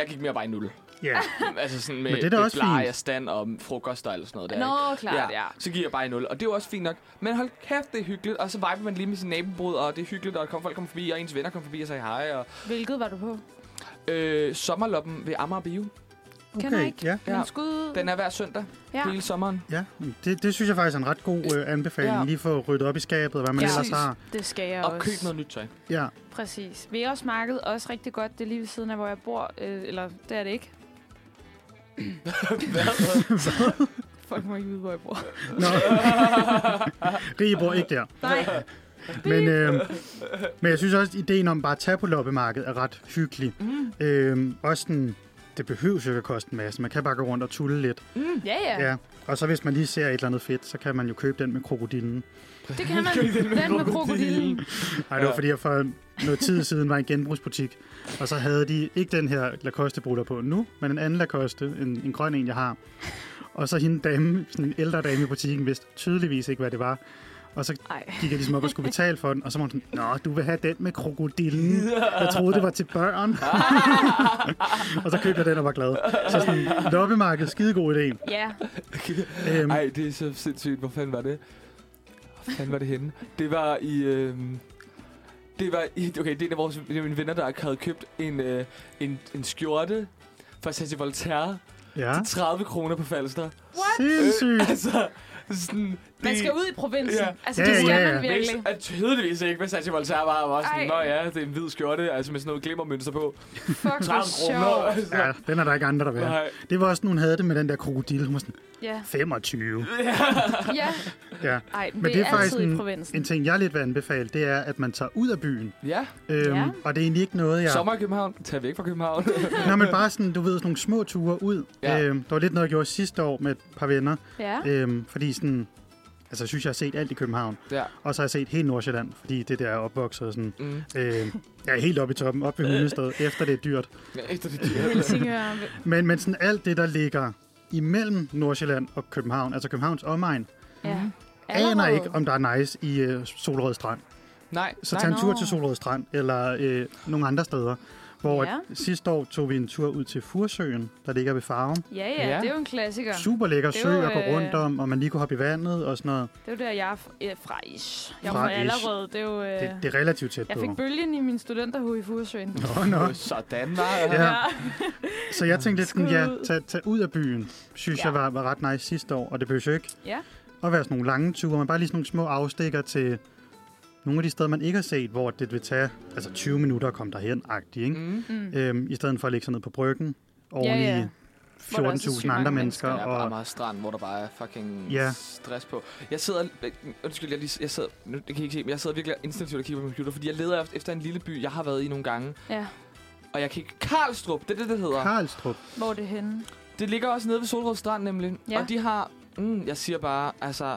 Speaker 1: Jeg gik mere bare i nul.
Speaker 3: Ja, yeah.
Speaker 1: altså sådan med,
Speaker 3: Men det er da
Speaker 1: med
Speaker 3: også
Speaker 1: pleje
Speaker 3: fint.
Speaker 1: og stand og frokost og alt sådan noget der. ikke?
Speaker 2: Nå, klart, ja.
Speaker 1: Så giver jeg bare i nul, og det er jo også fint nok. Men hold kæft, det er hyggeligt, og så viber man lige med sin nabobrud, og det er hyggeligt, og der kommer folk kommer forbi, og ens venner kommer forbi og siger hej. Og,
Speaker 2: Hvilket var du på?
Speaker 1: øh, sommerloppen ved Amager Bio,
Speaker 2: Kender ikke.
Speaker 3: ja.
Speaker 1: Ja.
Speaker 2: Men skud...
Speaker 1: den er hver søndag
Speaker 2: ja.
Speaker 1: hele sommeren.
Speaker 3: Ja, det, det synes jeg faktisk er en ret god øh, anbefaling.
Speaker 1: Ja.
Speaker 3: Ja. Lige få ryddet op i skabet, og hvad man
Speaker 2: Ja.
Speaker 3: ja. ellers har.
Speaker 2: Det skal jeg
Speaker 1: Og
Speaker 2: også.
Speaker 1: køb noget nyt tøj. Mm.
Speaker 3: Ja.
Speaker 2: Præcis. Veos Marked er også rigtig godt. Det er lige ved siden af, hvor jeg bor. Øh, eller, det er det ikke. Folk må ikke vide, hvor jeg bor.
Speaker 3: Nå. Rige bor ikke der.
Speaker 2: Nej.
Speaker 3: Men, øh, men jeg synes også, at ideen om bare at tage på loppemarkedet er ret hyggelig.
Speaker 1: Mm.
Speaker 3: Øh, også den, det behøver jo ikke at koste en masse. Man kan bare gå rundt og tulle lidt.
Speaker 2: Ja, ja.
Speaker 3: Ja. Og så hvis man lige ser et eller andet fedt, så kan man jo købe den med krokodillen.
Speaker 2: Det kan man. Den med krokodillen.
Speaker 3: Nej, det var fordi, jeg for noget tid siden var i en genbrugsbutik, og så havde de ikke den her lacoste bruder på nu, men en anden Lacoste, en, en grøn en, jeg har. Og så hende dame, sådan en ældre dame i butikken, vidste tydeligvis ikke, hvad det var. Og så
Speaker 2: Ej.
Speaker 3: gik jeg ligesom op og skulle betale for den, og så var hun sådan, Nå, du vil have den med krokodillen. Jeg troede, det var til børn. og så købte jeg den og var glad. Så sådan, loppemarked, skidegod idé.
Speaker 2: Ja.
Speaker 3: Øhm,
Speaker 1: Nej, det er så sindssygt. Hvor fanden var det? Hvor fanden var det henne? Det var i... Øhm, det var i... Okay, det er en af vores det er mine venner, der havde købt en, øh, en, en skjorte fra Sassy Voltaire
Speaker 3: ja,
Speaker 1: til 30 kroner på Falster.
Speaker 3: sindssygt.
Speaker 1: altså, sådan...
Speaker 2: Man skal ud i provinsen.
Speaker 1: Ja.
Speaker 2: Altså,
Speaker 3: Ja,
Speaker 2: det skal
Speaker 3: ja, ja.
Speaker 2: man virkelig.
Speaker 1: Det er tydeligvis ikke, hvad Sassy Voltaire var. Og var sådan,
Speaker 2: Ej.
Speaker 1: Nå ja, det er en hvid skjorte, altså med sådan noget glimmermønster på.
Speaker 2: Fuck,
Speaker 1: 30
Speaker 2: hvor
Speaker 1: kroner.
Speaker 2: sjovt.
Speaker 1: Altså,
Speaker 3: Ja, den er der ikke andre, der vil have.
Speaker 1: nej.
Speaker 3: Det var også, nogen havde det med den der krokodille. Hun var sådan,
Speaker 2: Ja.
Speaker 3: 25.
Speaker 2: Ja.
Speaker 3: Ja.
Speaker 2: Ej, men
Speaker 3: Men
Speaker 2: det,
Speaker 3: det er
Speaker 2: er
Speaker 3: faktisk
Speaker 2: altid i
Speaker 3: en-
Speaker 2: provinsen.
Speaker 3: En ting, jeg lidt vil anbefale, det er, at man tager ud af byen.
Speaker 1: Ja,
Speaker 3: Øhm,
Speaker 2: Ja.
Speaker 3: ja. Og det er egentlig ikke noget, jeg...
Speaker 1: ja, sommer i København. Tag væk fra København.
Speaker 3: Nå, men bare sådan, du ved, sådan nogle små ture ud.
Speaker 1: Ja.
Speaker 3: Ja. Øhm, det var lidt noget, jeg gjorde sidste år med et par venner.
Speaker 2: Ja.
Speaker 3: Øhm, fordi sådan... Altså, jeg synes, jeg har set alt i København.
Speaker 1: ja.
Speaker 3: Og så har jeg set hele Nordsjælland, fordi det der er opvokset sådan...
Speaker 1: Mm.
Speaker 3: Øhm, jeg er helt oppe i toppen, oppe ved Hundested, efter det er dyrt.
Speaker 1: Ja, Efter det dyre.
Speaker 2: Helsingør.
Speaker 3: Men, men sådan alt det, der ligger imellem Nordsjælland og København, altså Københavns omegn,
Speaker 2: Ja.
Speaker 3: aner ikke, om der er nice i øh, Solrød Strand.
Speaker 1: Nej,
Speaker 3: Så
Speaker 1: nej.
Speaker 3: tag en tur
Speaker 2: nå.
Speaker 3: til Solrød Strand, eller øh, nogle andre steder. Hvor
Speaker 2: Ja.
Speaker 3: ja. sidste år tog vi en tur ud til Fursøen, der ligger ved Farum.
Speaker 2: Ja, ja,
Speaker 1: Ja.
Speaker 2: det er jo en klassiker.
Speaker 3: Ja. Super lækker
Speaker 2: Det er
Speaker 3: sø
Speaker 2: jo,
Speaker 3: at gå
Speaker 2: øh,
Speaker 3: rundt om, og man lige kunne hoppe i vandet og sådan noget.
Speaker 2: Det er jo der, jeg er f- øh, fra ish. Jeg er
Speaker 3: Fra
Speaker 2: fra
Speaker 3: ish.
Speaker 2: allerede. Det er jo... Øh...
Speaker 3: Det, det er relativt tæt
Speaker 2: Jeg
Speaker 3: på.
Speaker 2: fik bølgen i min studenterhue i Furesøen.
Speaker 3: Nå, nå.
Speaker 1: Sådan var det.
Speaker 3: Ja. Så jeg tænkte lidt sådan,
Speaker 2: Skud
Speaker 3: ja,
Speaker 2: ud.
Speaker 3: tag, tag ud af byen, synes
Speaker 2: Ja.
Speaker 3: ja. jeg var, var ret nice sidste år. Og det behøver jo ikke
Speaker 2: Ja.
Speaker 3: at være sådan nogle lange ture, men bare lige sådan nogle små afstikker til nogle af de steder, man ikke har set, hvor det vil tage altså 20 minutter at komme derhen, agtigt, ikke?
Speaker 1: Mm.
Speaker 2: Mm.
Speaker 3: Øhm, I stedet for at lægge sig ned på bryggen oven
Speaker 2: Ja, ja.
Speaker 3: i
Speaker 2: Hvor der er så sygt
Speaker 3: 14.000
Speaker 2: mange
Speaker 3: andre mennesker.
Speaker 2: mennesker,
Speaker 5: Der er bare
Speaker 3: Og,
Speaker 5: meget strand, hvor der bare er fucking
Speaker 3: Ja.
Speaker 5: yeah. stress på. Jeg sidder... øh, Undskyld, jeg, lige, jeg sidder... Nu det kan I ikke se, men jeg sidder virkelig instinktivt og kigger på min computer, fordi jeg leder efter- efter en lille by, jeg har været i nogle gange.
Speaker 2: Ja,
Speaker 5: Og jeg kan ikke... Karlstrup, det er det, det hedder.
Speaker 3: Karlstrup.
Speaker 2: hvor er det henne?
Speaker 5: Det ligger også nede ved Solrød Strand, nemlig.
Speaker 2: Ja.
Speaker 5: Og de har... Mm, jeg siger bare, altså...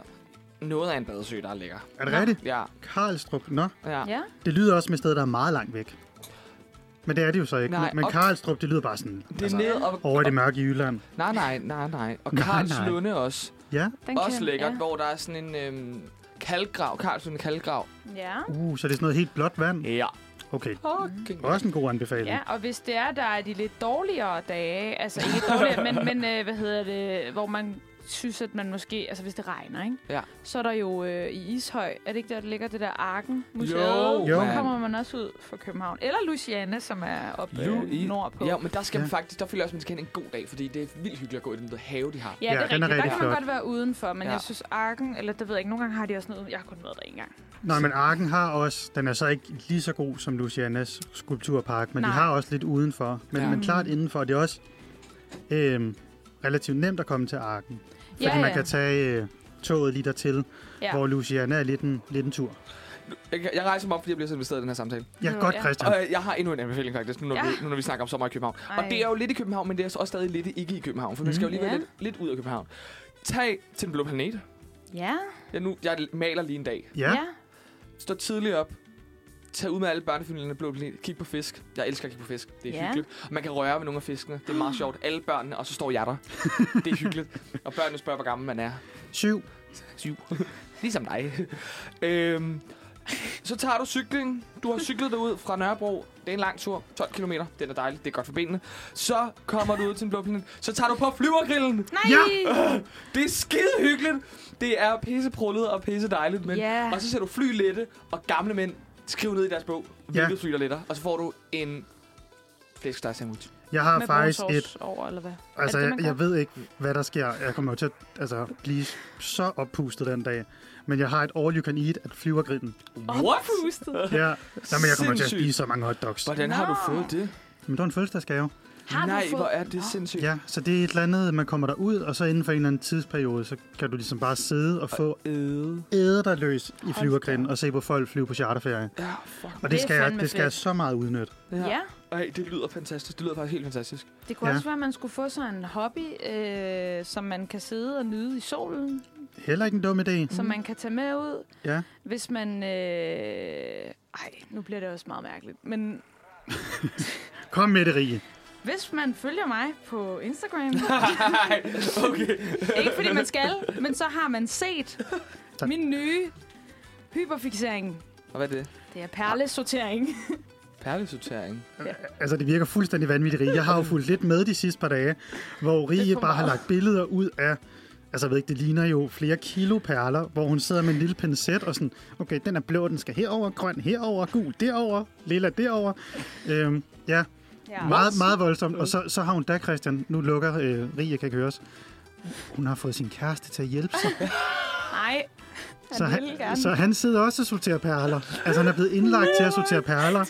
Speaker 5: Noget af en badesø, der ligger.
Speaker 3: Er det rigtigt?
Speaker 5: Ja,
Speaker 3: Karlstrup. Nå,
Speaker 5: ja.
Speaker 2: Ja,
Speaker 3: det lyder også med et sted, der er meget langt væk. Men det er det jo så ikke.
Speaker 5: Nej,
Speaker 3: Nej, Men
Speaker 5: og-
Speaker 3: Karlstrup, det lyder bare sådan
Speaker 5: Det er nede og...
Speaker 3: over i det mørke Jylland.
Speaker 5: Nej, nej, nej, nej. Og
Speaker 3: Altså- Nej, nej.
Speaker 5: Karlslunde også.
Speaker 3: Ja,
Speaker 2: den
Speaker 5: Også
Speaker 2: kan-
Speaker 5: lækkert, hvor der er sådan en... Øhm, kalkgrav. Karlslunde kalkgrav.
Speaker 2: Ja.
Speaker 3: uh, så det er sådan noget helt blåt vand.
Speaker 5: Ja.
Speaker 3: Okay,
Speaker 5: Fucking
Speaker 3: også en god anbefaling.
Speaker 2: Ja, og hvis det er, der er de lidt dårligere dage, altså ikke dårligere, men, men øh, hvad hedder det, hvor man synes, at man måske, altså hvis det regner, ikke?
Speaker 5: Ja.
Speaker 2: så er der jo øh, i Ishøj, er det ikke der, der ligger det der Arken Museet?
Speaker 5: Jo,
Speaker 3: Jo.
Speaker 2: Der
Speaker 5: mand.
Speaker 2: kommer man også ud fra København. Eller Luciane, som er oppe
Speaker 5: Lu-
Speaker 2: øh,
Speaker 5: i-
Speaker 2: nordpå.
Speaker 5: Ja, men der skal man
Speaker 3: Ja.
Speaker 5: faktisk, der føler jeg også, man skal have en god dag, fordi det er vildt hyggeligt at gå i den der have, de har.
Speaker 2: Ja, det er
Speaker 3: Ja,
Speaker 2: rigtigt.
Speaker 3: den er
Speaker 2: der
Speaker 3: rigtig
Speaker 2: kan man
Speaker 3: flot.
Speaker 2: godt være udenfor, men
Speaker 5: Ja.
Speaker 2: ja. jeg synes Arken, eller det ved jeg ikke, nogle gange har de også noget, jeg har kun været der en gang.
Speaker 3: Nej, men Arken har også, den er så ikke lige så god som Lucianas skulpturpark, men Nej. de
Speaker 2: Nej. Mm.
Speaker 3: har også lidt udenfor. Men,
Speaker 5: Ja.
Speaker 3: ja. men klart indenfor, og det er også øh, relativt nemt at komme til Arken. Fordi
Speaker 2: Ja,
Speaker 3: man
Speaker 2: ja.
Speaker 3: kan tage øh, toget lige dertil, ja.
Speaker 2: Ja.
Speaker 3: hvor Luciana er lidt en, lidt en tur.
Speaker 5: Jeg, jeg rejser mig op, fordi jeg bliver så investeret i den her samtale.
Speaker 3: Ja,
Speaker 2: Nå,
Speaker 3: godt,
Speaker 2: ja.
Speaker 3: Christian.
Speaker 5: Og øh, jeg har endnu en anbefaling faktisk, nu når, ja.
Speaker 2: Ja.
Speaker 5: vi, nu, når vi snakker om sommer i København. Ej. Og
Speaker 2: Ej.
Speaker 5: det er jo lidt i København, men det er så også stadig lidt ikke i København, for man
Speaker 3: Mm.
Speaker 5: skal jo lige være
Speaker 2: Ja.
Speaker 5: lidt, lidt ud af København. Tag til den blå planet.
Speaker 2: Ja,
Speaker 5: Jeg, nu, jeg maler lige en dag.
Speaker 3: Ja, ja.
Speaker 5: Stå tidligt op. Tag ud med alle børnefamilierne blå planet. Kig på fisk. Jeg elsker at kigge på fisk. Det er ja.
Speaker 2: Ja.
Speaker 5: hyggeligt. Og man kan røre ved nogle af fiskene. Det er meget sjovt. Alle børnene, og så står jeg der. det er hyggeligt. Og børnene spørger, hvor gammel man er.
Speaker 3: syv.
Speaker 5: Syv. ligesom dig. øhm, så tager du cykling. Du har cyklet derud fra Nørrebro. Det er en lang tur. 12 km. Den er dejlig. Det er godt for benene. Så kommer du ud til en blå planet. Så tager du på flyvergrillen.
Speaker 2: nej!
Speaker 3: Ja.
Speaker 5: Det er skide hyggeligt. Det er pisseprullet og pisse dejligt. Men...
Speaker 2: Ja.
Speaker 5: Og så ser du fly lette og gamle mænd skrive ned i deres bog, hvilket
Speaker 3: Ja.
Speaker 5: fly der letter. Og så får du en flæskesteg sandwich.
Speaker 3: Jeg har
Speaker 2: Med
Speaker 3: faktisk et...
Speaker 2: brunsovs over, eller hvad?
Speaker 3: Altså,
Speaker 2: det,
Speaker 3: jeg,
Speaker 2: man gør?
Speaker 3: jeg ved ikke, hvad der sker. Jeg kommer jo til at altså, blive så oppustet den dag. Men jeg har et all you can eat at flyvergrillen.
Speaker 5: What?
Speaker 2: Pustet.
Speaker 3: Ja, Jamen, jeg kommer til at
Speaker 5: Sindssygt.
Speaker 3: spise så mange hotdogs.
Speaker 5: Hvordan har du
Speaker 2: Nå.
Speaker 5: fået det?
Speaker 3: Men det var en fødselsdagsgave.
Speaker 2: Har du
Speaker 5: Nej,
Speaker 2: fået-
Speaker 5: hvor er det sindssygt.
Speaker 3: Ja, så det er et eller andet, man kommer derud, og så inden for en eller anden tidsperiode, så kan du ligesom bare sidde og få
Speaker 5: Øh.
Speaker 3: æde dig løs i flyvergrinden og se på folk flyve på charterferie.
Speaker 5: Ja, fuck.
Speaker 3: Og det,
Speaker 2: Det er
Speaker 3: skal, jeg,
Speaker 2: fandme
Speaker 3: det skal jeg
Speaker 2: fedt.
Speaker 3: så meget udnytte.
Speaker 2: Ja.
Speaker 5: Ej, det lyder fantastisk. Det lyder faktisk helt fantastisk.
Speaker 2: Det kunne
Speaker 3: Ja.
Speaker 2: ja. også være, at man skulle få sig en hobby, øh, som man kan sidde og nyde i solen, mm.
Speaker 3: Heller ikke en dum idé.
Speaker 5: Mhm.
Speaker 2: som man kan tage med ud.
Speaker 3: Ja.
Speaker 2: Hvis man... Øh, ej, nu bliver det også meget mærkeligt. Men
Speaker 3: Kom med det, Rige.
Speaker 2: hvis man følger mig på Instagram,
Speaker 5: Nej, okay.
Speaker 2: ikke fordi man skal, men så har man set
Speaker 3: Tak.
Speaker 2: min nye hyperfixering.
Speaker 5: Og hvad er det?
Speaker 2: Det er perlesortering.
Speaker 5: Perlesortering.
Speaker 3: Altså, det virker fuldstændig vanvittigt, Rige. Jeg har jo fulgt lidt med de sidste par dage, hvor Rige
Speaker 2: for
Speaker 3: bare har
Speaker 2: meget.
Speaker 3: lagt billeder ud af... Altså, jeg ved ikke, det ligner jo flere kilo perler, hvor hun sidder med en lille pincet og sådan, okay, den er blå, den skal herover, grøn herover, gul derover, lilla derover. Øhm, ja,
Speaker 2: Ja.
Speaker 3: Meget, meget voldsomt. Og så, så har hun da, Christian, nu lukker øh, Rie, kan ikke høres. Hun har fået sin kæreste til at hjælpe sig.
Speaker 2: Nej, han
Speaker 3: så,
Speaker 2: ville
Speaker 3: han,
Speaker 2: gerne.
Speaker 3: så han sidder også og sorterer perler. Altså, han er blevet indlagt til at sortere perler.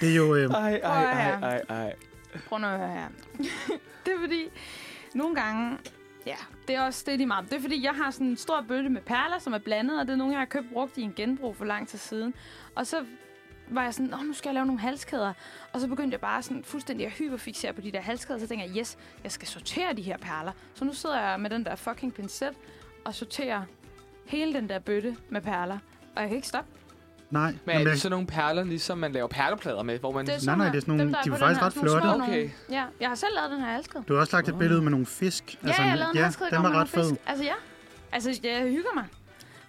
Speaker 3: Det er jo... Øh,
Speaker 5: Ej,
Speaker 2: ej, ej,
Speaker 5: ej, ej.
Speaker 2: Prøv nu at høre her. det er fordi, nogle gange... Ja, det er også det, de meget. Det er fordi, jeg har sådan en stor bøtte med perler, som er blandet, og det er nogle, jeg har købt brugt i en genbrug for lang tid siden. Og så var jeg sådan, Åh, nu skal jeg lave nogle halskæder. Og så begyndte jeg bare sådan fuldstændig at hyperfixere på de der halskæder. Så tænkte jeg, yes, jeg skal sortere de her perler. Så nu sidder jeg med den der fucking pincet og sorterer hele den der bøtte med perler. Og jeg kan ikke stoppe.
Speaker 3: nej,
Speaker 5: Men er
Speaker 3: jamen,
Speaker 5: det sådan nogle perler, ligesom man laver perleplader med, hvor man...
Speaker 2: Det er
Speaker 3: nej,
Speaker 2: sådan her.
Speaker 3: det er sådan nogle-
Speaker 2: Dem, der
Speaker 3: de er
Speaker 2: på
Speaker 3: jo faktisk
Speaker 2: den her,
Speaker 3: ret
Speaker 2: sådan nogle
Speaker 3: flotte.
Speaker 2: små
Speaker 5: Okay.
Speaker 2: nogle. Ja, jeg har selv lavet den her halskæde.
Speaker 3: du har også lagt et billede ud med nogle fisk. Altså,
Speaker 2: Ja, jeg lavede en
Speaker 3: ja,
Speaker 2: håndskrift
Speaker 3: den
Speaker 2: om
Speaker 3: var
Speaker 2: nogle
Speaker 3: ret fed.
Speaker 2: fisk. Altså ja, altså jeg hygger mig.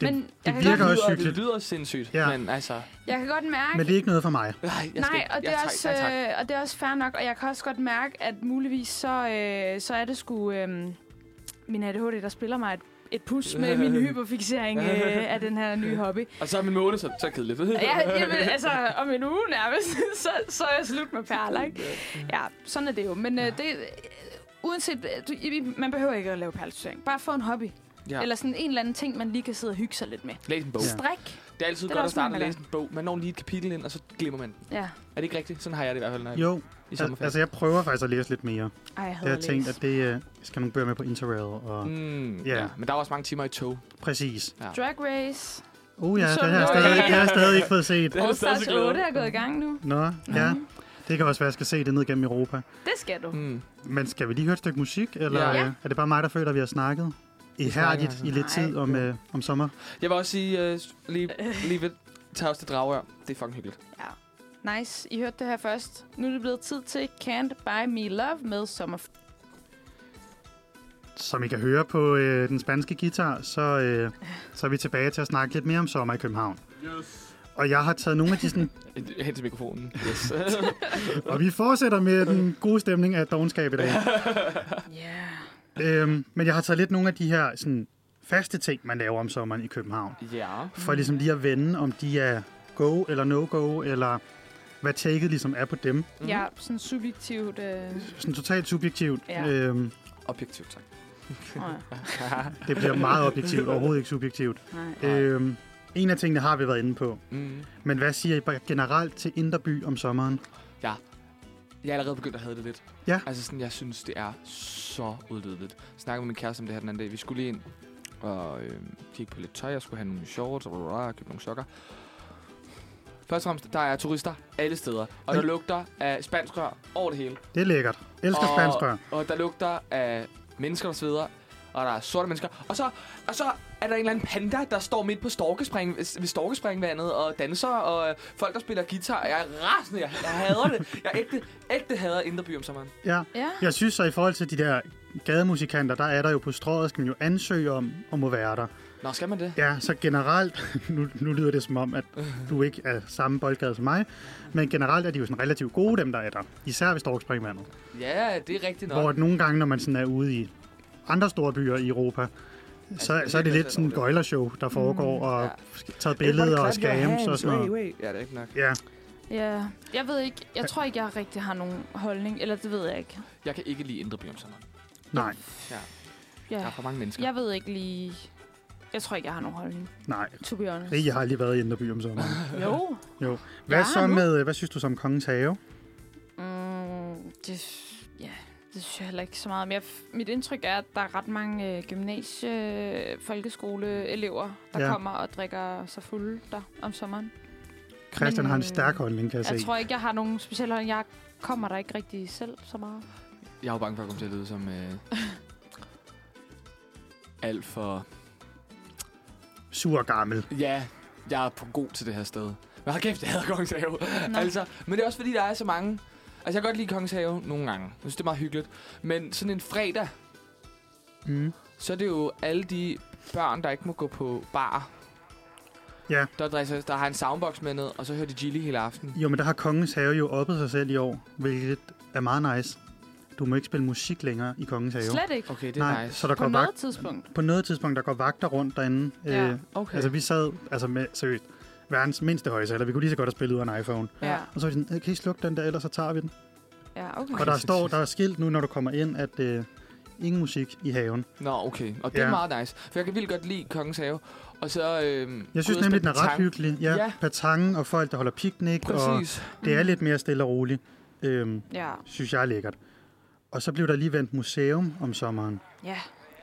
Speaker 3: Det-
Speaker 2: men jeg, kan
Speaker 3: virker
Speaker 2: godt,
Speaker 3: også
Speaker 5: lyder, det
Speaker 3: hyggeligt.
Speaker 5: lyder sindssygt,
Speaker 3: Ja.
Speaker 5: ja. men altså... Nej,
Speaker 2: jeg kan godt mærke,
Speaker 3: Men det er ikke noget for mig.
Speaker 5: jeg skal
Speaker 2: nej,
Speaker 5: ikke.
Speaker 2: og det,
Speaker 5: ja,
Speaker 2: er
Speaker 5: tak,
Speaker 2: også,
Speaker 5: nej, tak.
Speaker 2: øh, og det er også fair nok, og jeg kan også godt mærke, at muligvis så, øh, så er det sgu øh, min ADHD, der spiller mig et, et pus med min hyperfixering øh, af den her nye hobby.
Speaker 5: Og så om en måned, så, så er det kedeligt.
Speaker 2: Og jeg, jeg vil, altså, om en uge nærmest, så, så er jeg slut med perler, ikke? Ja, sådan er det jo. Men øh, det, øh, uanset, øh, du, I- man behøver ikke at lave perlesortering. Bare få en hobby.
Speaker 5: Ja.
Speaker 2: Eller sådan en eller anden ting, man lige kan sidde og hygge sig lidt med.
Speaker 5: Læs en bog.
Speaker 3: Ja.
Speaker 5: Ja.
Speaker 2: Strik.
Speaker 5: Det er altid
Speaker 2: Det er
Speaker 5: godt at
Speaker 2: også
Speaker 5: starte
Speaker 2: mange,
Speaker 5: at
Speaker 2: der
Speaker 5: læse en bog. Man når lige et kapitel ind, og så glemmer man den.
Speaker 2: Ja.
Speaker 5: Er det ikke rigtigt? Sådan har jeg det i hvert fald, når jeg
Speaker 3: Jo,
Speaker 5: i
Speaker 3: al-
Speaker 5: sommerferien.
Speaker 3: altså jeg prøver faktisk at læse lidt mere.
Speaker 2: Ej, jeg havde
Speaker 3: Jeg har tænkt, at det øh, skal man bøger med på Interrail. Og... Mm.
Speaker 5: Mm,
Speaker 3: Ja.
Speaker 5: ja. Men der er også mange timer i tog.
Speaker 3: Præcis.
Speaker 5: Ja.
Speaker 2: Drag Race.
Speaker 3: Uh ja,
Speaker 2: Så
Speaker 3: det har jeg
Speaker 2: nu-
Speaker 3: stadig, det har jeg stadig ikke fået set.
Speaker 5: er
Speaker 2: All
Speaker 5: stadig
Speaker 2: Stars
Speaker 5: så glad.
Speaker 2: 8 er gået i gang nu.
Speaker 3: Nå, ja.
Speaker 2: Mhm.
Speaker 3: Det kan også være, at jeg skal se det ned gennem Europa.
Speaker 2: Det skal du.
Speaker 5: Mm.
Speaker 3: Men skal vi lige høre et stykke musik, eller
Speaker 5: Ja.
Speaker 3: øh, er det bare mig, der føler, at vi har snakket
Speaker 5: snakker,
Speaker 3: ihærdigt
Speaker 5: altså.
Speaker 3: i lidt
Speaker 2: Nej.
Speaker 3: tid om, øh, om sommer?
Speaker 5: Jeg vil også sige, øh, lige, lige ved Tavs til Dragør. Det er fucking hyggeligt.
Speaker 2: Nice, I hørte det her først. Nu er det blevet tid til Can't Buy Me Love med Summer.
Speaker 3: Som I kan høre på øh, den spanske guitar, så, øh, så er vi tilbage til at snakke lidt mere om sommer i København.
Speaker 5: Yes.
Speaker 3: Og jeg har taget nogle af de sådan...
Speaker 5: Hen til mikrofonen. Yes.
Speaker 3: Og vi fortsætter med den gode stemning af dogenskab i dag.
Speaker 2: Ja.
Speaker 3: øhm, men jeg har taget lidt nogle af de her sådan, faste ting, man laver om sommeren i København.
Speaker 5: ja.
Speaker 3: For ligesom lige at vende, om de er go eller no-go, eller hvad taket ligesom er på dem.
Speaker 2: Mm. Ja, sådan subjektivt. Øh...
Speaker 3: Sådan totalt subjektivt.
Speaker 2: Ja.
Speaker 3: Øhm,
Speaker 5: Objektivt, tak.
Speaker 2: Oh,
Speaker 3: det bliver meget objektivt, overhovedet ikke subjektivt.
Speaker 2: nej.
Speaker 5: Nej.
Speaker 3: Øhm, en af tingene har vi været inde på.
Speaker 5: Mm.
Speaker 3: Men hvad siger I bare generelt til Inderby om sommeren?
Speaker 5: Jeg er allerede begyndt at have det lidt.
Speaker 3: Ja.
Speaker 5: Altså sådan, jeg synes, det er så udvidet. Jeg snakkede med min kæreste om det her den anden dag. Vi skulle lige ind og øh, kigge på lidt tøj. Jeg skulle have nogle shorts og bla, bla, bla, købe nogle sokker. Først og fremmest, der er turister alle steder. Og der
Speaker 3: Ej.
Speaker 5: lugter af spansk rør over det hele.
Speaker 3: Det er lækkert. Elsker
Speaker 5: Og-
Speaker 3: spansk børn.
Speaker 5: Og der lugter af mennesker, der sveder. Og der er sorte mennesker. Og så, og så er der en eller anden panda, der står midt på storkespring, ved storkespringvandet og danser. Og øh, folk, der spiller guitar. Jeg er rasende. Jeg, jeg hader det. Jeg ægte, ægte hader Indre By om sommeren.
Speaker 3: Ja.
Speaker 2: Ja,
Speaker 3: Jeg synes så, i forhold til de der gademusikanter, der er der jo på strøget, skal man jo ansøge om at må være der.
Speaker 5: Nå, skal man det?
Speaker 3: Ja, så generelt, nu, nu lyder det som om, at du ikke er samme boldgade som mig, men generelt er de jo sådan relativt gode, dem der er der. Især ved Storkspringvandet.
Speaker 5: Ja, det er rigtigt nok.
Speaker 3: Hvor at nogle gange, når man sådan er ude i andre store byer i Europa, så,
Speaker 5: Altså, det er
Speaker 3: så er det
Speaker 5: lidt
Speaker 3: lidt sådan en
Speaker 5: over
Speaker 3: gøjlershow,
Speaker 2: Mm,
Speaker 3: der foregår, og
Speaker 5: Ja.
Speaker 3: taget billeder og scams og sådan noget.
Speaker 7: noget.
Speaker 5: Ja, det er rigtigt nok.
Speaker 3: Ja,
Speaker 2: ja. Jeg ved ikke, jeg tror ikke, jeg rigtig har nogen holdning, eller det ved jeg ikke.
Speaker 5: Jeg kan ikke lide Indre By om sommeren.
Speaker 3: nej,
Speaker 5: Der
Speaker 2: Ja.
Speaker 5: er for mange mennesker.
Speaker 2: Jeg ved ikke lige... Jeg tror ikke, jeg har nogen holdning,
Speaker 3: nej.
Speaker 2: to be honest.
Speaker 3: Jeg har lige været i Inderby om sommeren.
Speaker 2: Jo.
Speaker 3: Hvad
Speaker 2: Ja,
Speaker 3: så
Speaker 2: nu.
Speaker 3: med, øh, hvad synes du som kongens have?
Speaker 2: Mm, det, ja, det synes jeg heller ikke så meget om. Jeg, mit indtryk er, at der er ret mange øh, gymnasie- folkeskoleelever, der
Speaker 3: Ja.
Speaker 2: ja. kommer og drikker sig fulde der om sommeren.
Speaker 3: Christian
Speaker 2: Men,
Speaker 3: har en
Speaker 2: øh,
Speaker 3: stærk holdning, kan jeg,
Speaker 2: Jeg
Speaker 3: se.
Speaker 2: tror ikke, jeg har nogen speciel holdning. Jeg kommer der ikke rigtig selv så meget.
Speaker 5: Jeg er jo bange for at komme til at lyde som... Øh, alt for...
Speaker 3: Sur og gammel.
Speaker 5: Ja, jeg er på god til det her sted. Men har kæft, jeg hader Kongens Have.
Speaker 2: Nå.
Speaker 5: Altså, men det er også fordi, der er så mange... Altså, jeg kan godt lide Kongens Have nogle gange. Jeg synes, det er meget hyggeligt. Men sådan en fredag,
Speaker 3: Mm.
Speaker 5: så er det jo alle de børn, der ikke må gå på bar.
Speaker 3: Ja.
Speaker 5: Der, dresser, der har en soundbox med ned, og så hører de Gilly hele aften.
Speaker 3: Jo, men der har kongens have jo oppet sig selv i år, hvilket er meget nice. Du må ikke spille musik længere i kongens have.
Speaker 2: Slet ikke.
Speaker 5: Okay, det er
Speaker 3: nej,
Speaker 5: nice.
Speaker 3: så der
Speaker 2: På
Speaker 3: går vagt,
Speaker 2: noget tidspunkt.
Speaker 3: på noget tidspunkt, der går vagter rundt derinde.
Speaker 2: Ja,
Speaker 3: øh,
Speaker 5: Okay.
Speaker 3: Altså, vi sad altså med, seriøst, verdens mindste højse, eller vi kunne lige så godt have spillet ud af en iPhone.
Speaker 5: Ja.
Speaker 2: Ja,
Speaker 3: Og så er vi sådan, "Øh, kan I slukke den der, ellers så tager vi den.
Speaker 2: ja okay.
Speaker 3: Og der står, der er skilt nu, når du kommer ind, at øh, ingen musik i haven.
Speaker 5: Nå, okay. Og det ja.
Speaker 3: Ja.
Speaker 5: er meget nice. For jeg kan vildt godt lide Kongens Have. Og så... Øh,
Speaker 3: Jeg synes nemlig, den er ret hyggelig. Ja, ja.
Speaker 5: Ja.
Speaker 3: Patangen og folk, der holder piknik, og
Speaker 5: Præcis. Og...
Speaker 2: Mm.
Speaker 3: det er lidt mere stille og roligt. Øhm,
Speaker 2: Ja,
Speaker 3: synes jeg er lækkert. Og så blev der lige vendt museum om sommeren.
Speaker 2: ja.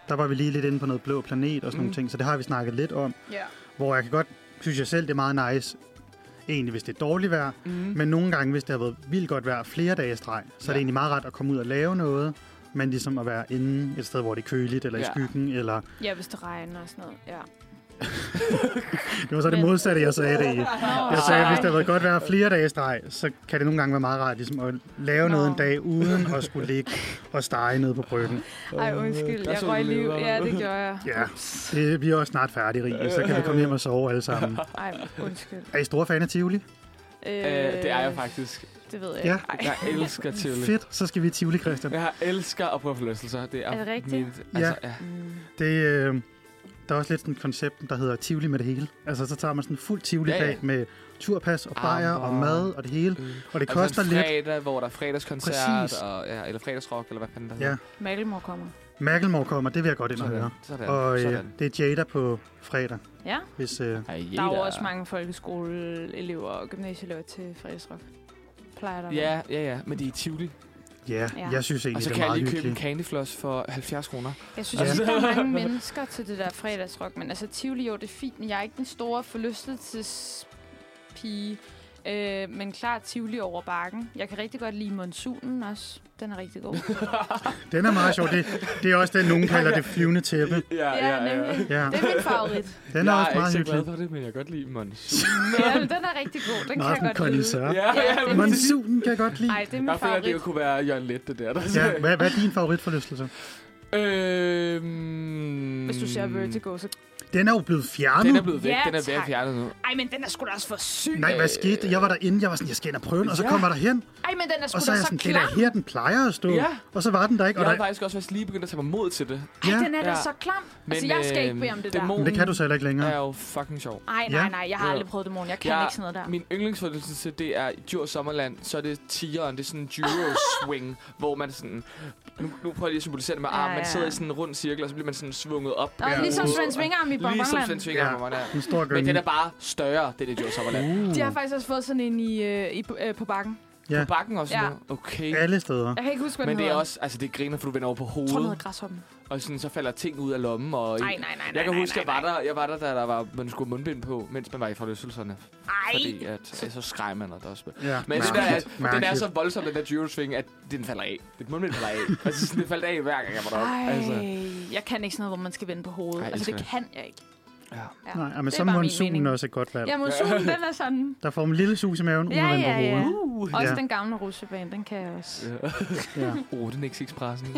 Speaker 3: Der var vi lige lidt inde på noget blå planet og sådan mm. nogle
Speaker 5: Mm.
Speaker 3: ting, så det har vi snakket lidt om.
Speaker 2: Ja.
Speaker 3: Hvor jeg kan godt, synes jeg selv, det er meget nice, egentlig hvis det er dårligt vejr,
Speaker 5: Mm.
Speaker 3: men nogle gange, hvis det har været vildt godt vejr flere dage i streg, så ja. er det
Speaker 5: Ja.
Speaker 3: egentlig meget rart at komme ud og lave noget, men ligesom at være inde et sted, hvor det er køligt, eller ja. i
Speaker 5: Ja.
Speaker 3: skyggen, eller...
Speaker 2: Ja, hvis det regner og sådan noget. Ja.
Speaker 3: Det var så det
Speaker 2: Men-
Speaker 3: modsatte, jeg sagde det i.
Speaker 2: Nå,
Speaker 3: Jeg sagde, at
Speaker 2: nej.
Speaker 3: hvis det har været godt vejr flere dage i streg, så kan det nogle gange være meget rart ligesom at lave
Speaker 2: Nå.
Speaker 3: noget en dag, uden at skulle ligge og stege nede på bryggen.
Speaker 2: Ej, undskyld.
Speaker 5: Der
Speaker 2: Jeg
Speaker 5: så
Speaker 2: røg
Speaker 5: du
Speaker 2: liv.
Speaker 5: leveren.
Speaker 2: Ja, det gjorde jeg.
Speaker 3: Ja, det bliver også snart færdig, Rie, så kan vi komme hjem og sove alle sammen.
Speaker 2: Ej, undskyld.
Speaker 3: Er I store fan af Tivoli?
Speaker 5: Øh, det er jeg faktisk.
Speaker 2: Det ved jeg
Speaker 3: Ja.
Speaker 2: ikke. Ej.
Speaker 5: Jeg elsker Tivoli.
Speaker 3: Fedt, så skal vi i Tivoli, Christian.
Speaker 5: Jeg elsker at prøve forlystelser. Det er,
Speaker 2: Er det rigtigt?
Speaker 5: Mit, altså, ja.
Speaker 2: Mm.
Speaker 3: Det, øh, der er også lidt sådan et koncept, der hedder Tivoli med det hele. Altså, så tager man sådan en fuld Tivoli-dag
Speaker 5: Ja,
Speaker 3: ja,
Speaker 5: ja.
Speaker 3: med turpas og bajer og
Speaker 5: Armbånd.
Speaker 3: mad og det hele. Og
Speaker 5: Øh,
Speaker 3: det
Speaker 5: altså
Speaker 3: koster
Speaker 5: en
Speaker 3: lidt.
Speaker 5: fredag, hvor der er fredagskoncert,
Speaker 3: Præcis.
Speaker 5: og, ja, eller fredagsrock, eller hvad fanden der
Speaker 3: Ja.
Speaker 5: hedder.
Speaker 2: Malmor kommer.
Speaker 3: Macklemore kommer, det vil jeg godt ind og høre.
Speaker 5: Sådan.
Speaker 3: Og øh,
Speaker 5: sådan.
Speaker 3: det er Jada på fredag,
Speaker 2: Ja,
Speaker 3: hvis... Øh,
Speaker 1: Ej,
Speaker 2: der er jo også mange folkeskoleelever og gymnasieelever til fredagsrock. Plejer der at være.
Speaker 5: Ja, ja, ja, men de er i Tivoli.
Speaker 3: ja,
Speaker 2: Ja.
Speaker 3: jeg synes egentlig,
Speaker 5: Og så
Speaker 3: det
Speaker 5: kan
Speaker 3: er
Speaker 5: jeg
Speaker 3: meget
Speaker 5: lige købe en
Speaker 3: hyggeligt.
Speaker 5: candyfloss for 70 kroner.
Speaker 2: Jeg synes altså... ikke, der er mange mennesker til det der fredagsrock, men altså Tivoli, jo, det er fint, men jeg er ikke den store forlystelsespige. Øh, men klart Tivoli over bakken. Jeg kan rigtig godt lide monsunen også. Den er rigtig god.
Speaker 3: Den er meget sjov. Det, det er også den, nogen kalder det flyvende tæppe.
Speaker 5: Ja,
Speaker 2: nemlig.
Speaker 3: Ja,
Speaker 2: Det er min favorit.
Speaker 3: den er
Speaker 5: jeg
Speaker 3: også meget
Speaker 5: er ikke så
Speaker 3: hyggelig.
Speaker 5: glad for det, men jeg kan godt lide Mons.
Speaker 2: ja, men den er rigtig god. Den
Speaker 3: Nå,
Speaker 2: kan
Speaker 3: sådan
Speaker 2: jeg
Speaker 3: en
Speaker 2: godt lide.
Speaker 3: kondensør.
Speaker 5: Ja, ja,
Speaker 2: det er
Speaker 5: men
Speaker 3: Monsunen kan jeg godt lide.
Speaker 2: Nej, det er min
Speaker 5: jeg føler, det
Speaker 2: favorit.
Speaker 5: jo kunne være Jørgen Let, det der. der
Speaker 3: Ja, hvad, hvad er din favoritforlystelse?
Speaker 5: Øhm,
Speaker 2: Hvis du ser Vertigo, så...
Speaker 3: Den er jo blevet fjernet.
Speaker 5: Den er blevet væk.
Speaker 2: Ja,
Speaker 5: den er væk
Speaker 2: tak.
Speaker 5: fjernet nu. Øh,
Speaker 2: Ej, men den er sgu da også for syg.
Speaker 3: Nej, hvad skete der? Jeg var derinde, jeg var sådan, jeg skal ind og prøve den, og så
Speaker 5: Ja.
Speaker 3: kommer der hen,
Speaker 2: Ej, men den er sgu
Speaker 3: og så
Speaker 2: da
Speaker 3: er jeg
Speaker 2: så
Speaker 3: sådan, det er
Speaker 2: klam.
Speaker 3: da her, den plejer at stå.
Speaker 5: Ja.
Speaker 3: Og så var den der ikke,
Speaker 5: Jeg
Speaker 3: og
Speaker 5: har
Speaker 3: der,
Speaker 5: faktisk også faktisk lige begyndt at tage mig mod til det.
Speaker 2: Ej,
Speaker 3: Ja.
Speaker 2: den er da
Speaker 5: Ja. øh,
Speaker 2: så klam. altså, jeg skal ikke bede om det der.
Speaker 3: men det kan du så heller ikke længere.
Speaker 5: er jo fucking sjov.
Speaker 2: Ej,
Speaker 3: Ja.
Speaker 2: nej, nej, jeg har
Speaker 5: Ja.
Speaker 2: aldrig prøvet dæmon. Jeg kan
Speaker 5: Ja.
Speaker 2: ikke sådan noget der.
Speaker 5: Min yndlingsforlystelse, det er i Djurs Sommerland, så er det tigeren, det er sådan en gyro swing, hvor man sådan, nu, nu prøver jeg lige at symbolisere det med armen,
Speaker 2: Ja,
Speaker 5: man
Speaker 2: ja.
Speaker 5: sidder i sådan en rund cirkel, og så bliver man sådan svunget op.
Speaker 2: Nå,
Speaker 3: Ja.
Speaker 2: ligesom
Speaker 5: Og-
Speaker 2: Svend Svingarm i
Speaker 5: Ligesom Svend
Speaker 2: Bongbongland.
Speaker 5: Svinger,
Speaker 3: Ja.
Speaker 5: hvor man er.
Speaker 3: en stor
Speaker 5: Men
Speaker 3: gynge.
Speaker 5: den er bare større, den i Djurs Sommerland.
Speaker 2: De
Speaker 3: Uh.
Speaker 2: har faktisk også fået sådan en i, øh, i, øh, på bakken.
Speaker 3: Ja.
Speaker 5: På bakken også
Speaker 2: Ja.
Speaker 5: ja. noget. Okay.
Speaker 3: Alle steder.
Speaker 2: Jeg kan ikke huske, hvad
Speaker 5: Men
Speaker 2: den
Speaker 5: det er
Speaker 2: hedder.
Speaker 5: også, altså det griner, for du vender over på
Speaker 2: Jeg tror, den
Speaker 5: hovedet,
Speaker 2: hedder Græshoppen.
Speaker 5: og sådan, så falder ting ud af lommen. Og
Speaker 2: Nej, nej, nej, nej,
Speaker 5: jeg kan
Speaker 2: nej,
Speaker 5: huske,
Speaker 2: nej,
Speaker 5: jeg var der, jeg var der, da der var, man skulle have mundbind på, mens man var i forlystelserne.
Speaker 2: Ej,
Speaker 5: Fordi at, at så skreg man, og der også
Speaker 3: Ja.
Speaker 5: Men det der,
Speaker 3: Mærkeligt.
Speaker 5: er, den er
Speaker 3: Mærkeligt.
Speaker 5: så voldsom, den der gyrosving, at den falder af. Dit mundbind falder af. altså, sådan, det faldt af hver gang, jeg var deroppe.
Speaker 2: ej.
Speaker 5: Altså,
Speaker 2: Jeg kan ikke sådan noget, hvor man skal vende på hovedet.
Speaker 5: Ej, jeg
Speaker 2: altså, det
Speaker 5: elsker
Speaker 2: kan jeg ikke.
Speaker 5: Ja.
Speaker 2: ja.
Speaker 3: Nej, ja, men
Speaker 2: Det
Speaker 3: så er
Speaker 2: er bare min
Speaker 3: monsunen
Speaker 2: mening.
Speaker 3: også et godt valg.
Speaker 2: Ja, monsunen, den er sådan.
Speaker 3: Der får man en lille sus i maven, uden
Speaker 2: Ja,
Speaker 3: at vende på
Speaker 2: ja, ja.
Speaker 3: hovedet.
Speaker 2: Også
Speaker 3: Ja.
Speaker 2: den gamle russebane, den kan jeg også.
Speaker 3: Ja.
Speaker 5: oh, den Expressen.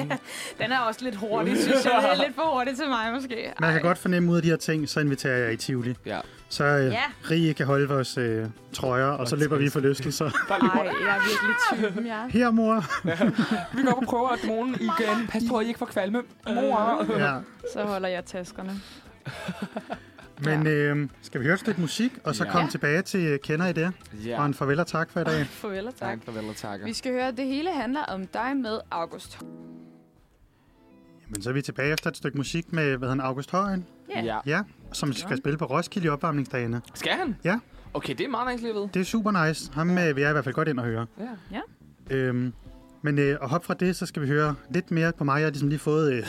Speaker 2: Den er også lidt hurtig, synes jeg. Det er lidt for hurtigt til mig, måske. Ej.
Speaker 3: Man kan godt fornemme ud af de her ting, så inviterer jeg i Tivoli.
Speaker 5: Ja.
Speaker 3: Så øh,
Speaker 2: Ja.
Speaker 3: Rie kan holde vores øh, trøjer, og så løber vi for lystelser.
Speaker 2: Ej, jeg er virkelig typen, ja.
Speaker 3: Her, mor.
Speaker 5: Vi går op og prøver at morgen igen. Pas på, at I ikke får kvalme. Mor.
Speaker 3: Ja.
Speaker 2: Så holder jeg taskerne.
Speaker 3: Men øh, skal vi høre et stykke musik, og så
Speaker 5: Ja.
Speaker 3: komme
Speaker 2: Ja.
Speaker 3: tilbage til øh, Kender I det? Og
Speaker 5: Ja.
Speaker 3: en farvel og tak for i dag.
Speaker 2: Farvel og tak.
Speaker 5: Tak, farvel og takker.
Speaker 2: Vi skal høre, at det hele handler om dig med August.
Speaker 3: Men så er vi tilbage efter et stykke musik med, hvad hedder han, August Højen,
Speaker 2: Ja.
Speaker 5: Ja.
Speaker 3: ja, som skal spille på Roskilde i opvarmningsdagene.
Speaker 5: Skal han?
Speaker 3: Ja.
Speaker 5: Okay, det er meget nice lige ved.
Speaker 3: Det er super nice. Ham øh, vil jeg i hvert fald godt ind og høre.
Speaker 5: Ja.
Speaker 2: Ja.
Speaker 3: Øhm, men øh, og hop fra det, så skal vi høre lidt mere på mig. Jeg har ligesom lige fået øh,
Speaker 5: Du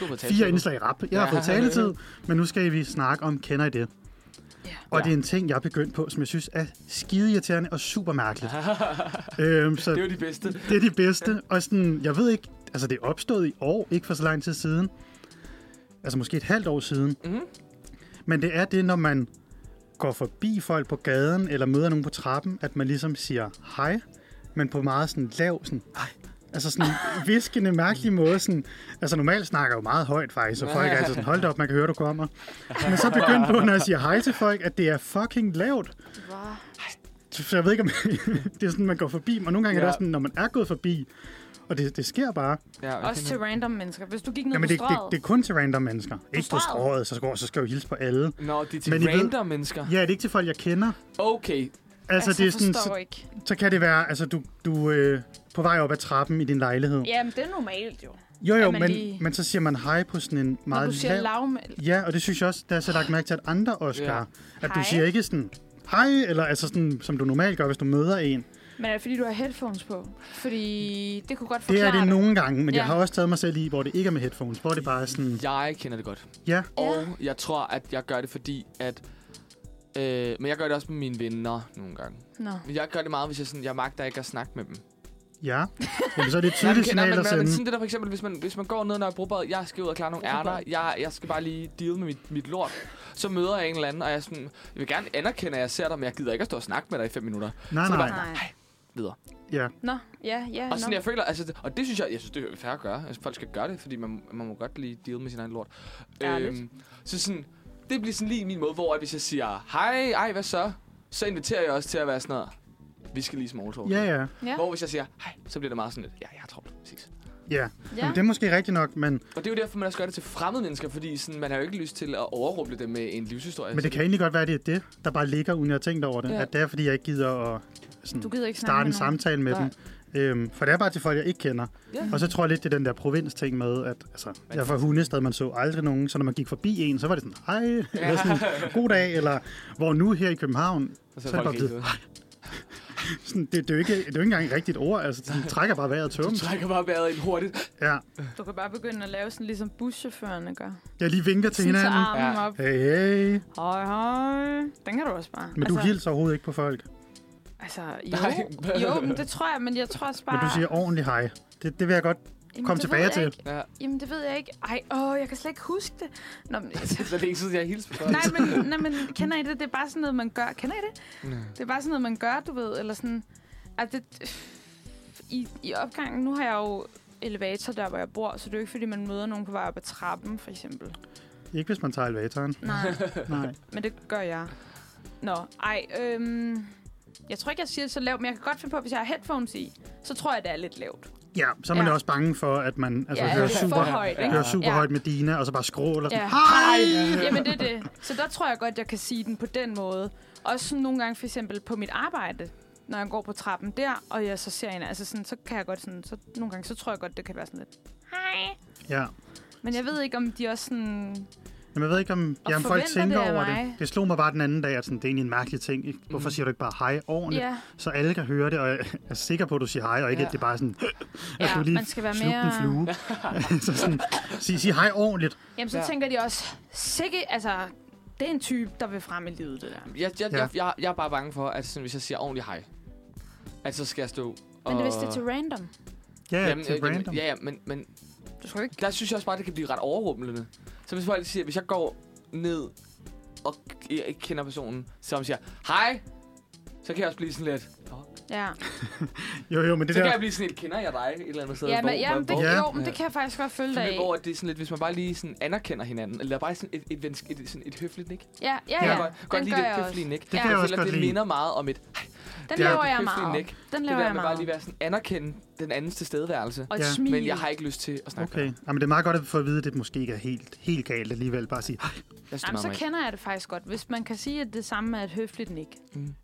Speaker 5: har fået talt
Speaker 3: fire
Speaker 5: til.
Speaker 3: indslag i rap. Jeg har
Speaker 5: Ja.
Speaker 3: fået taletid, men nu skal vi snakke om, kender I det?
Speaker 2: Ja.
Speaker 3: Og det er en ting, jeg er begyndt på, som jeg synes er skide irriterende og super mærkeligt. øhm, så
Speaker 5: Det er jo de bedste.
Speaker 3: Det er de bedste. Og sådan, jeg ved ikke, altså det er opstået i år, ikke for så lang tid siden. Altså måske et halvt år siden.
Speaker 5: Mhm.
Speaker 3: Men det er det, når man går forbi folk på gaden, eller møder nogen på trappen, at man ligesom siger hej, men på meget sådan lav, sådan hej. Altså sådan en viskende, mærkelig måde. Sådan, altså normalt snakker jeg jo meget højt faktisk, og folk er altid sådan, hold da op, man kan høre, du kommer. Men så begyndte på, når jeg siger hej til folk, at det er fucking lavt.
Speaker 2: Wow.
Speaker 3: Så jeg ved ikke, om det er sådan, man går forbi, og nogle gange ja. er det
Speaker 5: Ja.
Speaker 3: også sådan, når man er gået forbi, og det, det sker bare.
Speaker 5: Ja, okay.
Speaker 2: Også til random mennesker. Hvis du gik ned
Speaker 3: Jamen,
Speaker 2: på
Speaker 3: det, det,
Speaker 2: strøget.
Speaker 3: det er kun til random mennesker. Ikke på
Speaker 2: strøget?
Speaker 3: strået, så skal, så skal jeg jo hilse på alle.
Speaker 5: Nå, det er til
Speaker 3: Men I ved-
Speaker 5: random mennesker.
Speaker 3: Ja, det er ikke til folk, jeg kender.
Speaker 5: Okay.
Speaker 3: Altså, altså det er sådan,
Speaker 2: forstår
Speaker 3: så,
Speaker 2: ikke.
Speaker 3: så kan det være, altså du, du øh, på vej op ad trappen i din lejlighed. Ja,
Speaker 2: Jamen, det er normalt jo.
Speaker 3: jo, jo,
Speaker 2: at man
Speaker 3: men,
Speaker 2: lige-
Speaker 3: men så siger man hej på sådan en
Speaker 2: Når
Speaker 3: meget
Speaker 2: du siger
Speaker 3: lav-
Speaker 2: lavmælt.
Speaker 3: Ja, og det synes jeg også, der er så lagt mærke til, at andre også
Speaker 5: Ja.
Speaker 3: gør. At du
Speaker 2: Hej.
Speaker 3: siger ikke sådan, hej, eller altså sådan, som du normalt gør, hvis du møder en.
Speaker 2: Men er det fordi, du har headphones på? Fordi det kunne godt
Speaker 3: Det
Speaker 2: forklare
Speaker 3: er det nogle gange, men ja. jeg
Speaker 2: Ja.
Speaker 3: har også taget mig selv i, hvor det ikke er med headphones. Hvor det bare er sådan,
Speaker 5: Jeg kender det godt.
Speaker 3: ja,
Speaker 5: Og jeg tror, at jeg gør det, fordi at... Øh, men jeg gør det også med mine venner nogle gange.
Speaker 2: Nå.
Speaker 5: Men jeg gør det meget, hvis jeg, sådan, jeg magter ikke at snakke med dem.
Speaker 3: ja. Jamen, så er det et tydeligt
Speaker 5: Nej, men-
Speaker 3: signal
Speaker 5: nej,
Speaker 3: at
Speaker 5: men- men
Speaker 3: sende.
Speaker 5: sådan det der for eksempel, hvis man, hvis man går ned, når jeg bruger jeg skal ud og klare nogle ærter, jeg, jeg skal bare lige deal med mit, mit lort. Så møder jeg en eller anden, og jeg, er sådan, jeg vil gerne anerkende, at jeg ser dig, men jeg gider ikke at stå og snakke med dig i fem minutter.
Speaker 3: Nej,
Speaker 5: Så er det
Speaker 3: nej.
Speaker 5: bare, "Ej, videre.
Speaker 3: Ja.
Speaker 2: Nå, ja, ja.
Speaker 5: Og sådan,
Speaker 2: nå.
Speaker 5: jeg føler, altså, det- og det synes jeg, jeg synes, det er fair at gøre. Altså, folk skal gøre det, fordi man, man må godt lige deal med sin egen lort.
Speaker 2: Ærligt.
Speaker 5: øhm, så sådan, det bliver sådan lige min måde, hvor at hvis jeg siger, hej, ej, hvad så? Så inviterer jeg også til at være sådan noget, vi skal lige small talk.
Speaker 3: Ja, ja.
Speaker 2: Ja.
Speaker 5: Hvor hvis jeg siger, hej, så bliver det meget sådan lidt, ja, jeg har travlt. Ses."
Speaker 3: Ja,
Speaker 2: Ja.
Speaker 3: Jamen, det er måske rigtigt nok, men,
Speaker 5: Og det er jo derfor, man også gør det til fremmede mennesker, fordi sådan, man har jo ikke lyst til at overrumple dem med en livshistorie.
Speaker 3: men det kan egentlig godt være, at det er det, der bare ligger, uden jeg har tænkt over det. Ja.
Speaker 5: Ja.
Speaker 3: At det er, fordi jeg ikke gider at
Speaker 2: Du
Speaker 3: sådan,
Speaker 2: gider ikke snakke
Speaker 3: starte en
Speaker 2: med
Speaker 3: samtale
Speaker 2: nogen.
Speaker 3: med
Speaker 5: Nej.
Speaker 3: dem. Øhm, for det er bare til folk, jeg ikke kender.
Speaker 6: Ja.
Speaker 3: Og så tror jeg lidt, det er den der provins-ting med, at altså, jeg er fra Hundestad, man så aldrig nogen. Så når man gik forbi en, så var det sådan, hej, eller sådan, god dag, eller hvor nu her i København.
Speaker 1: Og
Speaker 3: Så er det bare blevet, sådan, det, det, er jo ikke, det er jo ikke engang et rigtigt ord, altså sådan, trækker bare vejret
Speaker 1: Du
Speaker 3: tungt.
Speaker 1: trækker bare vejret ind hurtigt.
Speaker 3: Ja.
Speaker 2: Du kan bare begynde at lave sådan, ligesom buschaufførerne gør.
Speaker 3: Jeg lige vinker til
Speaker 2: Sådan tager
Speaker 3: hinanden.
Speaker 2: armen
Speaker 1: Ja.
Speaker 2: op.
Speaker 3: Hey, hey.
Speaker 2: Hej, hej. Den kan du også bare.
Speaker 3: Men du
Speaker 2: altså,
Speaker 3: hilser overhovedet ikke på folk.
Speaker 2: Altså,
Speaker 1: Nej.
Speaker 2: jo. jo, men det tror jeg, men jeg tror også bare...
Speaker 3: Men du siger ordentligt hej. Det, det vil jeg godt.
Speaker 2: Jamen,
Speaker 3: kom
Speaker 2: det
Speaker 3: tilbage
Speaker 2: ved jeg
Speaker 3: til.
Speaker 2: Ikke.
Speaker 1: Ja.
Speaker 2: Jamen, det ved jeg ikke. Ej, åh, jeg kan slet ikke huske det. Nå, men,
Speaker 1: Så det er ikke sådan, jeg hilser på folk.
Speaker 2: nej, men, nej, men kender I det? Det er bare sådan noget, man gør. Kender I det? Det er bare sådan noget, man gør, du ved. Eller sådan... At det, i, I opgangen, nu har jeg jo elevator der, hvor jeg bor, så det er jo ikke, fordi man møder nogen på vej op ad trappen, for eksempel.
Speaker 3: Ikke hvis man tager elevatoren.
Speaker 2: Nej.
Speaker 3: Nej.
Speaker 2: Men det gør jeg. Nå, ej, øhm, jeg tror ikke, jeg siger det så lavt, men jeg kan godt finde på, at hvis jeg har headphones i, så tror jeg, det er lidt lavt.
Speaker 3: Ja, så er man
Speaker 2: Ja.
Speaker 3: jo også bange for, at man altså,
Speaker 2: ja,
Speaker 3: hører,
Speaker 2: det er for
Speaker 3: super,
Speaker 2: højt, ikke?
Speaker 3: hører super
Speaker 2: Ja.
Speaker 3: højt med dine, og så bare skråler.
Speaker 2: Ja.
Speaker 3: Ja. Hej!
Speaker 2: Jamen, det er det. Så der tror jeg godt, jeg kan sige den på den måde. Også sådan nogle gange for eksempel på mit arbejde, når jeg går på trappen der, og jeg så ser en, altså sådan, så kan jeg godt sådan, så nogle gange, så tror jeg godt, det kan være sådan lidt, hej.
Speaker 3: Ja.
Speaker 2: Men jeg ved ikke, om de også sådan...
Speaker 3: Jamen, jeg ved ikke, om,
Speaker 2: Og
Speaker 3: ja, om folk
Speaker 2: forventer
Speaker 3: tænker
Speaker 2: det af
Speaker 3: over
Speaker 2: mig. Mhm.
Speaker 3: det. Det slog mig bare den anden dag, at sådan, det er egentlig en mærkelig ting. Ikke? Hvorfor siger du ikke bare hej ordentligt?
Speaker 2: Ja,
Speaker 3: Så alle kan høre det, og jeg er sikker på, at du siger hej, og ikke,
Speaker 1: Ja.
Speaker 3: ja. at det er bare sådan, at du
Speaker 2: ja
Speaker 3: lige
Speaker 2: man skal være
Speaker 3: slugte en
Speaker 2: mere...
Speaker 3: flue. så sådan, sig, sig hej ordentligt.
Speaker 2: Jamen, så
Speaker 1: Ja.
Speaker 2: tænker de også, sikke, altså, det er en type, der vil frem i livet, det der.
Speaker 1: Jeg, jeg,
Speaker 3: Ja.
Speaker 1: jeg, jeg, jeg er bare bange for, at sådan, hvis jeg siger ordentligt hej, at så skal jeg stå og...
Speaker 2: Men det, hvis det er til random.
Speaker 3: Ja, jamen,
Speaker 5: øh,
Speaker 3: til
Speaker 1: jamen,
Speaker 3: random.
Speaker 1: Ja, ja, men, men
Speaker 2: Du tror ikke.
Speaker 1: der synes jeg også bare, det kan blive ret overrumplende. Så hvis folk siger, hvis jeg går ned og jeg ikke kender personen, som siger, hej, så kan jeg også blive sådan lidt... "Nå."
Speaker 2: Ja,
Speaker 3: Jo, jo, men det
Speaker 1: Så kan
Speaker 3: der...
Speaker 1: jeg blive sådan lidt, kender jeg dig et eller andet sted?
Speaker 2: ja
Speaker 1: hvor,
Speaker 2: men, jamen, det,
Speaker 1: hvor,
Speaker 3: Ja.
Speaker 2: jo, men det kan jeg faktisk godt følge dig
Speaker 1: hvor,
Speaker 2: i.
Speaker 1: hvor at det er sådan lidt, hvis man bare lige sådan anerkender hinanden, eller bare sådan et, et, vensk, et, sådan et høfligt nik.
Speaker 2: Ja, ja,
Speaker 1: Jeg
Speaker 2: ja.
Speaker 1: kan godt, godt lide
Speaker 2: gør
Speaker 1: det
Speaker 2: jeg
Speaker 1: høflige nik. Det
Speaker 3: kan
Speaker 2: jeg
Speaker 3: også
Speaker 1: føler,
Speaker 3: godt
Speaker 1: det
Speaker 3: lide.
Speaker 1: minder meget om et
Speaker 2: Den
Speaker 3: Det er
Speaker 2: laver
Speaker 1: det
Speaker 2: jeg
Speaker 1: høflige
Speaker 2: meget.
Speaker 1: nik.
Speaker 2: Den
Speaker 1: Det
Speaker 2: laver
Speaker 1: der
Speaker 2: jeg
Speaker 1: med bare lige
Speaker 2: meget.
Speaker 1: være sådan, anerkende den andens tilstedeværelse.
Speaker 2: Og et
Speaker 3: Ja.
Speaker 2: smil.
Speaker 1: Men jeg har ikke lyst til at snakke. med
Speaker 3: Okay, Jamen, det er meget godt at få at vide, at det måske ikke er helt, helt galt alligevel. Bare sige, hej.
Speaker 1: dig. Jeg synes, det er
Speaker 2: Jamen,
Speaker 1: meget
Speaker 2: så
Speaker 1: mærkeligt.
Speaker 2: kender jeg det faktisk godt. Hvis man kan sige, at det samme er et høfligt nik,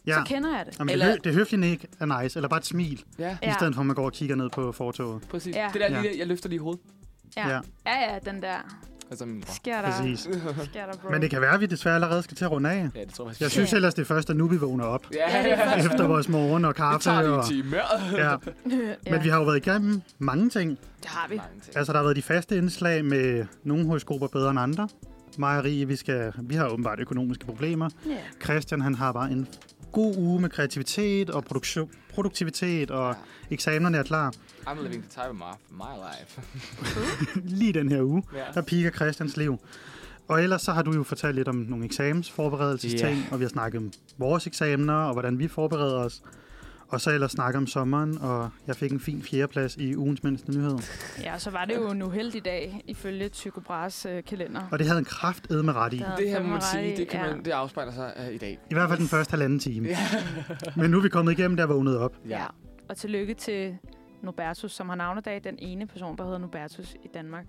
Speaker 3: ja.
Speaker 2: så kender jeg det.
Speaker 3: Jamen,
Speaker 1: Eller-
Speaker 3: eller... det, hø- det høflige ikke er nice, eller bare et smil,
Speaker 1: Ja,
Speaker 3: ja. i stedet for at man går og kigger ned på fortoget.
Speaker 1: præcis.
Speaker 2: Ja.
Speaker 1: Det der
Speaker 3: Ja.
Speaker 1: lige, jeg løfter lige hovedet.
Speaker 2: Ja.
Speaker 3: Ja.
Speaker 2: ja, ja, den der.
Speaker 1: Altså min bror.
Speaker 2: Sker der,
Speaker 3: Præcis.
Speaker 2: sker der bro.
Speaker 3: Men det kan være, at vi desværre allerede skal til at runde af.
Speaker 1: Ja, det tror jeg,
Speaker 3: Jeg
Speaker 1: jeg
Speaker 3: synes
Speaker 2: Ja.
Speaker 3: ellers, det er først, at nu vi vågner op
Speaker 1: Ja,
Speaker 2: Ja, det er først
Speaker 3: efter vores morgen og
Speaker 1: det
Speaker 3: kaffe.
Speaker 1: tager lige
Speaker 3: og...
Speaker 1: en time.
Speaker 3: Ja.
Speaker 2: ja.
Speaker 3: Men vi har jo været igennem mange ting.
Speaker 2: Det har vi.
Speaker 1: Mange ting.
Speaker 3: Altså, der har været de faste indslag med nogle højskoler bedre end andre. Mig og Rie, vi, skal, vi har åbenbart økonomiske problemer.
Speaker 2: Ja.
Speaker 3: Christian, han har bare en god uge med kreativitet og produktio- produktivitet, og eksamenerne er klar.
Speaker 1: I'm living the time of my, my life.
Speaker 3: Lige den her uge,
Speaker 1: Ja.
Speaker 3: der piker Christians liv. Og ellers så har du jo fortalt lidt om nogle eksamensforberedelsesting, yeah. og vi har snakket om vores eksamener, og hvordan vi forbereder os. Og så ellers snakke om sommeren, og jeg fik en fin fjerdeplads i ugens mindste nyhed.
Speaker 2: ja, så var det jo en uheldig dag, ifølge Tycho Brahes øh, kalender.
Speaker 3: Og det havde en kraft med ret i.
Speaker 2: Der havde
Speaker 1: Det her må man
Speaker 2: fandme ret
Speaker 1: sige,
Speaker 2: i,
Speaker 1: det, kan
Speaker 2: ja.
Speaker 1: man, det afspejler sig uh, i dag.
Speaker 3: I hvert fald den første halvanden time.
Speaker 1: Ja.
Speaker 3: Men nu er vi kommet igennem, der er vågnet op.
Speaker 2: Ja. Og tillykke til Nobertus, som har navnedag. Den ene person, der hedder Nobertus i Danmark.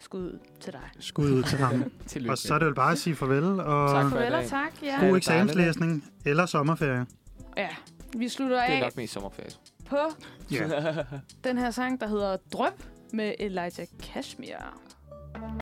Speaker 2: Skud til dig.
Speaker 3: Skud ud til ham.
Speaker 1: Tillykke.
Speaker 3: og så er det jo bare at sige farvel,
Speaker 1: Tak
Speaker 3: og
Speaker 1: for i
Speaker 2: Farvel og
Speaker 1: dag.
Speaker 2: tak. Ja.
Speaker 3: god eksamenslæsning eller sommerferie.
Speaker 2: ja. Vi slutter
Speaker 1: Det er
Speaker 2: af
Speaker 1: nok mest sommerferie.
Speaker 2: på
Speaker 3: Ja.
Speaker 2: den her sang, der hedder Drøb med Elijah Kashmir.